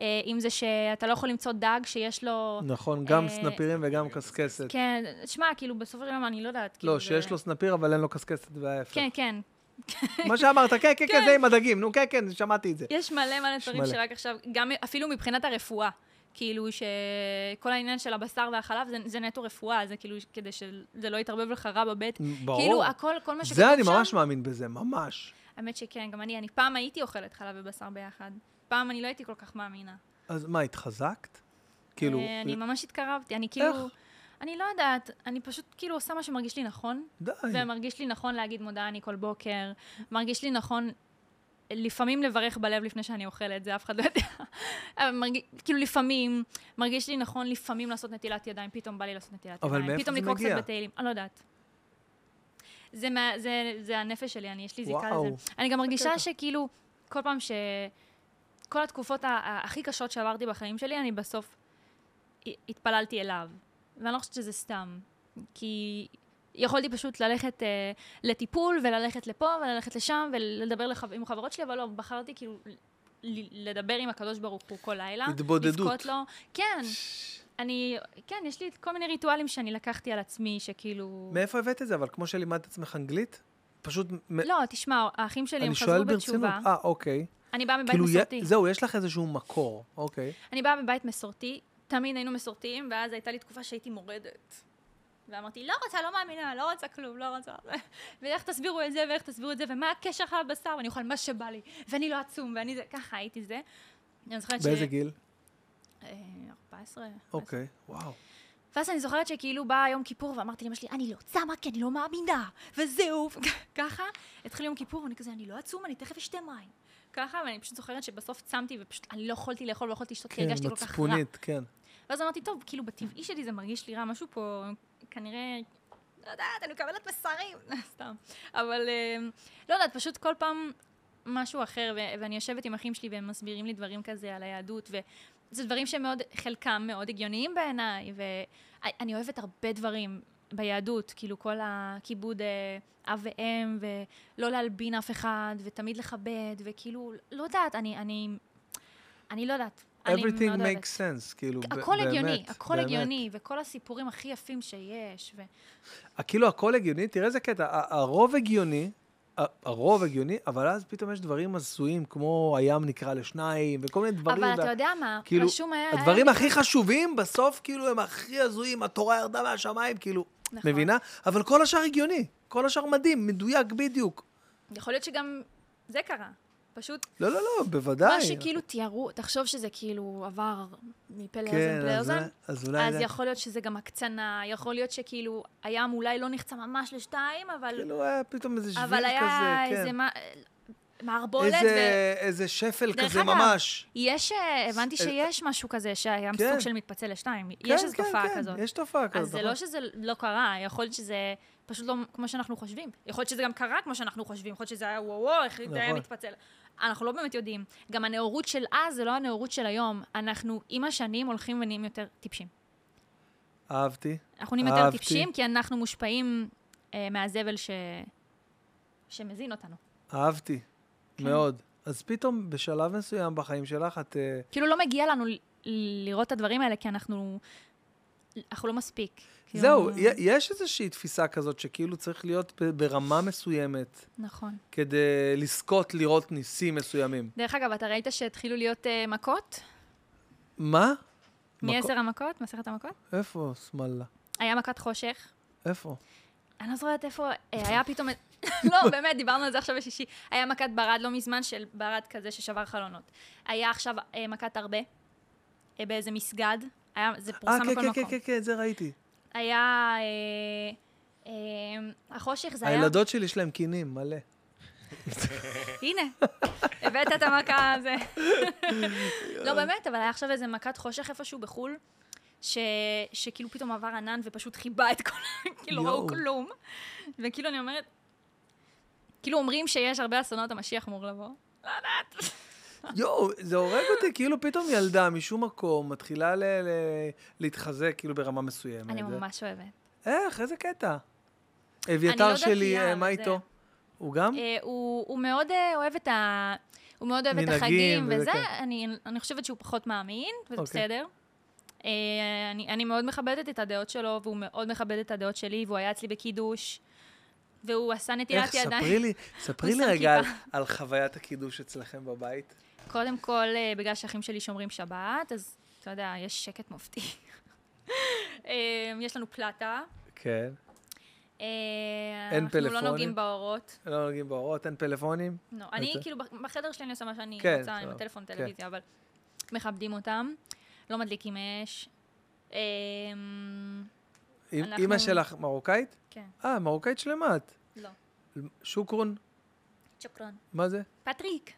[SPEAKER 2] אה, אם זה שאתה לא יכול למצוא דג שיש לו...
[SPEAKER 1] נכון, גם
[SPEAKER 2] אה,
[SPEAKER 1] סנפירים וגם קשקשת.
[SPEAKER 2] כן, שמע, כאילו, בסופו של דבר אני לא יודעת. כאילו,
[SPEAKER 1] לא, שיש
[SPEAKER 2] זה-
[SPEAKER 1] לו סנפיר, אבל אין לו קשקשת וההפך.
[SPEAKER 2] כן, כן.
[SPEAKER 1] מה שאמרת, כן, כן, כן, זה עם הדגים. נו, כן, כן, שמעתי את זה.
[SPEAKER 2] יש מלא מלא דברים
[SPEAKER 1] מלא.
[SPEAKER 2] שרק עכשיו, גם אפילו מבחינת הרפואה. כאילו שכל העניין של הבשר והחלב זה, זה נטו רפואה, זה כאילו כדי שזה לא יתערבב לך רע בבית.
[SPEAKER 1] ברור.
[SPEAKER 2] כאילו הכל, כל מה שכתוב
[SPEAKER 1] זה אני
[SPEAKER 2] שם,
[SPEAKER 1] ממש מאמין בזה, ממש.
[SPEAKER 2] האמת שכן, גם אני, אני פעם הייתי אוכלת חלב ובשר ביחד. פעם אני לא הייתי כל כך מאמינה.
[SPEAKER 1] אז מה, התחזקת? כאילו...
[SPEAKER 2] אה, אני ממש התקרבתי, אני כאילו...
[SPEAKER 1] איך?
[SPEAKER 2] אני לא יודעת, אני פשוט כאילו עושה מה שמרגיש לי נכון,
[SPEAKER 1] די.
[SPEAKER 2] ומרגיש לי נכון להגיד מודה אני כל בוקר, מרגיש לי נכון לפעמים לברך בלב לפני שאני אוכלת, זה אף אחד לא יודע. אבל מרגיש, כאילו לפעמים, מרגיש לי נכון לפעמים לעשות נטילת ידיים, פתאום בא לי לעשות נטילת
[SPEAKER 1] אבל
[SPEAKER 2] ידיים.
[SPEAKER 1] מאיפה
[SPEAKER 2] פתאום
[SPEAKER 1] זה
[SPEAKER 2] לקרוא
[SPEAKER 1] מגיע?
[SPEAKER 2] קצת בתהילים, אני לא יודעת. זה, מה, זה, זה הנפש שלי, אני, יש לי זיקה
[SPEAKER 1] וואו.
[SPEAKER 2] לזה. אני גם מרגישה שכאילו, כל פעם ש... כל התקופות ה- ה- הכי קשות שעברתי בחיים שלי, אני בסוף הת- התפללתי אליו. ואני לא חושבת שזה סתם. כי יכולתי פשוט ללכת אה, לטיפול, וללכת לפה, וללכת לשם, ולדבר לחב... עם חברות שלי, אבל לא, בחרתי כאילו ל- לדבר עם הקדוש ברוך הוא כל לילה.
[SPEAKER 1] התבודדות.
[SPEAKER 2] לבכות לו. כן, אני... כן, יש לי כל מיני ריטואלים שאני לקחתי על עצמי, שכאילו...
[SPEAKER 1] מאיפה הבאת את זה? אבל כמו שלימדת עצמך אנגלית? פשוט... מ-
[SPEAKER 2] לא, תשמע, האחים שלי הם
[SPEAKER 1] אני
[SPEAKER 2] חזרו
[SPEAKER 1] שואל ברצינות.
[SPEAKER 2] בתשובה.
[SPEAKER 1] אה, אוקיי.
[SPEAKER 2] אני באה מבית
[SPEAKER 1] כאילו, יה-
[SPEAKER 2] מסורתי.
[SPEAKER 1] זהו, יש לך איזשהו מקור. אוקיי.
[SPEAKER 2] אני באה מבית מסורתי, תמיד היינו מסורתיים, ואז הייתה לי תקופה שהייתי מורדת. ואמרתי, לא רוצה, לא מאמינה, לא רוצה כלום, לא רוצה. ואיך תסבירו את זה, ואיך תסבירו את זה, ומה הקשר לך לבשר, ואני אוכל מה שבא לי, ואני לא עצום, ואני זה, ככה הייתי זה. אני זוכרת ש...
[SPEAKER 1] באיזה גיל?
[SPEAKER 2] אה, 14.
[SPEAKER 1] אוקיי, וואו.
[SPEAKER 2] ואז אני זוכרת שכאילו בא יום כיפור ואמרתי לאמא שלי, אני לא צמה כי אני לא מאמינה, וזהו, ככה. התחיל יום כיפור, אני כזה, אני לא עצום, אני תכף אשתה מים. ככה, ואני פשוט זוכרת שבסוף צמתי ופשוט אני לא יכולתי לאכול ולא יכולתי לשתות, כי
[SPEAKER 1] כן,
[SPEAKER 2] הרגשתי כל כך רע.
[SPEAKER 1] מצפונית, כן.
[SPEAKER 2] ואז אמרתי, טוב, כאילו בטבעי שלי זה מרגיש לי רע, משהו פה כנראה, לא יודעת, אני מקבלת מסרים, סתם. אבל אה, לא יודעת, פשוט כל פעם משהו אחר, ו- ואני יושבת עם אחים שלי והם מסבירים לי דברים כזה על היהדות, וזה דברים שהם מאוד, חלקם מאוד הגיוניים בעיניי, ואני אוהבת הרבה דברים. ביהדות, כאילו כל הכיבוד אה, אב ואם, ולא להלבין אף אחד, ותמיד לכבד, וכאילו, לא יודעת, אני, אני, אני לא יודעת. אני מאוד
[SPEAKER 1] Everything
[SPEAKER 2] אוהבת.
[SPEAKER 1] makes sense, כאילו, ב-
[SPEAKER 2] הכל הגיוני,
[SPEAKER 1] באמת,
[SPEAKER 2] הכל
[SPEAKER 1] באמת.
[SPEAKER 2] הגיוני, וכל הסיפורים הכי יפים שיש, ו...
[SPEAKER 1] אה, כאילו הכל הגיוני, תראה איזה קטע, ה- הרוב הגיוני, ה- הרוב הגיוני, אבל אז פתאום יש דברים הזויים, כמו הים נקרע לשניים, וכל מיני דברים.
[SPEAKER 2] אבל
[SPEAKER 1] וה-
[SPEAKER 2] אתה יודע מה,
[SPEAKER 1] כאילו,
[SPEAKER 2] רשום היה... היה
[SPEAKER 1] הדברים
[SPEAKER 2] לי-
[SPEAKER 1] הכי חשובים, בסוף כאילו הם הכי הזויים, התורה ירדה מהשמיים, כאילו,
[SPEAKER 2] נכון.
[SPEAKER 1] מבינה? אבל כל השאר הגיוני, כל השאר מדהים, מדויק בדיוק.
[SPEAKER 2] יכול להיות שגם זה קרה. פשוט,
[SPEAKER 1] לא, לא, לא, בוודאי.
[SPEAKER 2] מה שכאילו תיארו, תחשוב שזה כאילו עבר מפה
[SPEAKER 1] כן,
[SPEAKER 2] לאוזן
[SPEAKER 1] אז
[SPEAKER 2] לאוזן,
[SPEAKER 1] אולי- אז אולי...
[SPEAKER 2] אז
[SPEAKER 1] זה-
[SPEAKER 2] יכול להיות שזה גם הקצנה, יכול להיות שכאילו הים אולי לא נחצה ממש לשתיים, אבל
[SPEAKER 1] כאילו היה פתאום איזה שביל כזה,
[SPEAKER 2] אבל היה
[SPEAKER 1] כן.
[SPEAKER 2] איזה מה- מערבולת, ו-
[SPEAKER 1] איזה, איזה שפל
[SPEAKER 2] דרך
[SPEAKER 1] כזה
[SPEAKER 2] אגב,
[SPEAKER 1] ממש.
[SPEAKER 2] יש, אה, הבנתי
[SPEAKER 1] אה,
[SPEAKER 2] שיש משהו כזה שהים
[SPEAKER 1] כן.
[SPEAKER 2] סוג של מתפצל לשתיים, יש
[SPEAKER 1] כן,
[SPEAKER 2] איזו
[SPEAKER 1] כן,
[SPEAKER 2] תופעה
[SPEAKER 1] כן,
[SPEAKER 2] כזאת.
[SPEAKER 1] יש תופעה כזאת.
[SPEAKER 2] אז זה
[SPEAKER 1] נכון.
[SPEAKER 2] לא שזה לא קרה, יכול להיות שזה פשוט לא כמו שאנחנו חושבים. יכול להיות שזה גם קרה כמו שאנחנו חושבים, יכול להיות שזה היה וואו וואו, איך זה היה
[SPEAKER 1] נכון.
[SPEAKER 2] מתפצל. אנחנו לא באמת יודעים. גם הנאורות של אז זה לא הנאורות של היום. אנחנו עם השנים הולכים ונהיים יותר טיפשים.
[SPEAKER 1] אהבתי.
[SPEAKER 2] אנחנו נהיים יותר
[SPEAKER 1] אהבתי.
[SPEAKER 2] טיפשים כי אנחנו מושפעים אה, מהזבל ש... שמזין אותנו.
[SPEAKER 1] אהבתי,
[SPEAKER 2] כן.
[SPEAKER 1] מאוד. אז פתאום בשלב מסוים בחיים שלך את... אה,
[SPEAKER 2] כאילו לא מגיע לנו ל- לראות את הדברים האלה כי אנחנו... אנחנו לא מספיק. כאילו,
[SPEAKER 1] זהו, י- יש איזושהי תפיסה כזאת שכאילו צריך להיות ב- ברמה מסוימת
[SPEAKER 2] נכון.
[SPEAKER 1] כדי לזכות לראות ניסים מסוימים.
[SPEAKER 2] דרך אגב, אתה ראית שהתחילו להיות אה, מכות?
[SPEAKER 1] מה?
[SPEAKER 2] מעשר המכות? מסכת המכות?
[SPEAKER 1] מקו- איפה, שמאללה?
[SPEAKER 2] היה מכת חושך.
[SPEAKER 1] איפה?
[SPEAKER 2] אני לא זוכרת איפה, אה,
[SPEAKER 1] אוקיי.
[SPEAKER 2] היה פתאום... לא, באמת, דיברנו על זה עכשיו בשישי. היה מכת ברד לא מזמן של ברד כזה ששבר חלונות. היה עכשיו אה, מכת הרבה, אה, באיזה מסגד. היה, זה
[SPEAKER 1] אה,
[SPEAKER 2] פורסם
[SPEAKER 1] כן,
[SPEAKER 2] בכל
[SPEAKER 1] כן,
[SPEAKER 2] מקום.
[SPEAKER 1] כן, כן, כן, את זה ראיתי.
[SPEAKER 2] היה... אה, אה, החושך זה היה...
[SPEAKER 1] הילדות שלי יש להם קינים, מלא.
[SPEAKER 2] הנה, הבאת את המכה הזה. לא, באמת, אבל היה עכשיו איזה מכת חושך איפשהו בחו"ל, ש... שכאילו פתאום עבר ענן ופשוט חיבה את כל ה... כאילו, לא ראו
[SPEAKER 1] יואו.
[SPEAKER 2] כלום. וכאילו, אני אומרת... כאילו אומרים שיש הרבה אסונות, המשיח אמור לבוא.
[SPEAKER 1] יואו, זה הורג אותי, כאילו פתאום ילדה משום מקום מתחילה ל- ל- להתחזק כאילו ברמה מסוימת.
[SPEAKER 2] אני
[SPEAKER 1] זה-
[SPEAKER 2] ממש אוהבת.
[SPEAKER 1] איך, איזה קטע.
[SPEAKER 2] אני לא
[SPEAKER 1] אביתר שלי,
[SPEAKER 2] דתייה,
[SPEAKER 1] אה,
[SPEAKER 2] אבל
[SPEAKER 1] מה
[SPEAKER 2] זה-
[SPEAKER 1] איתו? הוא גם?
[SPEAKER 2] אה, הוא הוא מאוד אה, אוהב את ה... הוא מאוד אוהב את
[SPEAKER 1] מנהגים
[SPEAKER 2] החגים
[SPEAKER 1] וזה,
[SPEAKER 2] וזה,
[SPEAKER 1] כן.
[SPEAKER 2] אני, אני חושבת שהוא פחות מאמין, וזה
[SPEAKER 1] אוקיי.
[SPEAKER 2] בסדר. אה, אני, אני מאוד מכבדת את הדעות שלו, והוא מאוד מכבד את הדעות שלי, והוא היה אצלי בקידוש, והוא עשה נטילת
[SPEAKER 1] איך,
[SPEAKER 2] ידיים.
[SPEAKER 1] ספרי לי, ספרי
[SPEAKER 2] הוא
[SPEAKER 1] לי
[SPEAKER 2] שם
[SPEAKER 1] רגע על-
[SPEAKER 2] כיפה.
[SPEAKER 1] על חוויית הקידוש אצלכם בבית.
[SPEAKER 2] קודם כל, אה, בגלל שאחים שלי שומרים שבת, אז אתה יודע, יש שקט מופתי. אה, יש לנו פלטה.
[SPEAKER 1] כן.
[SPEAKER 2] אה,
[SPEAKER 1] אין
[SPEAKER 2] אנחנו לא
[SPEAKER 1] פלאפונים?
[SPEAKER 2] נוגעים באורות.
[SPEAKER 1] לא נוגעים בהוראות, אין פלאפונים.
[SPEAKER 2] לא, אני
[SPEAKER 1] אוקיי.
[SPEAKER 2] כאילו בח- בחדר שלי אני עושה מה שאני
[SPEAKER 1] כן,
[SPEAKER 2] רוצה, עם
[SPEAKER 1] סבבה,
[SPEAKER 2] הטלפון,
[SPEAKER 1] כן.
[SPEAKER 2] טלוויזיה, אבל מכבדים אותם, לא מדליקים אש. אמ,
[SPEAKER 1] אם-
[SPEAKER 2] אנחנו-
[SPEAKER 1] אימא שלך מרוקאית?
[SPEAKER 2] כן,
[SPEAKER 1] אה, מרוקאית שלמה את.
[SPEAKER 2] לא.
[SPEAKER 1] שוקרון,
[SPEAKER 2] צ'וקרון.
[SPEAKER 1] מה זה?
[SPEAKER 2] פטריק.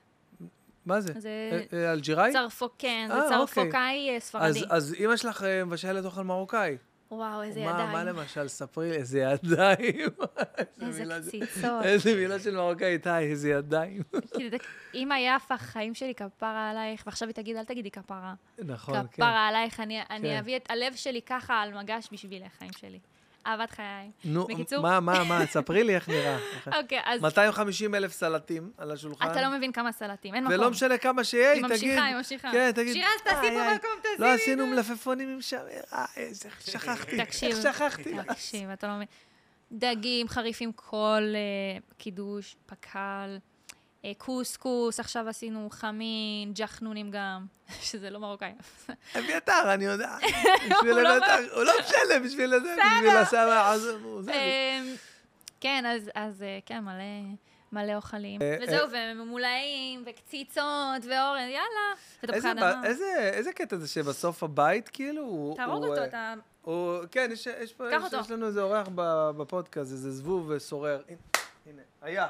[SPEAKER 1] מה זה?
[SPEAKER 2] זה-
[SPEAKER 1] אה, אה, אלג'יראי?
[SPEAKER 2] צרפו, כן,
[SPEAKER 1] אה,
[SPEAKER 2] זה
[SPEAKER 1] אוקיי.
[SPEAKER 2] צרפוקאי אה,
[SPEAKER 1] אז,
[SPEAKER 2] ספרדי.
[SPEAKER 1] אז אימא שלך אה, מבשלת אוכל מרוקאי.
[SPEAKER 2] וואו, איזה
[SPEAKER 1] מה, מה
[SPEAKER 2] ידיים.
[SPEAKER 1] למשל? ספרי לי, איזה ידיים.
[SPEAKER 2] איזה
[SPEAKER 1] מילה זה-
[SPEAKER 2] קציצות.
[SPEAKER 1] איזה מילה של מרוקאית, היי, איזה ידיים.
[SPEAKER 2] כאילו, זה- אמא יפה, חיים שלי כפרה עלייך, ועכשיו היא תגיד, אל תגידי כפרה.
[SPEAKER 1] נכון, כן.
[SPEAKER 2] כפרה עלייך, אני-
[SPEAKER 1] כן.
[SPEAKER 2] אני אביא את הלב שלי ככה על מגש בשבילך, חיים שלי. אהבת חיי.
[SPEAKER 1] נו,
[SPEAKER 2] בקיצור-
[SPEAKER 1] מה, מה, מה, ספרי לי איך נראה.
[SPEAKER 2] אוקיי, אז
[SPEAKER 1] 250 אלף סלטים על השולחן.
[SPEAKER 2] אתה לא מבין כמה סלטים, אין מקום.
[SPEAKER 1] ולא משנה כמה שיהיה,
[SPEAKER 2] היא
[SPEAKER 1] היא תגיד...
[SPEAKER 2] ממשיכה, היא ממשיכה.
[SPEAKER 1] כן, תגיד...
[SPEAKER 2] שירז, תעשי
[SPEAKER 1] "איי,
[SPEAKER 2] פה
[SPEAKER 1] איי,
[SPEAKER 2] מקום, תעשי
[SPEAKER 1] לא
[SPEAKER 2] לי
[SPEAKER 1] עשינו מלפפונים עם שם... אה, איזה... שכחתי.
[SPEAKER 2] תקשיב,
[SPEAKER 1] איך שכחתי?
[SPEAKER 2] תקשיב, אתה לא מבין. דגים חריפים כל אה, קידוש, פקל, אה, קוסקוס, עכשיו עשינו חמין, ג'חנונים גם, שזה לא מרוקאי.
[SPEAKER 1] אביתר, אני יודע. בשביל
[SPEAKER 2] הוא לא
[SPEAKER 1] אביתר, הוא לא משלם בשביל זה, בשביל הסבא, עזוב, הוא זה.
[SPEAKER 2] אה, כן, אז- אז אה, כן, מלא... מלא אוכלים.
[SPEAKER 1] אה,
[SPEAKER 2] וזהו, וממולאים, וקציצות, ואורן, יאללה. ותפוחי
[SPEAKER 1] איזה
[SPEAKER 2] אדמה.
[SPEAKER 1] ב- איזה- איזה קטע זה שבסוף הבית, כאילו, הוא...
[SPEAKER 2] תהרוג
[SPEAKER 1] הוא,
[SPEAKER 2] אותו,
[SPEAKER 1] אה,
[SPEAKER 2] אתה...
[SPEAKER 1] הוא- כן, יש- יש פה...
[SPEAKER 2] קח
[SPEAKER 1] יש-
[SPEAKER 2] אותו.
[SPEAKER 1] יש לנו איזה אורח ב- בפודקאסט, איזה זבוב אה, סורר. הנה, הנה, היה.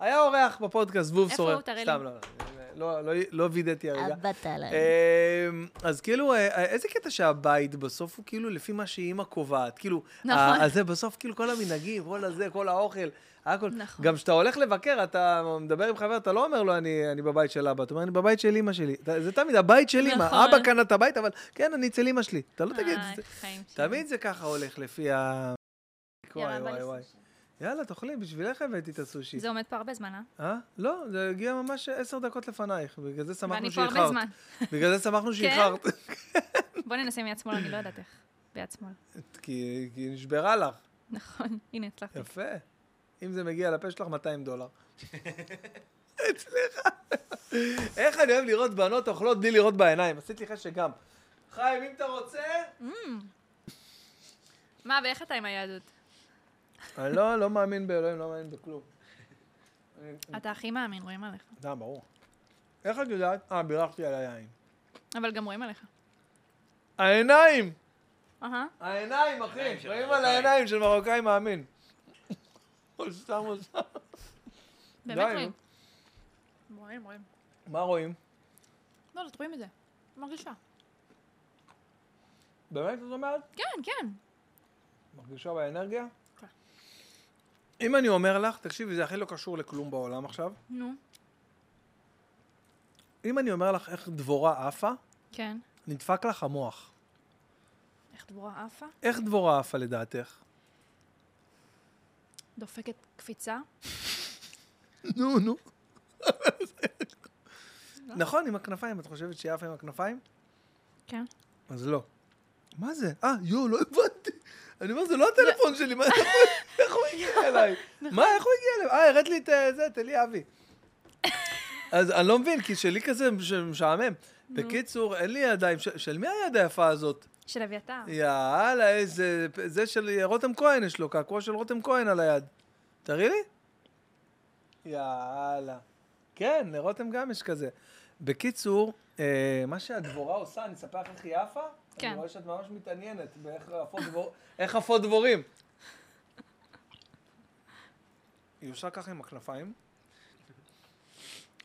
[SPEAKER 1] היה אורח בפודקאסט, זבוב
[SPEAKER 2] איפה
[SPEAKER 1] סורר.
[SPEAKER 2] הוא? תראה לי.
[SPEAKER 1] סתם, לא, לא, לא, לא, לא וידאתי הרגע.
[SPEAKER 5] עבדת עליי.
[SPEAKER 1] אמ, אז כאילו, אה, אה, איזה קטע שהבית בסוף הוא כאילו לפי מה שאימא קובעת. כאילו,
[SPEAKER 2] נכון.
[SPEAKER 1] ה- אז זה בסוף כאילו כל המנהגים, כל הזה, כל האוכל, הכל.
[SPEAKER 2] נכון.
[SPEAKER 1] גם כשאתה הולך לבקר, אתה מדבר עם חבר, אתה לא אומר לו, אני, אני בבית של אבא, אתה אומר, אני בבית של אימא שלי. אתה- זה תמיד הבית של אימא,
[SPEAKER 2] נכון.
[SPEAKER 1] אבא קנה את הבית, אבל כן, אני אצל אימא שלי. אתה לא תגיד,
[SPEAKER 2] אה,
[SPEAKER 1] זה-
[SPEAKER 2] חיים שלי.
[SPEAKER 1] תמיד זה ככה הולך לפי ה... מצחיק, וואי,
[SPEAKER 2] יאללה, בא
[SPEAKER 1] וואי,
[SPEAKER 2] לי
[SPEAKER 1] וואי.
[SPEAKER 2] סושי.
[SPEAKER 1] יאללה, תאכלי, בשבילך הבאתי את הסושי.
[SPEAKER 2] זה עומד פה הרבה זמן, אה?
[SPEAKER 1] אה? לא, זה הגיע ממש עשר דקות לפנייך, בגלל זה שמחנו
[SPEAKER 2] ואני פה הרבה
[SPEAKER 1] שאיחרת.
[SPEAKER 2] זמן. כן?
[SPEAKER 1] בגלל זה שמחנו שאיחרת.
[SPEAKER 2] בוא ננסה מיד שמאל, אני לא יודעת איך. ביד שמאל.
[SPEAKER 1] כי כי נשברה לך.
[SPEAKER 2] נכון, הנה הצלחתי.
[SPEAKER 1] יפה. אם זה מגיע לפה שלך, 200 דולר. אצלך. איך אני אוהב לראות בנות אוכלות בלי לראות בעיניים. עשית לי חשק גם. חיים, אם אתה רוצה...
[SPEAKER 2] מה, ואיך אתה עם היהדות?
[SPEAKER 1] כן. אני לא לא מאמין באלוהים, לא מאמין בכלום.
[SPEAKER 2] אתה הכי מאמין, רואים עליך.
[SPEAKER 1] אתה ברור. איך את יודעת? אה, בירכתי על היין.
[SPEAKER 2] אבל גם רואים עליך.
[SPEAKER 1] העיניים!
[SPEAKER 2] אהה.
[SPEAKER 1] העיניים,
[SPEAKER 3] העיניים
[SPEAKER 1] אחי.
[SPEAKER 3] של
[SPEAKER 1] רואים על
[SPEAKER 3] המרוקאים.
[SPEAKER 1] העיניים של מרוקאי מאמין. הוא סתם, הוא סתם.
[SPEAKER 2] באמת
[SPEAKER 1] די,
[SPEAKER 2] רואים. רואים, רואים.
[SPEAKER 1] מה רואים?
[SPEAKER 2] לא, לא, רואים את זה. מרגישה.
[SPEAKER 1] באמת את אומרת?
[SPEAKER 2] כן, כן.
[SPEAKER 1] מרגישה באנרגיה?
[SPEAKER 2] כן.
[SPEAKER 1] אם אני אומר לך, תקשיבי, זה הכי לא קשור לכלום בעולם עכשיו.
[SPEAKER 2] נו.
[SPEAKER 1] אם אני אומר לך איך דבורה עפה,
[SPEAKER 2] כן.
[SPEAKER 1] נדפק לך המוח.
[SPEAKER 2] איך דבורה עפה?
[SPEAKER 1] איך דבורה עפה לדעתך?
[SPEAKER 2] דופקת קפיצה.
[SPEAKER 1] נו, נו. נכון, עם הכנפיים. את חושבת שהיא עפה עם הכנפיים?
[SPEAKER 2] כן.
[SPEAKER 1] אז לא. מה זה? אה, יואו, לא הבנתי. אני אומר, זה לא הטלפון שלי, מה, איך הוא- איך הוא הגיע אליי? מה, איך הוא הגיע אליי? אה, הראת לי את אה, זה, את אלי אבי. אז אני לא מבין, כי שלי כזה מש- משעמם. בקיצור, אין לי ידיים. ש- של מי היד היפה הזאת?
[SPEAKER 2] של אביתר.
[SPEAKER 1] יאללה, איזה... זה של רותם כהן יש לו, קעקוע של רותם כהן על היד. תראי לי. יאללה. כן, לרותם גם יש כזה. בקיצור, אה, מה שהדבורה עושה, אני אספר לך איך היא עפה?
[SPEAKER 2] כן.
[SPEAKER 1] אני רואה שאת ממש מתעניינת באיך עפות דבור- איך עפות דבורים. היא עושה ככה עם הכנפיים.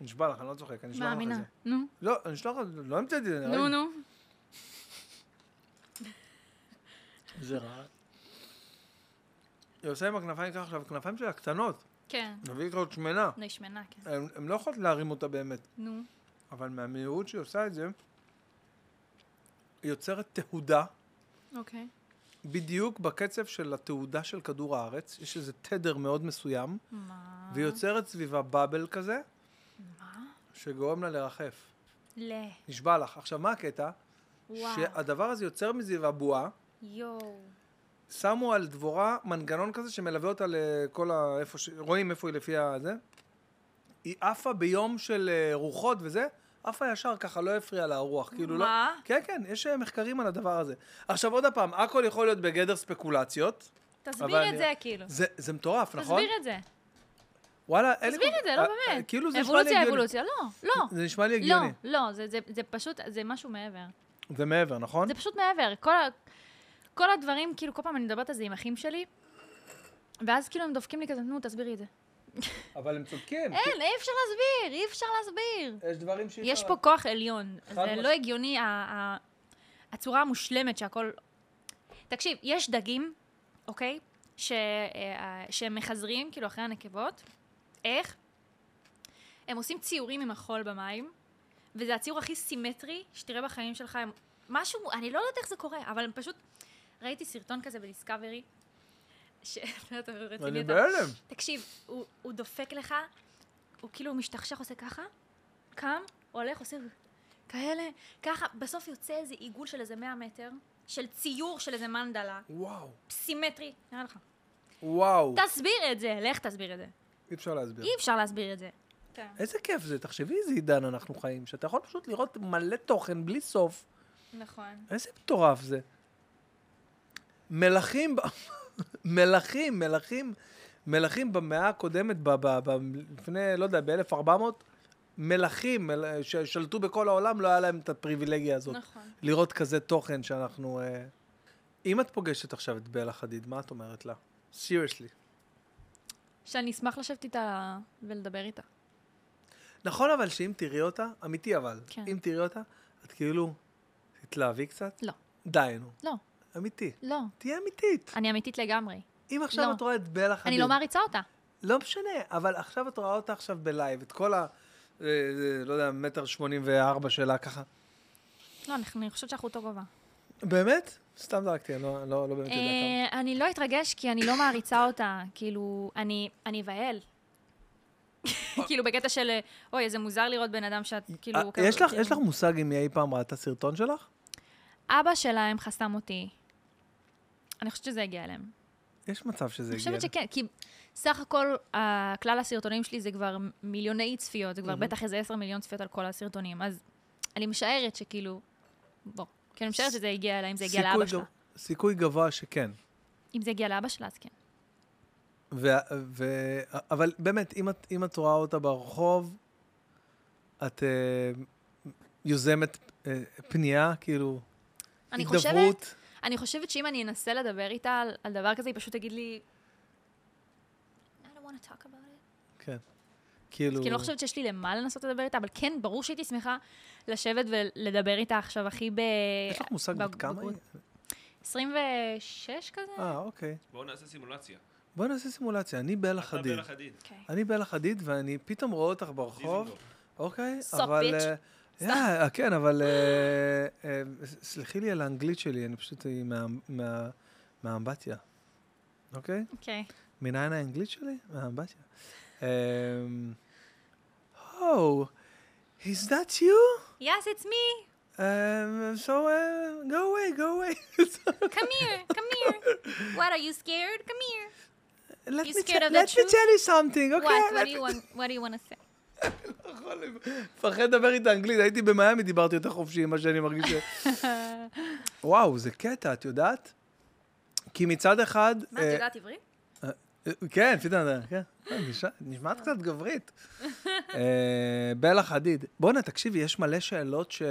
[SPEAKER 1] נשבע לך, אני לא צוחק, אני אשלח לך את
[SPEAKER 2] מאמינה.
[SPEAKER 1] זה.
[SPEAKER 2] נו.
[SPEAKER 1] לא, אני אשלח לך, לא המצאתי את זה.
[SPEAKER 2] נו,
[SPEAKER 1] ראיתי.
[SPEAKER 2] נו.
[SPEAKER 1] זה רע. היא עושה עם הכנפיים ככה, עכשיו, הכנפיים שלה קטנות,
[SPEAKER 2] כן.
[SPEAKER 1] נביא כזאת שמנה.
[SPEAKER 2] נו, היא שמנה, כן.
[SPEAKER 1] הן לא יכולות להרים אותה באמת,
[SPEAKER 2] נו.
[SPEAKER 1] אבל מהמהירות שהיא עושה את זה, היא יוצרת תהודה,
[SPEAKER 2] אוקיי.
[SPEAKER 1] בדיוק בקצב של התהודה של כדור הארץ, יש איזה תדר מאוד מסוים,
[SPEAKER 2] מה?
[SPEAKER 1] והיא יוצרת סביבה באבל כזה,
[SPEAKER 2] מה?
[SPEAKER 1] שגורם לה לרחף.
[SPEAKER 2] ל...
[SPEAKER 1] נשבע לך. עכשיו, מה הקטע?
[SPEAKER 2] וואו.
[SPEAKER 1] שהדבר הזה יוצר מסביבה בועה,
[SPEAKER 2] יואו.
[SPEAKER 1] שמו על דבורה מנגנון כזה שמלווה אותה לכל ה... איפה ש... רואים איפה היא לפי הזה. היא עפה ביום של אה, רוחות וזה, עפה ישר ככה, לא הפריע לה הרוח. כאילו לא...
[SPEAKER 2] מה?
[SPEAKER 1] כן, כן, יש אה, מחקרים על הדבר הזה. עכשיו עוד פעם, הכל יכול להיות בגדר ספקולציות. אבל
[SPEAKER 2] תסביר את
[SPEAKER 1] אני-
[SPEAKER 2] זה, כאילו.
[SPEAKER 1] זה, זה מטורף, נכון?
[SPEAKER 2] תסביר את זה.
[SPEAKER 1] וואלה, אין לי
[SPEAKER 2] תסביר
[SPEAKER 1] כל-
[SPEAKER 2] את זה, לא
[SPEAKER 1] אה,
[SPEAKER 2] באמת.
[SPEAKER 1] אה, כאילו זה נשמע לי
[SPEAKER 2] אבולוציה,
[SPEAKER 1] הגיוני.
[SPEAKER 2] אבולוציה, לא, לא.
[SPEAKER 1] זה נשמע לי
[SPEAKER 2] לא,
[SPEAKER 1] הגיוני.
[SPEAKER 2] לא, זה- זה- זה פשוט, זה משהו מעבר.
[SPEAKER 1] זה מעבר, נכון?
[SPEAKER 2] לא. זה פשוט מעבר. כל ה- כל הדברים, כאילו, כל פעם אני מדברת על זה עם אחים שלי, ואז כאילו הם דופקים לי כזה, נו, תסבירי את זה.
[SPEAKER 1] אבל הם צודקים.
[SPEAKER 2] אין, אי אפשר להסביר, אי אפשר להסביר.
[SPEAKER 1] יש דברים שאי
[SPEAKER 2] אה, יש
[SPEAKER 1] אפשר-
[SPEAKER 2] פה כוח עליון. זה
[SPEAKER 1] משמעית.
[SPEAKER 2] לא הגיוני, ה- ה- הצורה המושלמת שהכל... תקשיב, יש דגים, אוקיי? ש- אה, שהם מחזרים, כאילו, אחרי הנקבות. איך? הם עושים ציורים עם החול במים, וזה הציור הכי סימטרי שתראה בחיים שלך. הם... משהו, אני לא יודעת איך זה קורה, אבל הם פשוט... ראיתי סרטון כזה בדיסקאברי, ש... לא, אתה רציני,
[SPEAKER 1] אני
[SPEAKER 2] אתה-
[SPEAKER 1] בהלם.
[SPEAKER 2] תקשיב, הוא, הוא דופק לך, הוא כאילו משתכשך, עושה ככה, קם, הולך, עושה כאלה, ככה, בסוף יוצא איזה עיגול של איזה 100 מטר, של ציור של איזה מנדלה,
[SPEAKER 1] וואו,
[SPEAKER 2] סימטרי, נראה לך.
[SPEAKER 1] וואו.
[SPEAKER 2] תסביר את זה, לך תסביר את זה.
[SPEAKER 1] אי אפשר להסביר.
[SPEAKER 2] אי אפשר להסביר את זה.
[SPEAKER 1] איזה כיף זה, תחשבי איזה עידן אנחנו חיים, שאתה יכול פשוט לראות מלא תוכן בלי סוף.
[SPEAKER 2] נכון.
[SPEAKER 1] איזה מטורף זה. מלכים, ב- מלכים, מלכים, מלכים במאה הקודמת, ב, ב, ב, לפני, לא יודע, ב-1400, מלכים מל, ששלטו בכל העולם, לא היה להם את הפריבילגיה הזאת.
[SPEAKER 2] נכון.
[SPEAKER 1] לראות כזה תוכן שאנחנו... אה... אם את פוגשת עכשיו את בלה חדיד, מה את אומרת לה? סיריוסלי.
[SPEAKER 2] שאני אשמח לשבת איתה ולדבר איתה.
[SPEAKER 1] נכון אבל שאם תראי אותה, אמיתי אבל,
[SPEAKER 2] כן.
[SPEAKER 1] אם תראי אותה, את כאילו, תתלהבי קצת?
[SPEAKER 2] לא.
[SPEAKER 1] די, נו.
[SPEAKER 2] לא.
[SPEAKER 1] אמיתי.
[SPEAKER 2] לא.
[SPEAKER 1] תהיה אמיתית.
[SPEAKER 2] אני אמיתית לגמרי.
[SPEAKER 1] אם עכשיו
[SPEAKER 2] לא.
[SPEAKER 1] את רואה את בלה חדיד...
[SPEAKER 2] אני לא מעריצה אותה.
[SPEAKER 1] לא משנה, אבל עכשיו את רואה אותה עכשיו בלייב, את כל ה... אה, אה, לא יודע, מטר שמונים וארבע שלה ככה.
[SPEAKER 2] לא, אנחנו- אני חושבת שאנחנו אותו גובה.
[SPEAKER 1] באמת? סתם דאגתי, אני לא- לא לא באמת יודע כמה.
[SPEAKER 2] אה, אני לא אתרגש כי אני לא מעריצה אותה. כאילו, אני אני אבהל. כאילו, בקטע של, אה, אוי, איזה מוזר לראות בן אדם שאת, כאילו...
[SPEAKER 1] אה,
[SPEAKER 2] ככה-
[SPEAKER 1] יש לך- יש לך מושג אם היא אי פעם ראתה סרטון שלך?
[SPEAKER 2] אבא שלהם חסם אותי. אני חושבת שזה הגיע אליהם.
[SPEAKER 1] יש מצב שזה
[SPEAKER 2] אני
[SPEAKER 1] הגיע.
[SPEAKER 2] חושבת שכן, כי סך הכל, אה, כלל הסרטונים שלי זה כבר מיליוני צפיות, זה כבר בטח איזה עשר מיליון צפיות על כל הסרטונים, אז אני משערת שכאילו, בוא. כי אני משערת שזה הגיע אליי, אם זה הגיע
[SPEAKER 1] סיכוי
[SPEAKER 2] לאבא
[SPEAKER 1] גב-
[SPEAKER 2] שלה.
[SPEAKER 1] סיכוי גבוה שכן.
[SPEAKER 2] אם זה הגיע לאבא שלה, אז כן.
[SPEAKER 1] ו- ו- אבל באמת, אם את- אם את רואה אותה ברחוב, את אה, יוזמת אה, פנייה, כאילו,
[SPEAKER 2] אני חושבת,
[SPEAKER 1] הידברות.
[SPEAKER 2] אני חושבת שאם אני אנסה לדבר איתה על, על דבר כזה, היא פשוט תגיד לי... I don't want to talk about it.
[SPEAKER 1] כן. כאילו...
[SPEAKER 2] אז כי אני לא חושבת שיש לי למה לנסות לדבר איתה, אבל כן, ברור שהייתי שמחה לשבת ולדבר איתה עכשיו הכי ב...
[SPEAKER 1] יש לך מושג בת כמה היא?
[SPEAKER 2] 26 כזה?
[SPEAKER 1] אה, אוקיי.
[SPEAKER 3] בואו נעשה סימולציה.
[SPEAKER 1] בואי נעשה סימולציה. אני בלה
[SPEAKER 3] אתה
[SPEAKER 1] חדיד.
[SPEAKER 3] בלה חדיד.
[SPEAKER 2] אוקיי.
[SPEAKER 1] אני בלה חדיד, ואני פתאום רואה אותך ברחוב.
[SPEAKER 3] דיזנגוף.
[SPEAKER 1] אוקיי,
[SPEAKER 2] Sup,
[SPEAKER 1] אבל...
[SPEAKER 2] bitch.
[SPEAKER 1] אה, yeah, כן, אבל... אה, אה, ס- סלחי לי על האנגלית שלי, אני פשוט היא מה- מה- מהאמבטיה. אוקיי?
[SPEAKER 2] אוקיי.
[SPEAKER 1] מניין האנגלית שלי? מהאמבטיה. Um, Oh, is that you?
[SPEAKER 2] Yes, it's me.
[SPEAKER 1] Um, so, uh, go away, go away.
[SPEAKER 2] Come here, come here. What, are you scared? Come here.
[SPEAKER 1] Let
[SPEAKER 2] You
[SPEAKER 1] me
[SPEAKER 2] scared
[SPEAKER 1] te-
[SPEAKER 2] of the
[SPEAKER 1] let me
[SPEAKER 2] truth?
[SPEAKER 1] tell you something, אוקיי?
[SPEAKER 2] What, what
[SPEAKER 1] let
[SPEAKER 2] do you want, what do you want to say?
[SPEAKER 1] יכול, מפחד לדבר איתה אנגלית, הייתי במיאמי, דיברתי יותר חופשי ממה שאני מרגיש. ש- וואו, זה קטע, את יודעת? כי מצד אחד...
[SPEAKER 2] מה, את
[SPEAKER 1] אה,
[SPEAKER 2] יודעת עברית?
[SPEAKER 1] אה, כן, פתאום, אה, כן. אה, נשמע- נשמעת קצת גברית. אה, בלה חדיד. בואנה, תקשיבי, יש מלא שאלות ש-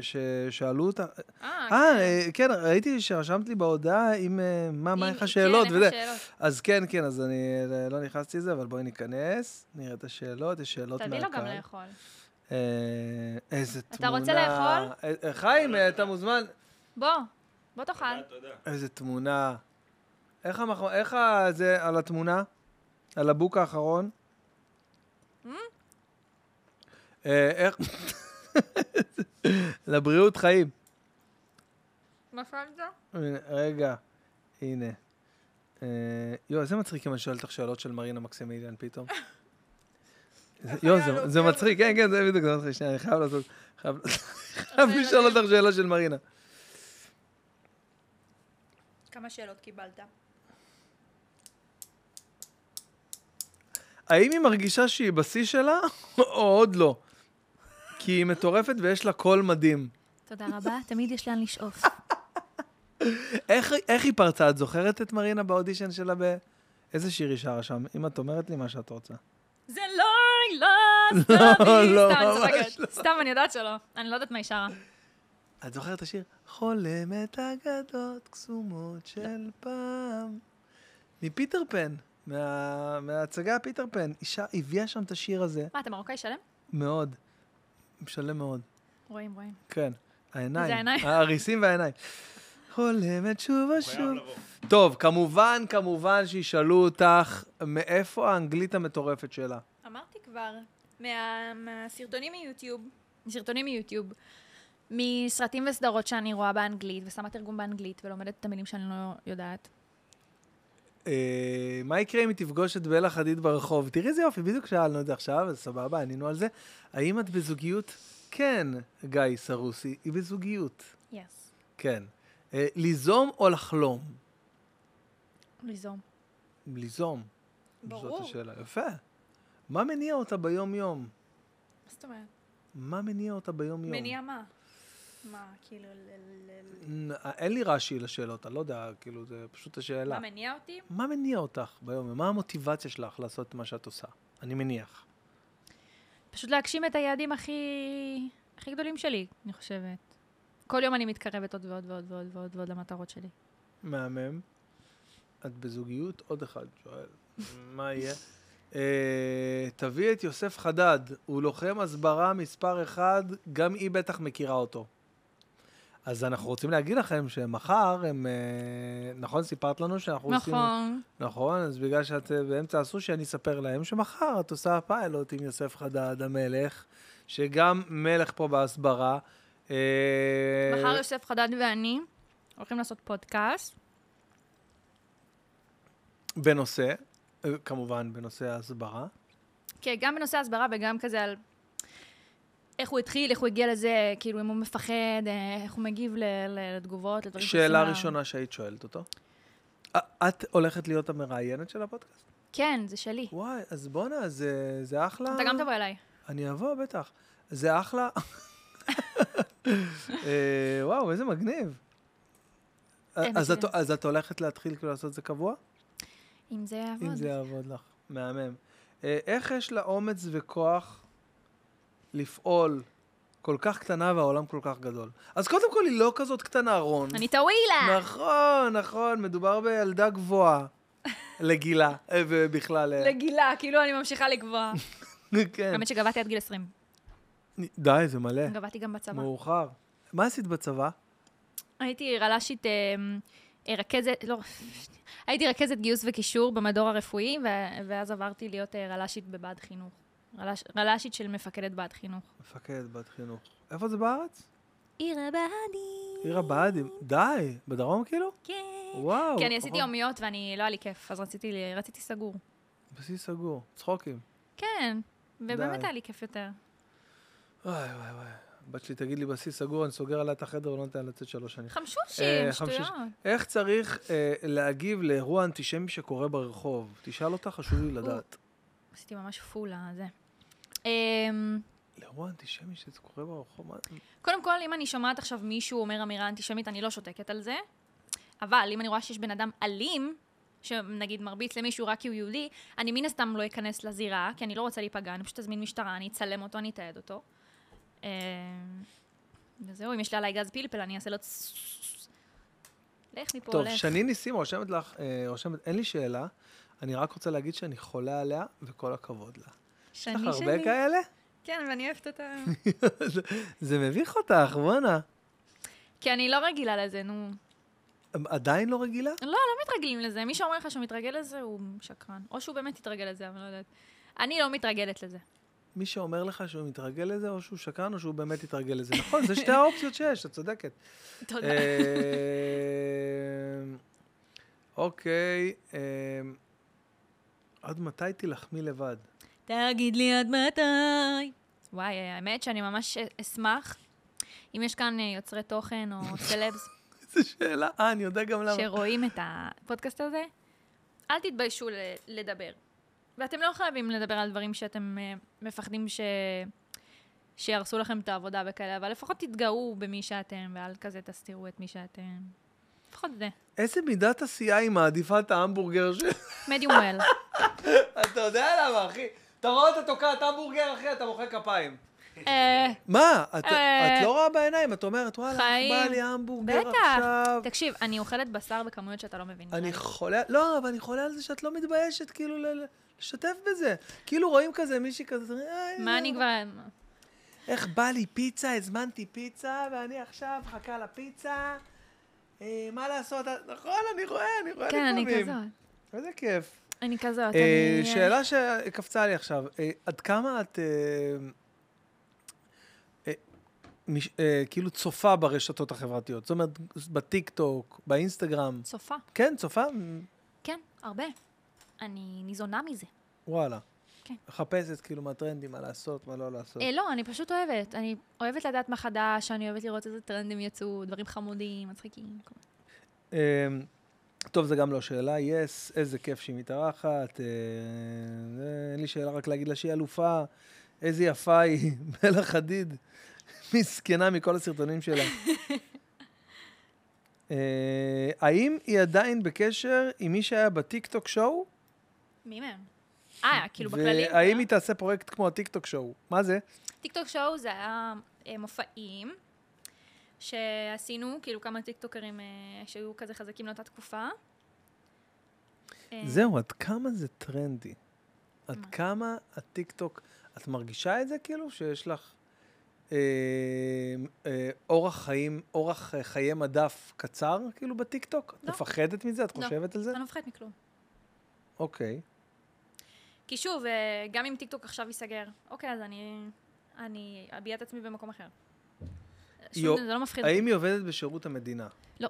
[SPEAKER 1] ששאלו אותה.
[SPEAKER 2] אה,
[SPEAKER 1] אה, אה, כן, ראיתי שרשמת לי בהודעה עם... אה, מה, מה,
[SPEAKER 2] אם-
[SPEAKER 1] איך השאלות
[SPEAKER 2] כן, איך
[SPEAKER 1] וזה.
[SPEAKER 2] השאלות.
[SPEAKER 1] אז כן, כן, אז אני אה, לא נכנסתי לזה, אבל בואי ניכנס, נראה את השאלות, יש שאלות מהקהל.
[SPEAKER 2] תביא לו גם לאכול.
[SPEAKER 1] אה, איזה תמונה.
[SPEAKER 2] אתה רוצה לאכול?
[SPEAKER 1] אה, אה, חיים, אה, אתה מוזמן.
[SPEAKER 2] בוא, בוא תאכל.
[SPEAKER 3] תודה, תודה.
[SPEAKER 1] איזה תמונה. איך המחמ... איך ה... זה על התמונה? על הבוק האחרון?
[SPEAKER 2] Mm?
[SPEAKER 1] אה, איך... לבריאות חיים.
[SPEAKER 2] מפעל זה?
[SPEAKER 1] הנה, רגע, הנה. אה, יואו, איזה מצחיק אם אני שואל אותך שאלות של מרינה מקסימיליאן פתאום. זה- יואו, זה- זה מצחיק, כן, כן, זה בדיוק, זה מצחיק, שנייה, אני חייב לעשות, חייב חייב לשאול אותך שאלה של מרינה.
[SPEAKER 2] כמה שאלות קיבלת?
[SPEAKER 1] האם היא מרגישה שהיא בשיא שלה, או עוד לא? כי היא מטורפת ויש לה קול מדהים.
[SPEAKER 5] תודה רבה, תמיד יש לאן לשאוף.
[SPEAKER 1] איך, איך היא פרצה? את זוכרת את מרינה באודישן שלה ב... איזה שיר היא שרה שם? אם את אומרת לי מה שאת רוצה.
[SPEAKER 2] זה לא, לא, סתם,
[SPEAKER 1] לא,
[SPEAKER 2] סתם, אני
[SPEAKER 1] ממש
[SPEAKER 2] צוחקת. סתם, אני יודעת שלא. אני לא יודעת מה היא שרה.
[SPEAKER 1] את זוכרת את השיר? חולמת אגדות קסומות של פעם. מפיטר פן, מה... מההצגה פיטר פן. היא שר- היא הביאה שם את השיר הזה,
[SPEAKER 2] מה, אתה מרוקאי שלם?
[SPEAKER 1] מאוד. משלם מאוד.
[SPEAKER 2] רואים, רואים.
[SPEAKER 1] כן. העיניים.
[SPEAKER 2] זה העיניים.
[SPEAKER 1] הריסים והעיניים. חולמת שוב
[SPEAKER 3] הוא חייב
[SPEAKER 1] ושוב.
[SPEAKER 3] לבוא.
[SPEAKER 1] טוב, כמובן, כמובן שישאלו אותך מאיפה האנגלית המטורפת שלה.
[SPEAKER 2] אמרתי כבר, מה- מהסרטונים מיוטיוב. סרטונים מיוטיוב. מסרטים וסדרות שאני רואה באנגלית, ושמה תרגום באנגלית, ולומדת את המילים שאני לא יודעת.
[SPEAKER 1] אה, מה יקרה אם היא תפגוש את בלה חדיד ברחוב? תראי איזה יופי, בדיוק שאלנו את זה עכשיו, אז סבבה, ענינו על זה. האם את בזוגיות? כן, גיא סרוסי, היא בזוגיות.
[SPEAKER 2] יס.
[SPEAKER 1] כן. אה, ליזום או לחלום?
[SPEAKER 2] ליזום.
[SPEAKER 1] ליזום.
[SPEAKER 2] ברור.
[SPEAKER 1] זאת השאלה. יפה. מה מניע אותה ביום-יום?
[SPEAKER 2] מה זאת אומרת?
[SPEAKER 1] מה מניע אותה ביום-יום?
[SPEAKER 2] מניע מה? מה, כאילו, ל- ל- ל-
[SPEAKER 1] נ- אה, אין לי רש"י לשאלות, אני לא יודע, כאילו, זה פשוט השאלה.
[SPEAKER 2] מה מניע אותי?
[SPEAKER 1] מה מניע אותך ביום? מה המוטיבציה שלך לעשות את מה שאת עושה? אני מניח.
[SPEAKER 2] פשוט להגשים את היעדים הכי... הכי גדולים שלי, אני חושבת. כל יום אני מתקרבת עוד ועוד ועוד ועוד ועוד ועוד למטרות שלי.
[SPEAKER 1] מהמם. את בזוגיות? עוד אחד שואל. מה יהיה? אה, תביא את יוסף חדד, הוא לוחם הסברה מספר אחד, גם היא בטח מכירה אותו. אז אנחנו רוצים להגיד לכם שמחר הם... אה, נכון, סיפרת לנו שאנחנו עושים...
[SPEAKER 2] נכון.
[SPEAKER 1] נכון, אז בגלל שאת אה, באמצע הסושי, אני אספר להם שמחר את עושה פיילוט עם יוסף חדד המלך, שגם מלך פה בהסברה, אה,
[SPEAKER 2] מחר יוסף חדד ואני הולכים לעשות פודקאסט.
[SPEAKER 1] בנושא, אה, כמובן, בנושא ההסברה.
[SPEAKER 2] כן, גם בנושא ההסברה וגם כזה על איך הוא התחיל, איך הוא הגיע לזה, כאילו, אם הוא מפחד, אה, איך הוא מגיב ל- ל- לתגובות, לדברים שעושים
[SPEAKER 1] שאלה
[SPEAKER 2] לה.
[SPEAKER 1] ראשונה שהיית שואלת אותו. א- את הולכת להיות המראיינת של הפודקאסט?
[SPEAKER 2] כן, זה שלי.
[SPEAKER 1] וואי, אז בואנה, זה, זה אחלה.
[SPEAKER 2] אתה גם תבוא אליי.
[SPEAKER 1] אני אבוא, בטח. זה אחלה. אה, וואו, איזה מגניב.
[SPEAKER 2] כן,
[SPEAKER 1] אז את,
[SPEAKER 2] מכירים.
[SPEAKER 1] אז את הולכת להתחיל כאילו לעשות את זה קבוע?
[SPEAKER 2] אם זה יעבוד.
[SPEAKER 1] אם זה יעבוד לך. מהמם. אה, איך יש לה אומץ וכוח לפעול כל כך קטנה והעולם כל כך גדול? אז קודם כל היא לא כזאת קטנה, רון.
[SPEAKER 2] אני טווילה!
[SPEAKER 1] נכון, נכון, מדובר בילדה גבוהה. לגילה, אה, ובכלל... אה,
[SPEAKER 2] לגילה, כאילו אני ממשיכה לקבוע.
[SPEAKER 1] כן.
[SPEAKER 2] האמת שגבהתי עד גיל 20.
[SPEAKER 1] די, זה מלא.
[SPEAKER 2] גבהתי גם בצבא.
[SPEAKER 1] מאוחר. מה עשית בצבא?
[SPEAKER 2] הייתי רל"שית, אה, אה, רכזת, לא, הייתי רכזת גיוס וקישור במדור הרפואי, ו- ואז עברתי להיות אה, רל"שית בבה"ד חינוך. רל"ש- רל"שית של מפקדת בה"ד חינוך.
[SPEAKER 1] מפקד בת חינוך. איפה זה בארץ?
[SPEAKER 5] עיר הבה"דים.
[SPEAKER 1] עיר הבה"דים. די, בדרום כאילו?
[SPEAKER 5] כן.
[SPEAKER 1] וואו.
[SPEAKER 2] כי אני עשיתי
[SPEAKER 1] נכון.
[SPEAKER 2] יומיות ואני, לא היה לי כיף, אז רציתי, ל- רציתי סגור.
[SPEAKER 1] בסיס סגור, צחוקים.
[SPEAKER 2] כן, ובאמת
[SPEAKER 1] די. אה,
[SPEAKER 2] היה לי כיף יותר.
[SPEAKER 1] וואי וואי וואי. הבת שלי תגיד לי בסיס סגור, אני סוגר עליה את החדר ולא נותן לה לצאת שלוש שנים.
[SPEAKER 2] חמשושים,
[SPEAKER 1] אה, חמשוש-
[SPEAKER 2] שטויות.
[SPEAKER 1] איך צריך אה, להגיב לאירוע אנטישמי שקורה ברחוב? תשאל אותה, חשוב לי לדעת.
[SPEAKER 2] עשיתי ממש פולה, זה. אמ,
[SPEAKER 1] לאירוע אנטישמי שזה קורה ברחוב? מה-
[SPEAKER 2] קודם כל, אם אני שומעת עכשיו מישהו אומר אמירה אנטישמית, אני לא שותקת על זה. אבל אם אני רואה שיש בן אדם אלים, שנגיד מרביץ למישהו רק כי הוא יהודי, אני מן הסתם לא אכנס לזירה, כי אני לא רוצה להיפגע, אני פשוט אזמין משטרה, אני אצלם אותו, אני אתעד אותו. אמ, וזהו, אם יש לי עליי גז פלפל, אני אעשה לו צ- לך מפה,
[SPEAKER 1] טוב,
[SPEAKER 2] לך.
[SPEAKER 1] שני ניסים רושמת לך, אה, רושמת, אין לי שאלה, אני רק רוצה להגיד שאני חולה עליה, וכל הכבוד לה. יש לך
[SPEAKER 2] שני
[SPEAKER 1] הרבה כאלה?
[SPEAKER 2] כן, ואני אוהבת אותה.
[SPEAKER 1] זה- זה מביך אותך, בואנה.
[SPEAKER 2] כי אני לא רגילה לזה, נו.
[SPEAKER 1] עדיין לא רגילה?
[SPEAKER 2] לא, לא מתרגלים לזה. מי שאומר לך שהוא מתרגל לזה, הוא שקרן. או שהוא באמת התרגל לזה, אבל לא יודעת. אני לא מתרגלת לזה.
[SPEAKER 1] מי שאומר לך שהוא מתרגל לזה, או שהוא שקרן, או שהוא באמת התרגל לזה. נכון, זה שתי האופציות שיש, את צודקת.
[SPEAKER 2] תודה.
[SPEAKER 1] אה, אוקיי, אה, עד מתי תילחמי לבד?
[SPEAKER 5] תגיד לי עד מתי.
[SPEAKER 2] וואי, האמת שאני ממש אשמח אם יש כאן אה, יוצרי תוכן או סלבס
[SPEAKER 1] איזו שאלה. אה, אני יודע גם למה.
[SPEAKER 2] שרואים את הפודקאסט הזה, אל תתביישו ל- לדבר. ואתם לא חייבים לדבר על דברים שאתם אה, מפחדים ש... שיהרסו לכם את העבודה וכאלה, אבל לפחות תתגאו במי שאתם, ואל כזה תסתירו את מי שאתם. לפחות זה.
[SPEAKER 1] איזה מידת עשייה היא מעדיפה את ההמבורגר של...
[SPEAKER 2] מדיום וול.
[SPEAKER 1] אתה יודע למה, אחי? אתה רואה אותה תוקעת המבורגר, אחי, אתה מוחא כפיים.
[SPEAKER 2] אה,
[SPEAKER 1] מה? את,
[SPEAKER 2] אה.
[SPEAKER 1] את לא רואה בעיניים, את אומרת, וואלה,
[SPEAKER 2] חיים.
[SPEAKER 1] בא לי המבורגר
[SPEAKER 2] בטח.
[SPEAKER 1] עכשיו.
[SPEAKER 2] תקשיב, אני אוכלת בשר בכמויות שאתה לא מבין.
[SPEAKER 1] אני חולה, לא, אבל אני חולה על זה שאת לא מתביישת, כאילו, ל- ל- לשתף בזה. כאילו רואים כזה מישהי כזה, "אה,
[SPEAKER 2] מה אני כבר...
[SPEAKER 1] איך בא לי פיצה, הזמנתי פיצה, ואני עכשיו מחכה לפיצה. אה, מה לעשות? נכון, אני רואה, אני רואה
[SPEAKER 2] כן, אני
[SPEAKER 1] לפעמים.
[SPEAKER 2] כזאת.
[SPEAKER 1] איזה כיף.
[SPEAKER 2] אני כזאת.
[SPEAKER 1] אה,
[SPEAKER 2] אני-
[SPEAKER 1] שאלה שקפצה לי עכשיו, אה, עד כמה את אה, אה, מש- אה, כאילו צופה ברשתות החברתיות? זאת אומרת, בטיקטוק, באינסטגרם.
[SPEAKER 2] צופה.
[SPEAKER 1] כן, צופה?
[SPEAKER 2] כן, הרבה. אני ניזונה מזה.
[SPEAKER 1] וואלה.
[SPEAKER 2] כן.
[SPEAKER 1] מחפשת כאילו מה הטרנדים, מה לעשות, מה לא לעשות.
[SPEAKER 2] אה, לא, אני פשוט אוהבת. אני אוהבת לדעת מה חדש, אני אוהבת לראות איזה טרנדים יצאו, דברים חמודים, מצחיקים. כל-
[SPEAKER 1] אה, טוב, זה גם לא שאלה, יס, איזה כיף שהיא מתארחת, אה, אה, אין לי שאלה רק להגיד לה שהיא אלופה, איזה יפה היא, מלך חדיד, מסכנה מכל הסרטונים שלה. אה, האם היא עדיין בקשר עם מי שהיה בטיקטוק שואו?
[SPEAKER 2] מי מהם? אה, כאילו בכללים.
[SPEAKER 1] והאם
[SPEAKER 2] אה?
[SPEAKER 1] היא תעשה פרויקט כמו הטיקטוק שואו? מה זה?
[SPEAKER 2] טיקטוק שואו זה היה אה, מופעים שעשינו, כאילו כמה טיקטוקרים אה, שהיו כזה חזקים לאותה תקופה. אה,
[SPEAKER 1] זהו, עד כמה זה טרנדי? עד
[SPEAKER 2] מה?
[SPEAKER 1] כמה הטיקטוק, את מרגישה את זה כאילו שיש לך אה, אה, אורח חיים, אורח אה, חיי מדף קצר כאילו בטיקטוק? את
[SPEAKER 2] לא.
[SPEAKER 1] מפחדת מזה? את
[SPEAKER 2] לא.
[SPEAKER 1] חושבת על זה?
[SPEAKER 2] אני לא מפחדת מכלום.
[SPEAKER 1] אוקיי.
[SPEAKER 2] כי שוב, אה, גם אם טיקטוק עכשיו ייסגר, אוקיי, אז אני, אני אביע את עצמי במקום אחר. שום,
[SPEAKER 1] יו-
[SPEAKER 2] זה לא מפחיד. אותי.
[SPEAKER 1] האם היא עובדת בשירות המדינה?
[SPEAKER 2] לא.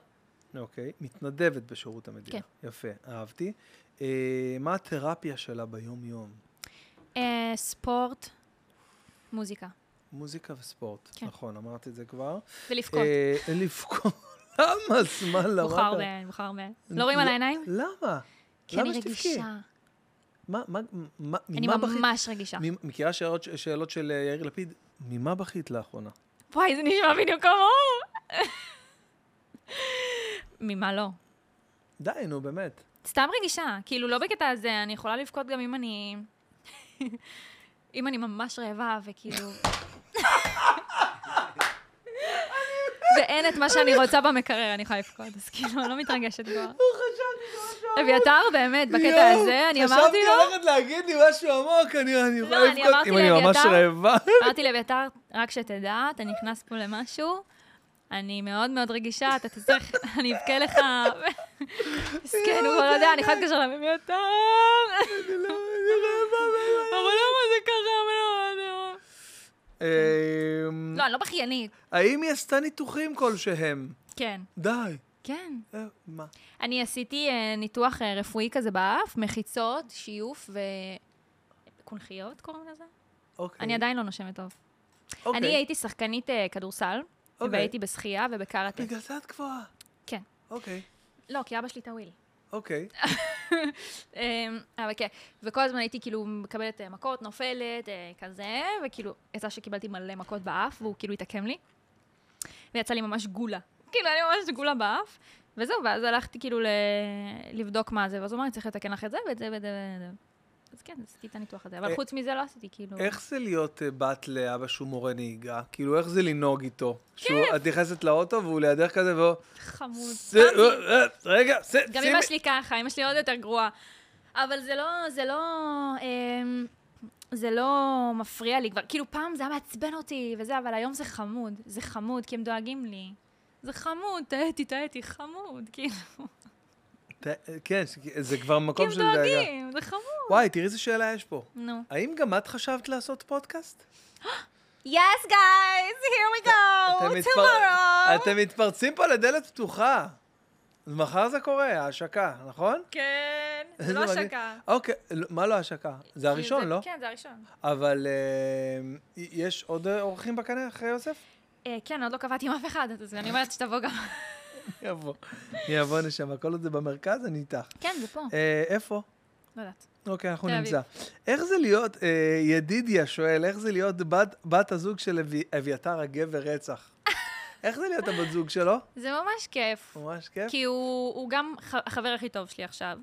[SPEAKER 1] אוקיי, מתנדבת בשירות המדינה. כן. יפה, אהבתי. אה, מה התרפיה שלה ביום-יום?
[SPEAKER 2] אה, ספורט, מוזיקה.
[SPEAKER 1] מוזיקה וספורט.
[SPEAKER 2] כן.
[SPEAKER 1] נכון, אמרת את זה כבר.
[SPEAKER 2] ולבכות.
[SPEAKER 1] אה, לבכות. למה? מה, למה?
[SPEAKER 2] בוחר
[SPEAKER 1] אתה-
[SPEAKER 2] בהן, בוחר בהן. לא רואים על העיניים?
[SPEAKER 1] למה?
[SPEAKER 2] כי אני
[SPEAKER 1] למה שתבכי?
[SPEAKER 2] רגישה.
[SPEAKER 1] מה, מה, מה,
[SPEAKER 2] אני
[SPEAKER 1] ממה בכית?
[SPEAKER 2] ממש רגישה.
[SPEAKER 1] ממ- מכירה שאלות, שאלות של אה, יאיר לפיד? ממה בכית לאחרונה?
[SPEAKER 2] וואי, זה נשמע בדיוק כמוהו. ממה לא?
[SPEAKER 1] די, נו, באמת.
[SPEAKER 2] סתם רגישה, כאילו לא בקטע הזה, אני יכולה לבכות גם אם אני... אם אני ממש רעבה, וכאילו... ואין את מה שאני רוצה במקרר, אני יכולה לבכות, אז כאילו, אני לא מתרגשת כבר. אביתר, באמת, בקטע
[SPEAKER 1] לא יואו,
[SPEAKER 2] הזה, אני
[SPEAKER 1] חשבתי
[SPEAKER 2] אמרתי לו, לא,
[SPEAKER 1] הולכת להגיד לי משהו עמוק, אני אני יכולה
[SPEAKER 2] אני
[SPEAKER 1] לבכות
[SPEAKER 2] אמרתי
[SPEAKER 1] אם אני ממש
[SPEAKER 2] לאביתר-
[SPEAKER 1] רעבה.
[SPEAKER 2] אמרתי לאביתר, רק שתדע, אתה נכנס פה למשהו, אני מאוד מאוד רגישה, אתה תצטרך, אני אבכה לך. מסכן, הוא כבר לא יודע, אני יכולה להתקשר לאביתר.
[SPEAKER 1] לא-
[SPEAKER 2] אבל למה זה ככה? אבל למה?
[SPEAKER 1] אמ,
[SPEAKER 2] לא, אני לא בכיינית.
[SPEAKER 1] האם היא עשתה ניתוחים כלשהם?
[SPEAKER 2] כן,
[SPEAKER 1] די.
[SPEAKER 2] כן.
[SPEAKER 1] אה, מה?
[SPEAKER 2] אני עשיתי אה, ניתוח אה, רפואי כזה באף, מחיצות, שיוף ו... קונכיות קוראים לזה?
[SPEAKER 1] אוקיי.
[SPEAKER 2] אני עדיין לא נושמת טוב.
[SPEAKER 1] אוקיי.
[SPEAKER 2] אני הייתי שחקנית אה, כדורסל,
[SPEAKER 1] אוקיי.
[SPEAKER 2] והייתי בשחייה ובקראטה.
[SPEAKER 1] בגלל זה את גבוהה.
[SPEAKER 2] כן.
[SPEAKER 1] אוקיי,
[SPEAKER 2] לא, כי אבא שלי טוויל.
[SPEAKER 1] אוקיי.
[SPEAKER 2] אמ, אבל כן, וכל הזמן הייתי כאילו מקבלת אה, מכות, נופלת, אה, כזה, וכאילו, יצא שקיבלתי מלא מכות באף, והוא כאילו התעקם לי, ויצא לי ממש גולה. כאילו, היה לי ממש גולה באף, וזהו, ואז הלכתי כאילו ל... לבדוק מה זה, ואז הוא אמר, אני צריך לתקן לך את זה ואת זה ואת זה ואת זה. אז כן, עשיתי את הניתוח הזה, אבל
[SPEAKER 1] אה,
[SPEAKER 2] חוץ מזה לא עשיתי, כאילו...
[SPEAKER 1] איך זה להיות אה, בת לאבא שהוא מורה נהיגה? כאילו, איך זה לנהוג איתו? כיף! את נכנסת לאוטו והוא לידך כזה והוא...
[SPEAKER 2] חמוד.
[SPEAKER 1] "ס- אה, אה, רגע, ס-
[SPEAKER 2] גם
[SPEAKER 1] שימי-
[SPEAKER 2] אמא שלי ככה, אמא שלי עוד יותר גרועה. אבל זה לא, זה לא, אמ, זה לא מפריע לי כבר. כאילו, פעם זה היה מעצבן אותי וזה, אבל היום זה חמוד. זה חמוד, כי הם דואגים לי. זה חמוד, טעיתי, טעיתי, חמוד. כאילו,
[SPEAKER 1] ת- כן, זה כבר
[SPEAKER 2] כי
[SPEAKER 1] מקום
[SPEAKER 2] הם
[SPEAKER 1] של דאגה.
[SPEAKER 2] דואגים, זה חמוד.
[SPEAKER 1] וואי, תראי איזה שאלה יש פה.
[SPEAKER 2] נו.
[SPEAKER 1] האם גם את חשבת לעשות פודקאסט?
[SPEAKER 2] Oh, Yes, guys, here we go,
[SPEAKER 1] אתם מתפר-
[SPEAKER 2] tomorrow.
[SPEAKER 1] אתם מתפרצים פה לדלת פתוחה. אז מחר זה קורה, ההשקה, נכון?
[SPEAKER 2] כן, זה
[SPEAKER 1] איזה
[SPEAKER 2] לא
[SPEAKER 1] מגניב.
[SPEAKER 2] השקה.
[SPEAKER 1] אוקיי, לא- מה לא השקה? זה הראשון, לא?
[SPEAKER 2] כן, זה הראשון.
[SPEAKER 1] אבל אה, יש עוד אה, אורחים בקנה אחרי יוסף?
[SPEAKER 2] אה, כן, עוד לא קבעתי עם אף אחד, אז אני אומרת שתבוא גם.
[SPEAKER 1] יבוא. יבוא נשמה, כל עוד זה במרכז, אני איתך.
[SPEAKER 2] כן, זה פה.
[SPEAKER 1] אה, איפה?
[SPEAKER 2] לא יודעת.
[SPEAKER 1] אוקיי, אנחנו
[SPEAKER 2] תל אביב.
[SPEAKER 1] נמצא. איך זה להיות, אה, ידידיה שואל, איך זה להיות בת- בת הזוג של אבי- אביתר הגבר רצח? איך זה להיות הבת זוג שלו?
[SPEAKER 2] זה ממש כיף.
[SPEAKER 1] ממש כיף.
[SPEAKER 2] כי הוא, הוא גם ח- החבר הכי טוב שלי עכשיו,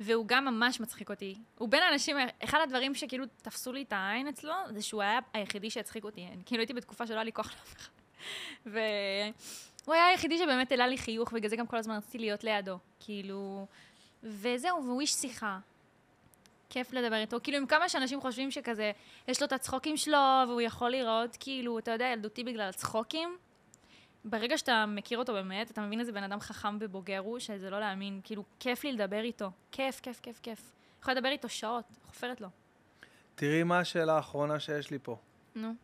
[SPEAKER 2] והוא גם ממש מצחיק אותי. הוא בין האנשים, אחד הדברים שכאילו תפסו לי את העין אצלו, זה שהוא היה היחידי שהצחיק אותי. אני, כאילו הייתי בתקופה שלא היה לי כוח לאף אחד. והוא היה היחידי שבאמת העלה לי חיוך, בגלל זה גם כל הזמן רציתי להיות לידו. כאילו... וזהו, והוא איש שיחה. כיף לדבר איתו. כאילו, עם כמה שאנשים חושבים שכזה, יש לו את הצחוקים שלו, והוא יכול להיראות כאילו, אתה יודע, ילדותי בגלל הצחוקים, ברגע שאתה מכיר אותו באמת, אתה מבין איזה בן אדם חכם ובוגר הוא, שזה לא להאמין. כאילו, כיף לי לדבר איתו. כיף, כיף, כיף, כיף. יכולה לדבר איתו שעות, חופרת לו.
[SPEAKER 1] תראי מה השאלה האחרונה שיש לי פה.
[SPEAKER 2] נו.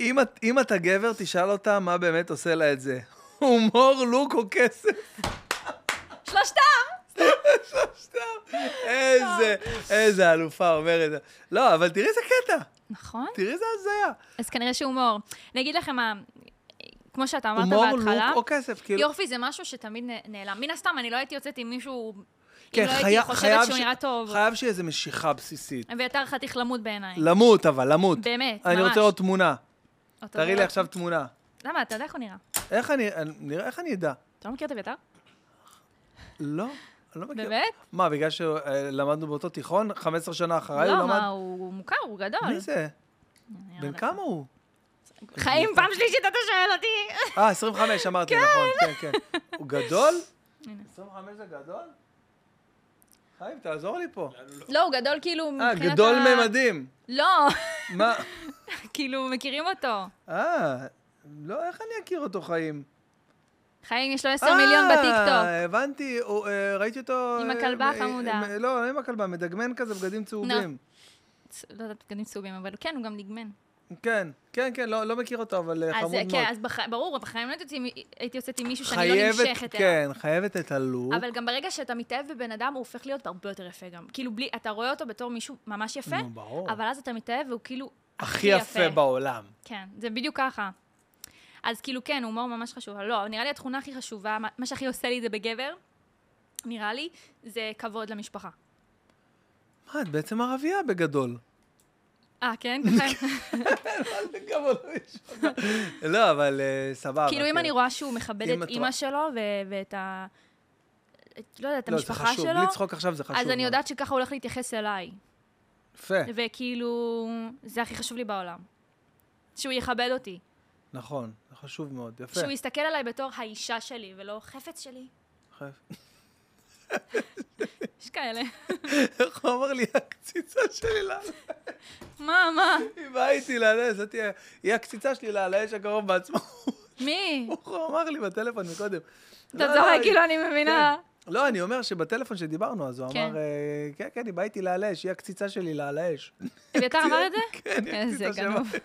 [SPEAKER 1] אם את- אם אתה גבר, תשאל אותה מה באמת עושה לה את זה. הומור, לוק או כסף?
[SPEAKER 2] שלושתם!
[SPEAKER 1] סתם.
[SPEAKER 2] לא.
[SPEAKER 1] איזה, איזה אלופה אומרת. לא, אבל תראי איזה קטע.
[SPEAKER 2] נכון?
[SPEAKER 1] תראי איזה הזיה.
[SPEAKER 2] אז כנראה שהומור. אני אגיד לכם מה, כמו שאתה אמרת
[SPEAKER 1] הומור,
[SPEAKER 2] בהתחלה,
[SPEAKER 1] לוק או כסף, כאילו.
[SPEAKER 2] יורפי זה משהו שתמיד נ- נעלם. מן הסתם, אני לא הייתי יוצאת עם מישהו,
[SPEAKER 1] כן,
[SPEAKER 2] אם לא
[SPEAKER 1] חייב-
[SPEAKER 2] הייתי
[SPEAKER 1] חייב
[SPEAKER 2] חושבת שהוא
[SPEAKER 1] ש-
[SPEAKER 2] נראה טוב.
[SPEAKER 1] חייב לא, שיהיה איזה משיכה בסיסית.
[SPEAKER 2] ויותר חתיך למות בעיניי.
[SPEAKER 1] למות, אבל, למות.
[SPEAKER 2] באמת,
[SPEAKER 1] אני
[SPEAKER 2] ממש.
[SPEAKER 1] רוצה עוד תמונה.
[SPEAKER 2] אותו
[SPEAKER 1] תראי לי
[SPEAKER 2] דבר.
[SPEAKER 1] עכשיו תמונה.
[SPEAKER 2] למה, אתה יודע איך הוא נראה.
[SPEAKER 1] איך אני, אני- נראה איך אני אדע?
[SPEAKER 2] אתה לא מכיר את אביתר?
[SPEAKER 1] אוקיי. לא, אני לא מכיר.
[SPEAKER 2] באמת?
[SPEAKER 1] מה, בגלל שלמדנו באותו תיכון, 15 שנה אחריי הוא
[SPEAKER 2] לא,
[SPEAKER 1] למד?
[SPEAKER 2] מה, הוא מוכר, הוא גדול.
[SPEAKER 1] מי זה?
[SPEAKER 2] אני לא
[SPEAKER 1] בן
[SPEAKER 2] יודעת.
[SPEAKER 1] כמה הוא?
[SPEAKER 2] חיים, פעם שלישית אתה שואל אותי.
[SPEAKER 1] אה, 25 אמרתי, נכון, כן, כן. הוא גדול?
[SPEAKER 2] הנה.
[SPEAKER 1] 25 זה גדול? חיים, תעזור לי פה.
[SPEAKER 2] לא, הוא גדול כאילו
[SPEAKER 1] אה,
[SPEAKER 2] מבחינת ה...
[SPEAKER 1] גדול ממדים.
[SPEAKER 2] לא,
[SPEAKER 1] מה?
[SPEAKER 2] כאילו, מכירים אותו.
[SPEAKER 1] אה, לא, איך אני אכיר אותו, חיים?
[SPEAKER 2] חיים, יש לו 10 מיליון בטיקטוק.
[SPEAKER 1] אה, הבנתי, הוא, אה, ראיתי אותו...
[SPEAKER 2] עם
[SPEAKER 1] אה,
[SPEAKER 2] הכלבה
[SPEAKER 1] אה,
[SPEAKER 2] החמודה.
[SPEAKER 1] אה, לא, לא עם הכלבה, מדגמן כזה, בגדים צהובים.
[SPEAKER 2] צ- לא יודעת בגדים צהובים, אבל כן, הוא גם ניגמן.
[SPEAKER 1] כן, כן, כן, לא לא מכיר אותו, אבל אה,
[SPEAKER 2] אז
[SPEAKER 1] חמוד
[SPEAKER 2] אה,
[SPEAKER 1] מאוד.
[SPEAKER 2] כן, אז בח- ברור, בחיים לא הייתי יוצאת עם- הייתי יוצאת עם מישהו שאני לא
[SPEAKER 1] חייבת,
[SPEAKER 2] נמשכת אליו.
[SPEAKER 1] כן, חייבת את הלוק.
[SPEAKER 2] אבל גם ברגע שאתה מתאהב בבן אדם, הוא הופך להיות הרבה יותר יפה גם. כאילו, בלי, אתה רואה אותו בתור מישהו ממש יפה,
[SPEAKER 1] נו, ברור.
[SPEAKER 2] אבל אז אתה מתאהב והוא כאילו
[SPEAKER 1] הכי יפה בעולם.
[SPEAKER 2] כן, זה בדיוק ככה. אז כאילו, כן, הומור ממש חשוב. אבל לא, אבל נראה לי התכונה הכי חשובה, מה- מה שהכי עושה לי את זה בגבר, נראה לי, זה כבוד למשפחה.
[SPEAKER 1] מה, את בעצם ערבייה בגדול.
[SPEAKER 2] אה, כן? ככה?
[SPEAKER 1] לא, אבל אה, סבבה.
[SPEAKER 2] כאילו, אם
[SPEAKER 1] כן.
[SPEAKER 2] אני רואה שהוא מכבד
[SPEAKER 1] אם
[SPEAKER 2] את
[SPEAKER 1] את
[SPEAKER 2] אימא
[SPEAKER 1] רואה-
[SPEAKER 2] שלו ו- ואת ה... את- לא יודעת, את
[SPEAKER 1] לא, זה
[SPEAKER 2] המשפחה
[SPEAKER 1] חשוב,
[SPEAKER 2] שלו,
[SPEAKER 1] בלי צחוק עכשיו זה חשוב.
[SPEAKER 2] אז אני
[SPEAKER 1] מאוד.
[SPEAKER 2] יודעת שככה הוא הולך להתייחס אליי.
[SPEAKER 1] יפה,
[SPEAKER 2] וכאילו, זה הכי חשוב לי בעולם. שהוא יכבד אותי.
[SPEAKER 1] נכון, זה חשוב מאוד, יפה.
[SPEAKER 2] שהוא יסתכל עליי בתור האישה שלי, ולא חפץ שלי.
[SPEAKER 1] יפה.
[SPEAKER 2] יש כאלה.
[SPEAKER 1] איך הוא אמר לי, הקציצה שלי לעלה.
[SPEAKER 2] מה, מה?
[SPEAKER 1] היא באה איתי לעלה, לא, זאת תהיה, היא הקציצה שלי לעלה, יש הקרוב בעצמו.
[SPEAKER 2] מי?
[SPEAKER 1] הוא אמר לי בטלפון מקודם.
[SPEAKER 2] אתה
[SPEAKER 1] לא, לא,
[SPEAKER 2] צוחק,
[SPEAKER 1] היא-
[SPEAKER 2] כאילו, אני מבינה.
[SPEAKER 1] לא, אני אומר שבטלפון שדיברנו, אז הוא
[SPEAKER 2] כן.
[SPEAKER 1] אמר, אה, כן, כן, היא באה איתי לעלה אש, היא הקציצה שלי לעלה אש.
[SPEAKER 2] אביתר אמר את זה?
[SPEAKER 1] כן, היא
[SPEAKER 2] איזה
[SPEAKER 1] הקציצה
[SPEAKER 2] גנוב.
[SPEAKER 1] שלה.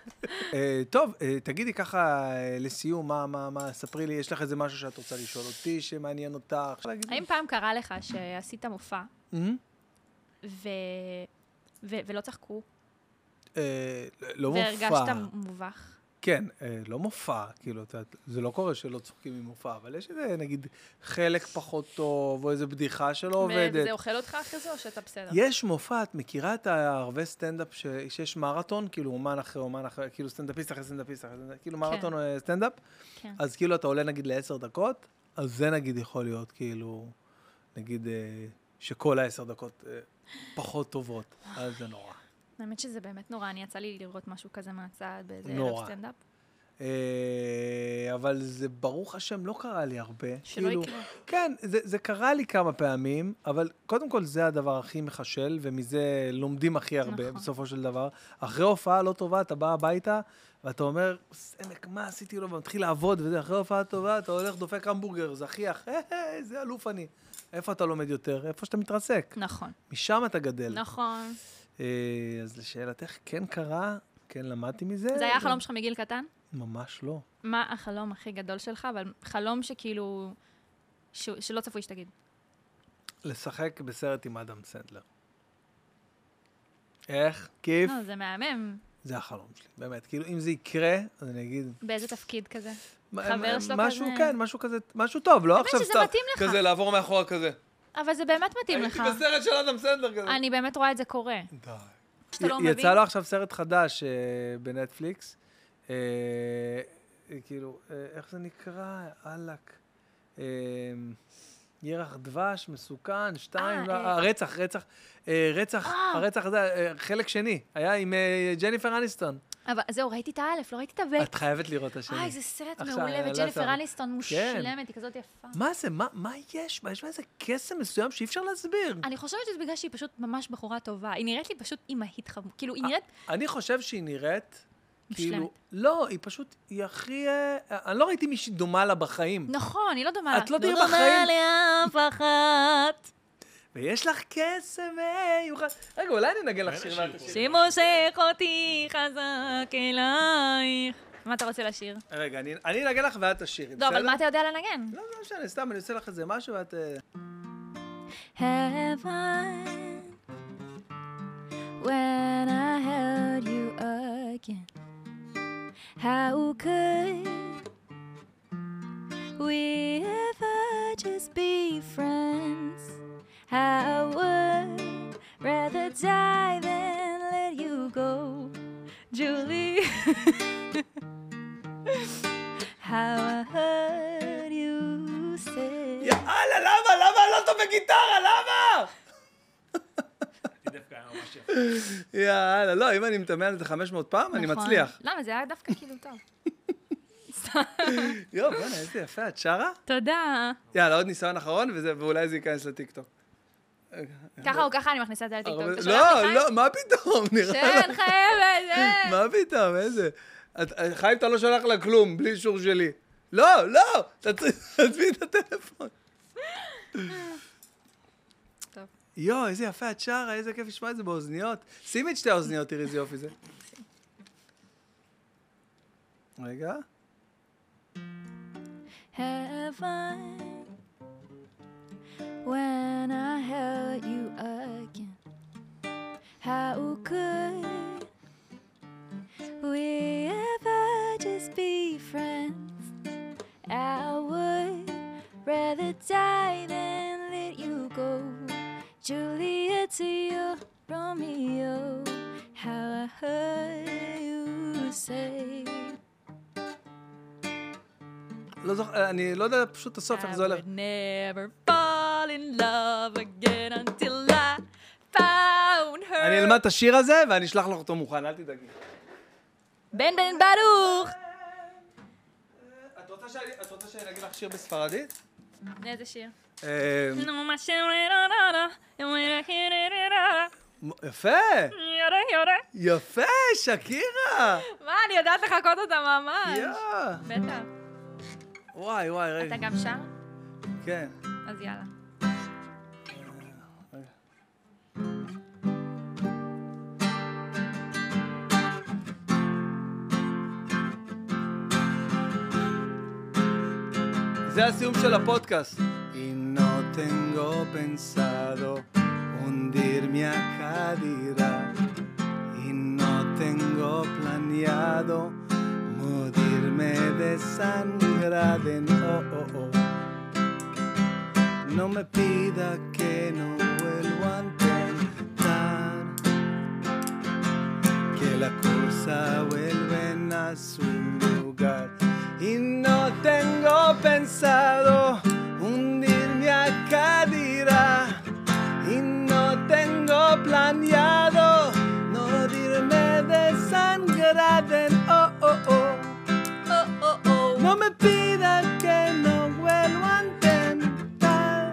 [SPEAKER 1] אה, טוב, אה, תגידי ככה אה, לסיום, מה, מה, מה, ספרי לי, יש לך איזה משהו שאת רוצה לשאול אותי, שמעניין אותך? אפשר להגיד לי?
[SPEAKER 2] האם פעם קרה לך שעשית מופע
[SPEAKER 1] אה?
[SPEAKER 2] ו... ו... ולא צחקו?
[SPEAKER 1] אה, לא מופע.
[SPEAKER 2] והרגשת מובך?
[SPEAKER 1] כן, אה, לא מופע, כאילו, את יודעת, זה לא קורה שלא צוחקים ממופע, אבל יש איזה, נגיד, חלק פחות טוב, או איזה בדיחה שלא עובדת.
[SPEAKER 2] וזה אוכל אותך אחרי זה, או שאתה בסדר?
[SPEAKER 1] יש מופע, את מכירה את הערבי סטנדאפ ש... שיש מרתון, כאילו אומן אחרי אומן אחרי, כאילו סטנדאפיסט אחרי סטנדאפיסט אחרי סטנדאפיסט, כאילו מרתון אה, סטנדאפ,
[SPEAKER 2] כן.
[SPEAKER 1] אז כאילו אתה עולה נגיד לעשר דקות, אז זה נגיד יכול להיות כאילו, נגיד, אה, שכל העשר דקות אה, פחות טובות, אז זה נורא.
[SPEAKER 2] האמת שזה באמת נורא, אני יצא לי לראות משהו כזה מהצד באיזה ערב
[SPEAKER 1] נורא.
[SPEAKER 2] סטנדאפ.
[SPEAKER 1] אה, אבל זה, ברוך השם, לא קרה לי הרבה.
[SPEAKER 2] שלא
[SPEAKER 1] כאילו,
[SPEAKER 2] יקרה.
[SPEAKER 1] כן, זה, זה קרה לי כמה פעמים, אבל קודם כל זה הדבר הכי מחשל, ומזה לומדים הכי הרבה,
[SPEAKER 2] נכון.
[SPEAKER 1] נכון. בסופו של דבר. אחרי הופעה לא טובה, אתה בא הביתה, ואתה אומר, סמק, מה עשיתי לו? ומתחיל לעבוד, וזה, אחרי הופעה טובה, אתה הולך, דופק המבורגר, זכיח, "אה, אה, איזה אלוף אני. איפה אתה לומד יותר? איפה שאתה מתרסק.
[SPEAKER 2] נכון.
[SPEAKER 1] משם אתה גדל.
[SPEAKER 2] נכון.
[SPEAKER 1] אה, אז לשאלתך, כן קרה, כן למדתי מזה.
[SPEAKER 2] זה היה החלום שלך מגיל קטן?
[SPEAKER 1] ממש לא.
[SPEAKER 2] מה החלום הכי גדול שלך, אבל חלום שכאילו... ש- שלא צפוי שתגיד.
[SPEAKER 1] לשחק בסרט עם אדם סנדלר. איך? כיף.
[SPEAKER 2] לא, זה מהמם.
[SPEAKER 1] זה החלום שלי, באמת. כאילו, אם זה יקרה, אז אני אגיד...
[SPEAKER 2] באיזה תפקיד כזה?
[SPEAKER 1] מה-
[SPEAKER 2] חבר
[SPEAKER 1] מה-
[SPEAKER 2] שלו
[SPEAKER 1] משהו,
[SPEAKER 2] כזה.
[SPEAKER 1] כן, משהו כזה, משהו טוב, לא עכשיו
[SPEAKER 2] שזה
[SPEAKER 1] סתם.
[SPEAKER 2] מתאים לך.
[SPEAKER 1] כזה לעבור מאחורה כזה.
[SPEAKER 2] אבל זה באמת מתאים לך.
[SPEAKER 1] הייתי בסרט של אדם סנדלר כזה.
[SPEAKER 2] אני באמת רואה את זה קורה.
[SPEAKER 1] די.
[SPEAKER 2] שאתה לא
[SPEAKER 1] י-
[SPEAKER 2] מבין.
[SPEAKER 1] יצא לו עכשיו סרט חדש אה, בנטפליקס. אה, אה, כאילו, אה, איך זה נקרא? אהלק. אה, ירח דבש, מסוכן, שתיים, לא-
[SPEAKER 2] אה, אה.
[SPEAKER 1] אה, רצח, רצח, אה, רצח, הרצח הזה, אה, חלק שני, היה עם אה, ג'ניפר אניסטון.
[SPEAKER 2] אבל זהו, ראיתי את האלף, לא ראיתי את הבית.
[SPEAKER 1] את חייבת לראות את השני.
[SPEAKER 2] וואי, זה אה, סרט
[SPEAKER 1] עכשיו,
[SPEAKER 2] מעולה,
[SPEAKER 1] אני לא
[SPEAKER 2] וג'ניפר
[SPEAKER 1] שם.
[SPEAKER 2] אניסטון מושלמת, היא כזאת יפה.
[SPEAKER 1] מה זה? מה, מה יש? מה, יש בה איזה קסם מסוים שאי אפשר להסביר.
[SPEAKER 2] אני חושבת שזה בגלל שהיא פשוט ממש בחורה טובה. היא נראית לי פשוט אימהית חמורה. כאילו,
[SPEAKER 1] אה,
[SPEAKER 2] היא נראית...
[SPEAKER 1] אני חושב שהיא נראית...
[SPEAKER 2] מושלמת.
[SPEAKER 1] כאילו, לא, היא פשוט, היא הכי... אה, אני לא ראיתי מישהי דומה לה בחיים.
[SPEAKER 2] נכון, היא לא דומה לה.
[SPEAKER 1] את לא תראי בחיים.
[SPEAKER 2] לאף אחת.
[SPEAKER 1] ויש לך קסם, היי, הוא ח- רגע, אולי אני אנגן לך
[SPEAKER 3] אין
[SPEAKER 1] שיר.
[SPEAKER 3] לה
[SPEAKER 1] ואת
[SPEAKER 3] שיר
[SPEAKER 1] תשאירי.
[SPEAKER 2] שמושך אותי חזק אלייך. מה אתה רוצה לשיר?
[SPEAKER 1] רגע, אני אני אנגן לך ואת תשאירי,
[SPEAKER 2] לא,
[SPEAKER 1] בסדר?
[SPEAKER 2] אבל מה אתה יודע לנגן?
[SPEAKER 1] לא, לא משנה, סתם, אני עושה לך איזה משהו ואת... אה,
[SPEAKER 5] heaven when I held you again. How could we ever just be friends? I would rather die than let you go, Julie. How I heard you say.
[SPEAKER 1] יאללה, למה? למה אני לא טוב בגיטרה? למה?
[SPEAKER 3] היא דווקא היה אה, ממש יפה.
[SPEAKER 1] יאללה, לא, אם אני מתאמן על זה 500 פעם, אני
[SPEAKER 2] נכון.
[SPEAKER 1] מצליח.
[SPEAKER 2] למה? זה היה דווקא כאילו טוב.
[SPEAKER 1] יואו, בוא'נה, איזה יפה, את שרה?
[SPEAKER 2] תודה.
[SPEAKER 1] יאללה, עוד ניסיון אחרון, וזה- ואולי זה ייכנס לטיקטוק.
[SPEAKER 2] ככה או ככה אני מכניסה את זה לטיקטוק. אתה שולח לי
[SPEAKER 1] לא,
[SPEAKER 2] חיים?
[SPEAKER 1] לא, מה פתאום? נראה
[SPEAKER 2] כן,
[SPEAKER 1] לך...
[SPEAKER 2] חייבת, אה.
[SPEAKER 1] מה פתאום, איזה... את- חיים, אתה לא שולח לה כלום, בלי אישור שלי. לא, לא! תצ- תעזבי את הטלפון.
[SPEAKER 2] טוב.
[SPEAKER 1] יואו, איזה יפה את שרה, איזה כיף לשמוע את זה באוזניות. שימי את שתי האוזניות, תראי איזה יופי זה. רגע.
[SPEAKER 5] Have I when I held you again? How could we ever just be friends? I would rather die than let you go. Juliet to your Romeo, how I heard you say.
[SPEAKER 1] לא זוכר, אני לא יודע פשוט את הסוף, איך זה
[SPEAKER 2] I
[SPEAKER 1] הולך.
[SPEAKER 2] would never fall in love again until I found her.
[SPEAKER 1] אני אלמד את השיר הזה ואני אשלח לך אותו מוכן, אל תדאגי.
[SPEAKER 2] בן בן ברוך!
[SPEAKER 1] את רוצה שאני אגיד לך שיר בספרדית?
[SPEAKER 2] איזה שיר?
[SPEAKER 1] אה,
[SPEAKER 2] נו, מה שאומר, לא, לא, לא, אומר, כן, לא, לא, לא,
[SPEAKER 1] יפה,
[SPEAKER 2] יורה, יורה.
[SPEAKER 1] יפה, שקירה.
[SPEAKER 2] מה, אני יודעת לחכות אותה ממש.
[SPEAKER 1] יאה.
[SPEAKER 2] בטח.
[SPEAKER 1] וואי, וואי, רגע.
[SPEAKER 2] אתה גם שר?
[SPEAKER 1] כן.
[SPEAKER 2] אז יאללה.
[SPEAKER 1] זה הסיום של הפודקאסט. Y no tengo pensado hundirme a caridad. Y no tengo planeado morirme desangrado. en- Oh, oh, oh. No me pida que no vuelva a intentar que la cosa vuelven a su lugar. Y no tengo pensado hundirme a cadira. Y no tengo planeado no morirme desangrada. en- Oh, oh, oh. No me pida que no vuelva a intentar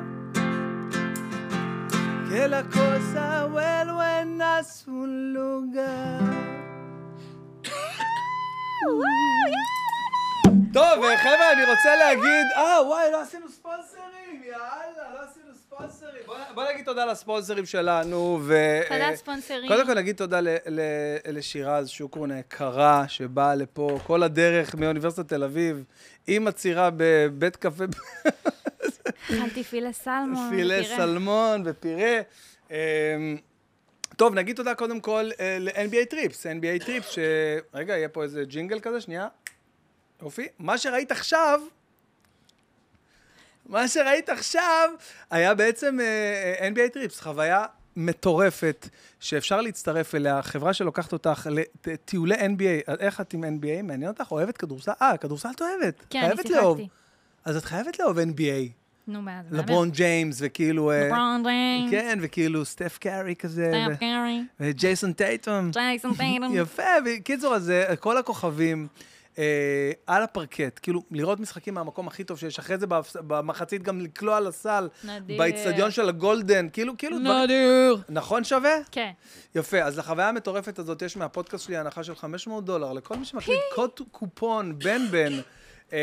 [SPEAKER 1] que la cosa vuelven a su lugar. טוב, אה, חבר'ה, אני רוצה להגיד... אה, וואי, לא עשינו ספונסרים, יאללה, לא עשינו ספונסרים. בוא נ- בוא נגיד תודה לספונסרים שלנו, ו...
[SPEAKER 2] תודה,
[SPEAKER 1] אה,
[SPEAKER 2] ספונסרים.
[SPEAKER 1] קודם כל נגיד תודה ל- ל- לשירז שוקרון היקרה, שבאה לפה כל הדרך מאוניברסיטת תל אביב, עם עצירה בבית קפה
[SPEAKER 2] אכלתי פילה סלמון.
[SPEAKER 1] פילה
[SPEAKER 2] תראה.
[SPEAKER 1] סלמון ופירה. אמ, טוב, נגיד תודה קודם כל אה, ל-NBA טריפס, NBA טריפס, ש... רגע, יהיה פה איזה ג'ינגל כזה, שנייה. יופי. מה שראית עכשיו, מה שראית עכשיו, היה בעצם אה, אה, NBA טריפס, חוויה מטורפת שאפשר להצטרף אליה, חברה שלוקחת אותך לטיולי NBA. איך את עם NBA? מעניין אותך? אוהבת כדורסל? אה, כדורסל את אוהבת.
[SPEAKER 2] כן, אני
[SPEAKER 1] חייבת לאהוב.
[SPEAKER 2] שיחקתי.
[SPEAKER 1] אז את חייבת לאהוב NBA.
[SPEAKER 2] נו, מה זה?
[SPEAKER 1] לברון ג'יימס, וכאילו... אה,
[SPEAKER 2] לברון ג'יינס.
[SPEAKER 1] כן, וכאילו סטף קארי כזה, ו-
[SPEAKER 2] סטאפ קארי.
[SPEAKER 1] וג'ייסון טייטום.
[SPEAKER 2] ג'ייסון טייטום.
[SPEAKER 1] יפה, בקיצור, אז אה, כל הכוכבים אה, על הפרקט, כאילו, לראות משחקים מהמקום הכי טוב שיש, אחרי זה בהפס- במחצית גם לקלוע לסל,
[SPEAKER 2] נדיר.
[SPEAKER 1] באיצטדיון של הגולדן, כאילו, כאילו... דבר-
[SPEAKER 4] נדיר.
[SPEAKER 1] נכון שווה?
[SPEAKER 2] כן.
[SPEAKER 1] יפה, אז לחוויה המטורפת הזאת יש מהפודקאסט שלי הנחה של 500 דולר לכל מי שמקליד קוד קופון בן בן. אה,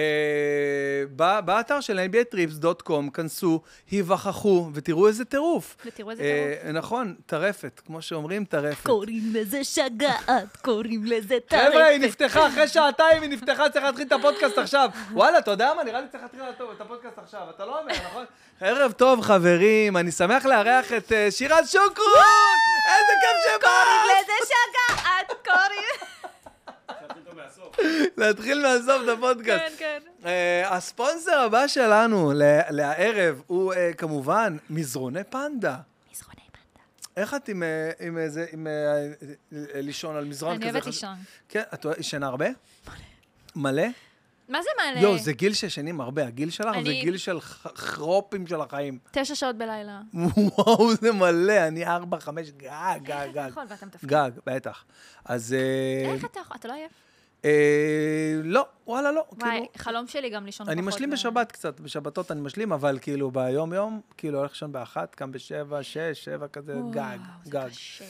[SPEAKER 1] ב- באתר של nbatrips.com, כנסו, היווכחו, ותראו איזה טירוף.
[SPEAKER 2] ותראו איזה
[SPEAKER 1] אה, נכון, טרפת, כמו שאומרים, טרפת.
[SPEAKER 5] קוראים לזה שגעת, קוראים לזה טרפת.
[SPEAKER 1] חבר'ה, היא נפתחה אחרי שעתיים, היא נפתחה, צריך להתחיל את הפודקאסט עכשיו. וואלה, אתה יודע מה? נראה לי צריך להתחיל את הפודקאסט עכשיו. אתה לא אומר, נכון? ערב טוב, חברים, אני שמח לארח את אה, שירן שוקרון! איזה כיף שבאת!
[SPEAKER 2] איזה שגעת קורי.
[SPEAKER 1] להתחיל מהסוף את הפודקאסט.
[SPEAKER 2] כן, כן.
[SPEAKER 1] אה, הספונסר הבא שלנו ל- לערב הוא אה, כמובן מזרוני פנדה.
[SPEAKER 5] מזרוני פנדה.
[SPEAKER 1] איך את עם, אה, עם איזה, עם אה, אה, אה, לישון על מזרון
[SPEAKER 2] אני
[SPEAKER 1] כזה?
[SPEAKER 2] אוהבת
[SPEAKER 1] חש-
[SPEAKER 2] לישון.
[SPEAKER 1] כן, את אוהבת- ישנה הרבה? מלא.
[SPEAKER 2] מה זה מעלה?
[SPEAKER 1] יואו, זה גיל ששנים הרבה, הגיל שלך זה
[SPEAKER 2] אני-
[SPEAKER 1] גיל של ח- חרופים של החיים.
[SPEAKER 2] תשע שעות בלילה.
[SPEAKER 1] וואו, זה מלא, אני ארבע, חמש, גג, גג,
[SPEAKER 2] איך אתה
[SPEAKER 1] גג.
[SPEAKER 2] יכול ואתה מתפקד?
[SPEAKER 1] גג, בטח. אז... אה,
[SPEAKER 2] איך אתה יכול? אתה לא עייף?
[SPEAKER 1] אה, לא, וואלה, לא.
[SPEAKER 2] וואי,
[SPEAKER 1] כאילו-
[SPEAKER 2] חלום שלי גם לישון פחות.
[SPEAKER 1] אני משלים
[SPEAKER 2] מה-
[SPEAKER 1] בשבת קצת, בשבתות אני משלים, אבל כאילו ביום-יום, כאילו הולך לישון באחת, קם בשבע, שש, שבע כזה,
[SPEAKER 2] וואו,
[SPEAKER 1] גג,
[SPEAKER 2] זה
[SPEAKER 1] גג.
[SPEAKER 2] קשה.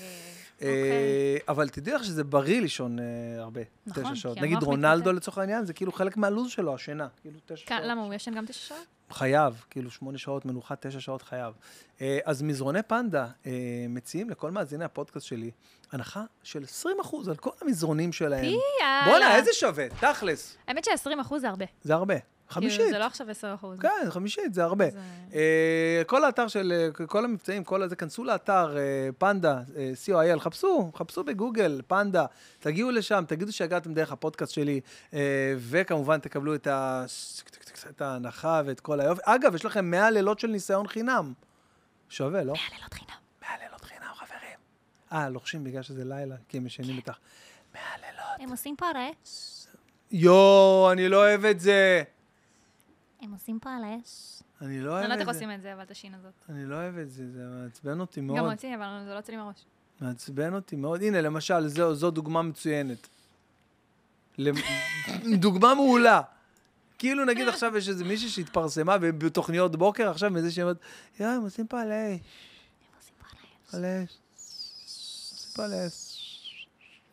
[SPEAKER 1] אה,
[SPEAKER 2] אוקיי.
[SPEAKER 1] אבל תדעי לך שזה בריא לישון אה, הרבה,
[SPEAKER 2] נכון,
[SPEAKER 1] תשע
[SPEAKER 2] כי
[SPEAKER 1] שעות.
[SPEAKER 2] המוח
[SPEAKER 1] נגיד רונלדו
[SPEAKER 2] מתמוטט.
[SPEAKER 1] לצורך העניין, זה כאילו חלק מהלו"ז שלו, השינה. כאילו תשע
[SPEAKER 2] כן,
[SPEAKER 1] שעות.
[SPEAKER 2] למה, הוא ישן גם תשע שעות?
[SPEAKER 1] חייב, כאילו שמונה שעות מנוחה, תשע שעות חייב. אה, אז מזרוני פנדה אה, מציעים לכל מאזיני הפודקאסט שלי הנחה של 20% על כל המזרונים שלהם.
[SPEAKER 2] פי יאללה.
[SPEAKER 1] בואנה, איזה שווה, תכלס,
[SPEAKER 2] האמת ש-20% זה הרבה.
[SPEAKER 1] זה הרבה.
[SPEAKER 2] כאילו,
[SPEAKER 1] חמישית.
[SPEAKER 2] זה לא עכשיו 10%.
[SPEAKER 1] כן, חמישית, זה הרבה.
[SPEAKER 2] זה-
[SPEAKER 1] אה, כל האתר של, אה, כל המבצעים, כל הזה, כנסו לאתר אה, פנדה, אה, co.il, חפשו, חפשו בגוגל, פנדה, תגיעו לשם, תגידו שהגעתם דרך הפודקאסט שלי, אה, וכמובן תקבלו את, ה... את ההנחה ואת כל היופי. אגב, יש לכם 100 לילות של ניסיון חינם. שווה, לא?
[SPEAKER 5] לילות חינם.
[SPEAKER 1] 100 לילות חינם, חברים. אה, לוחשים בגלל שזה לילה, כי הם ישנים
[SPEAKER 2] כן.
[SPEAKER 1] איתך. 100 לילות.
[SPEAKER 5] הם עושים פרה,
[SPEAKER 1] יואו, אני לא אוהב את זה.
[SPEAKER 5] הם עושים פרה.
[SPEAKER 1] אני לא אוהב
[SPEAKER 2] אני לא
[SPEAKER 1] את זה.
[SPEAKER 2] יודעת איך עושים את זה, אבל את השין הזאת.
[SPEAKER 1] אני לא אוהב את זה, זה מעצבן אותי
[SPEAKER 2] גם
[SPEAKER 1] מאוד.
[SPEAKER 2] אותי, אבל זה לא יוצא לי מהראש.
[SPEAKER 1] מעצבן אותי מאוד. הנה, למשל, זו, זו דוגמה מצוינת. למ- דוגמה מעולה. כאילו, נגיד עכשיו יש איזה מישהי שהתפרסמה בתוכניות בוקר, עכשיו מזה שהיא אומרת, יואי, הם עושים פה על אש,
[SPEAKER 5] הם עושים פרה.
[SPEAKER 1] על אש, עושים פה על אש,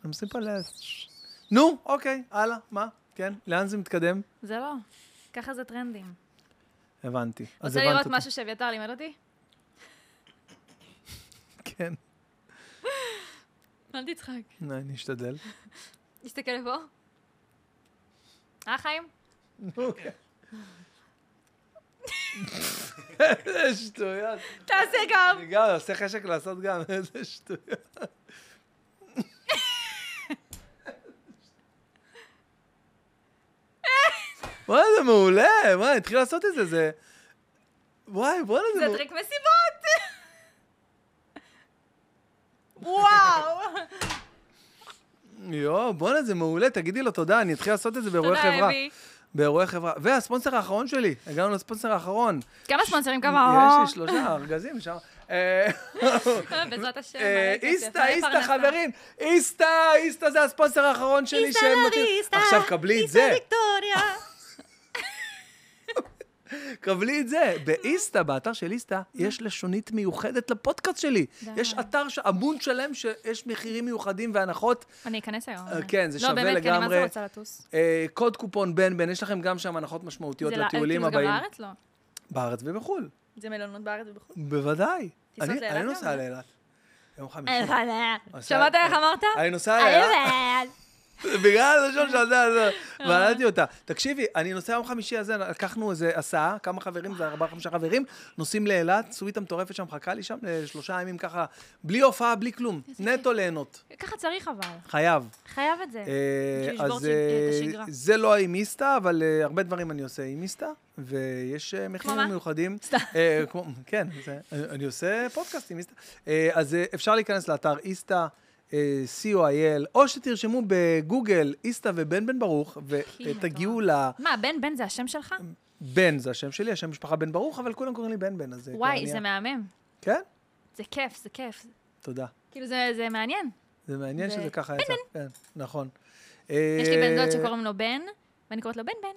[SPEAKER 1] הם עושים פה על אש. נו, אוקיי, הלאה, מה? כן, לאן זה מתקדם?
[SPEAKER 2] זה לא. ככה זה טרנדים.
[SPEAKER 1] הבנתי. אז
[SPEAKER 2] רוצה
[SPEAKER 1] הבנת
[SPEAKER 2] לראות
[SPEAKER 1] אותי.
[SPEAKER 2] משהו שאביתר לימד אותי?
[SPEAKER 1] כן,
[SPEAKER 2] אל תצחק.
[SPEAKER 1] אני אשתדל.
[SPEAKER 2] תסתכל לפה. אה, חיים?
[SPEAKER 1] איזה שטויות.
[SPEAKER 2] תעשה גם!
[SPEAKER 1] אני גם עושה חשק לעשות גם, איזה שטויות. וואי, זה מעולה, וואי, התחיל לעשות את זה, זה... וואי, בואנה, זה...
[SPEAKER 2] זה
[SPEAKER 1] מעולה.
[SPEAKER 2] טריק מסיבות! וואו!
[SPEAKER 1] יואו, בואנה, זה מעולה, תגידי לו תודה, אני אתחיל לעשות את זה באירועי
[SPEAKER 2] תודה,
[SPEAKER 1] חברה.
[SPEAKER 2] אבי.
[SPEAKER 1] באירועי חברה. והספונסר האחרון שלי, הגענו לספונסר האחרון.
[SPEAKER 2] כמה ספונסרים כמה?
[SPEAKER 1] יש לי שלושה ארגזים שם. אה,
[SPEAKER 2] בעזרת השם.
[SPEAKER 1] אה,
[SPEAKER 2] מלא כסף,
[SPEAKER 1] איסטה,
[SPEAKER 2] מלא
[SPEAKER 1] איסטה,
[SPEAKER 2] פרנסה.
[SPEAKER 1] חברים, איסטה, איסטה זה הספונסר האחרון שלי
[SPEAKER 5] איסטה
[SPEAKER 1] שהם
[SPEAKER 5] לא
[SPEAKER 1] נותנים.
[SPEAKER 5] איסטה,
[SPEAKER 1] עכשיו קבלי את
[SPEAKER 5] איסטה
[SPEAKER 1] זה,
[SPEAKER 5] ויקטוריה.
[SPEAKER 1] קבלי את זה. באיסטה, באתר של איסטה, יש לשונית מיוחדת לפודקאסט שלי.
[SPEAKER 2] די.
[SPEAKER 1] יש אתר, ש- עמוד שלם שיש מחירים מיוחדים והנחות.
[SPEAKER 2] אני אכנס היום.
[SPEAKER 1] אה, כן, זה שווה
[SPEAKER 2] לא, באמת, כי אני מה
[SPEAKER 1] לגמרי.
[SPEAKER 2] זה רוצה לטוס.
[SPEAKER 1] אה, קוד קופון בן בן, יש לכם גם שם הנחות משמעותיות
[SPEAKER 2] זה לא-
[SPEAKER 1] לטיולים
[SPEAKER 2] כאילו,
[SPEAKER 1] הבאים. אה,
[SPEAKER 2] זה גם בארץ? לא.
[SPEAKER 1] בארץ ובחו"ל,
[SPEAKER 2] זה מלונות בארץ ובחו"ל.
[SPEAKER 1] בוודאי.
[SPEAKER 2] טיסות
[SPEAKER 1] אני-
[SPEAKER 2] לאילת
[SPEAKER 1] אני
[SPEAKER 2] גם? אה,
[SPEAKER 1] נוסע לאילת. יום חמישי.
[SPEAKER 5] אה,
[SPEAKER 1] נוסע-
[SPEAKER 2] שמעת איך אמרת?
[SPEAKER 1] אני
[SPEAKER 2] אה,
[SPEAKER 1] נוסע לאילת. בגלל הלשון של זה, זה, ועלתי אותה. תקשיבי, אני נוסע יום חמישי הזה, לקחנו איזה הסעה, כמה חברים, זה ארבעה, חמישה חברים, נוסעים לאילת, סוויטה מטורפת שם, מחכה לי שם לשלושה ימים ככה, בלי הופעה, בלי כלום. נטו ליהנות.
[SPEAKER 2] ככה צריך אבל.
[SPEAKER 1] חייב.
[SPEAKER 2] חייב את זה.
[SPEAKER 1] אה,
[SPEAKER 2] כן. בשביל לשבור
[SPEAKER 1] אז
[SPEAKER 2] את
[SPEAKER 1] אה,
[SPEAKER 2] השגרה.
[SPEAKER 1] זה לא עם איסתא, אבל אה, הרבה דברים אני עושה עם איסתא, ויש אה,
[SPEAKER 2] מה?
[SPEAKER 1] מחירים מיוחדים.
[SPEAKER 2] סתם.
[SPEAKER 1] אה, כמו- כן, זה- אני- אני עושה פודקאסט עם איסתא. אה, אז אה, אפשר להיכנס לאתר איסתא. אה, co.il, או שתרשמו בגוגל איסתא ובן בן ברוך, אה, ותגיעו
[SPEAKER 2] מה, בן בן זה השם שלך?
[SPEAKER 1] לבן, אה, זה השם שלי, השם משפחה בן ברוך, אבל כולם קוראים לי בן בן, אז זה כבר
[SPEAKER 2] וואי,
[SPEAKER 1] נהיה-
[SPEAKER 2] זה מהמם.
[SPEAKER 1] כן?
[SPEAKER 2] זה כיף, זה כיף.
[SPEAKER 1] תודה.
[SPEAKER 2] כאילו, זה זה מעניין.
[SPEAKER 1] זה מעניין
[SPEAKER 2] זה-
[SPEAKER 1] שזה ככה יצא. כן, נכון. אה,
[SPEAKER 2] יש לי בן דוד שקוראים לו בן, ואני קוראת לו בן בן.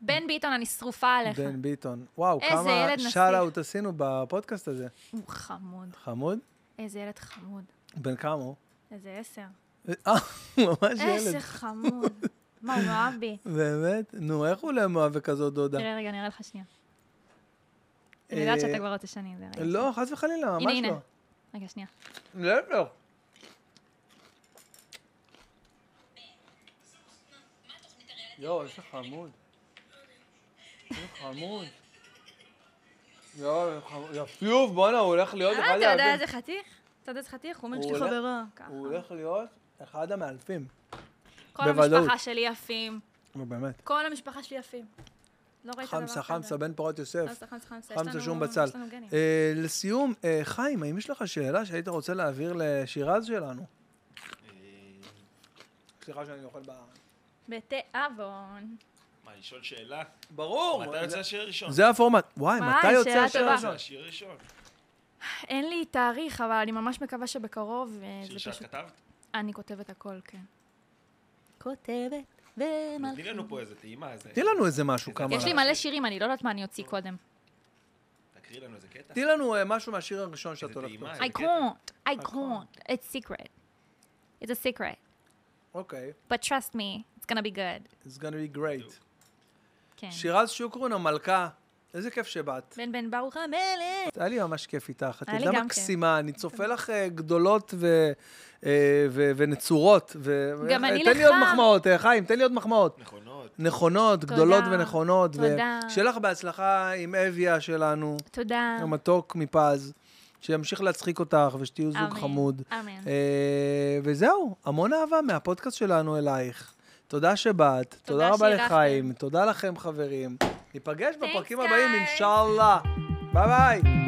[SPEAKER 2] בן ביטון, אני שרופה עליך.
[SPEAKER 1] בן ביטון. וואו,
[SPEAKER 2] איזה
[SPEAKER 1] כמה
[SPEAKER 2] ילד נסיך.
[SPEAKER 1] שאט-אאוט עשינו בפודקאסט הזה.
[SPEAKER 2] הוא חמוד.
[SPEAKER 1] חמוד?
[SPEAKER 2] איזה ילד חמוד.
[SPEAKER 1] בן כמה הוא?
[SPEAKER 2] איזה עשר.
[SPEAKER 1] אה, ממש
[SPEAKER 2] איזה
[SPEAKER 1] ילד. לא.
[SPEAKER 2] חמוד. מה, הוא מאוהב בי.
[SPEAKER 1] באמת? נו, איך הוא לא מאוהב בכזאת דודה?
[SPEAKER 2] תראה, רגע, אני אראה לך שנייה. אני
[SPEAKER 1] אה,
[SPEAKER 2] יודעת שאתה כבר לא תשני את זה. רגע.
[SPEAKER 1] לא, חס וחלילה, ממש
[SPEAKER 2] הנה,
[SPEAKER 1] לא.
[SPEAKER 2] הנה. רגע, שנייה.
[SPEAKER 1] להפך. יואו, איזה חמוד. איזה חמוד. יואו, איזה חמוד. יפיוף, בואנה, הוא הולך להיות
[SPEAKER 2] אה,
[SPEAKER 1] אחד
[SPEAKER 2] אתה יודע
[SPEAKER 1] האלפים.
[SPEAKER 2] איזה חתיך? אתה יודע איזה חתיך? הוא אומר, יש
[SPEAKER 1] הוא
[SPEAKER 2] לי
[SPEAKER 1] הולך-
[SPEAKER 2] חברה. ככה.
[SPEAKER 1] הוא הולך להיות אחד המאלפים.
[SPEAKER 2] כל
[SPEAKER 1] בוודאות.
[SPEAKER 2] המשפחה שלי יפים.
[SPEAKER 1] נו, באמת.
[SPEAKER 2] כל המשפחה שלי יפים. לא ראית דבר כזה.
[SPEAKER 1] חמסה, חמסה, בן פורת יוסף.
[SPEAKER 2] חמסה, חמסה, חמסה. יש
[SPEAKER 1] חמסה
[SPEAKER 2] לנו-
[SPEAKER 1] שום בצל.
[SPEAKER 2] יש לנו גנים.
[SPEAKER 1] אה, לסיום, אה, חיים, האם יש לך שאלה שהיית רוצה להעביר לשירז שלנו?
[SPEAKER 3] אה,
[SPEAKER 1] סליחה שאני אוכל ב...
[SPEAKER 2] בתיאבון.
[SPEAKER 3] מה, לשאול שאלה?
[SPEAKER 1] ברור!
[SPEAKER 3] מתי יוצא
[SPEAKER 1] זה-
[SPEAKER 3] השיר הראשון?
[SPEAKER 1] זה הפורמט. וואי,
[SPEAKER 2] וואי,
[SPEAKER 1] מתי יוצא
[SPEAKER 2] שאלה
[SPEAKER 1] השיר
[SPEAKER 2] טובה.
[SPEAKER 3] זה
[SPEAKER 1] הראשון?
[SPEAKER 3] השיר הראשון.
[SPEAKER 2] אין לי תאריך, אבל אני ממש מקווה שבקרוב אה,
[SPEAKER 3] שיר
[SPEAKER 2] זה
[SPEAKER 3] שאת
[SPEAKER 2] פשוט...
[SPEAKER 3] כתבת?
[SPEAKER 2] אני כותבת הכל, כן.
[SPEAKER 5] כותבת
[SPEAKER 3] תני
[SPEAKER 5] ומלכה.
[SPEAKER 3] לנו פה איזה טעימה, איזה...
[SPEAKER 1] תני לנו איזה משהו, כמה...
[SPEAKER 2] יש לי מלא שירים, אני לא יודעת מה אני אוציא קודם.
[SPEAKER 3] תקריא לנו איזה קטע.
[SPEAKER 1] תני לנו אה, משהו מהשיר הראשון שאת
[SPEAKER 3] איזה
[SPEAKER 1] הולכת.
[SPEAKER 3] טעימה.
[SPEAKER 1] לעשות.
[SPEAKER 2] I
[SPEAKER 3] קטע.
[SPEAKER 2] can't, I can't. It's secret. It's a secret.
[SPEAKER 1] אוקיי,
[SPEAKER 2] But trust me, it's gonna be good.
[SPEAKER 1] it's gonna be great.
[SPEAKER 2] כן.
[SPEAKER 1] שירז שוקרון המלכה, איזה כיף שבאת.
[SPEAKER 2] בן בן ברוך המלך.
[SPEAKER 1] היה לי ממש כיף איתך, את
[SPEAKER 2] היה לי
[SPEAKER 1] ילדה
[SPEAKER 2] גם כיף.
[SPEAKER 1] מקסימה, אני צופה לך אה, גדולות ו- אה, ו- ונצורות. ו- אה,
[SPEAKER 2] גם אני
[SPEAKER 1] תן לי עוד
[SPEAKER 2] לך.
[SPEAKER 1] מחמאות, אה, חיים, תן לי עוד מחמאות.
[SPEAKER 3] נכונות.
[SPEAKER 1] נכונות, גדולות ונכונות. ו-
[SPEAKER 2] תודה.
[SPEAKER 1] שיהיה לך בהצלחה עם אביה שלנו,
[SPEAKER 2] תודה.
[SPEAKER 1] המתוק מפז, שימשיך להצחיק אותך ושתהיו זוג
[SPEAKER 2] אמן.
[SPEAKER 1] חמוד.
[SPEAKER 2] אמן.
[SPEAKER 1] אה, וזהו, המון אהבה מהפודקאסט שלנו אלייך. תודה שבאת, תודה, תודה רבה
[SPEAKER 2] שאירחתם.
[SPEAKER 1] לחיים, תודה לכם חברים. ניפגש בפרקים
[SPEAKER 2] guys.
[SPEAKER 1] הבאים, אינשאללה. ביי ביי.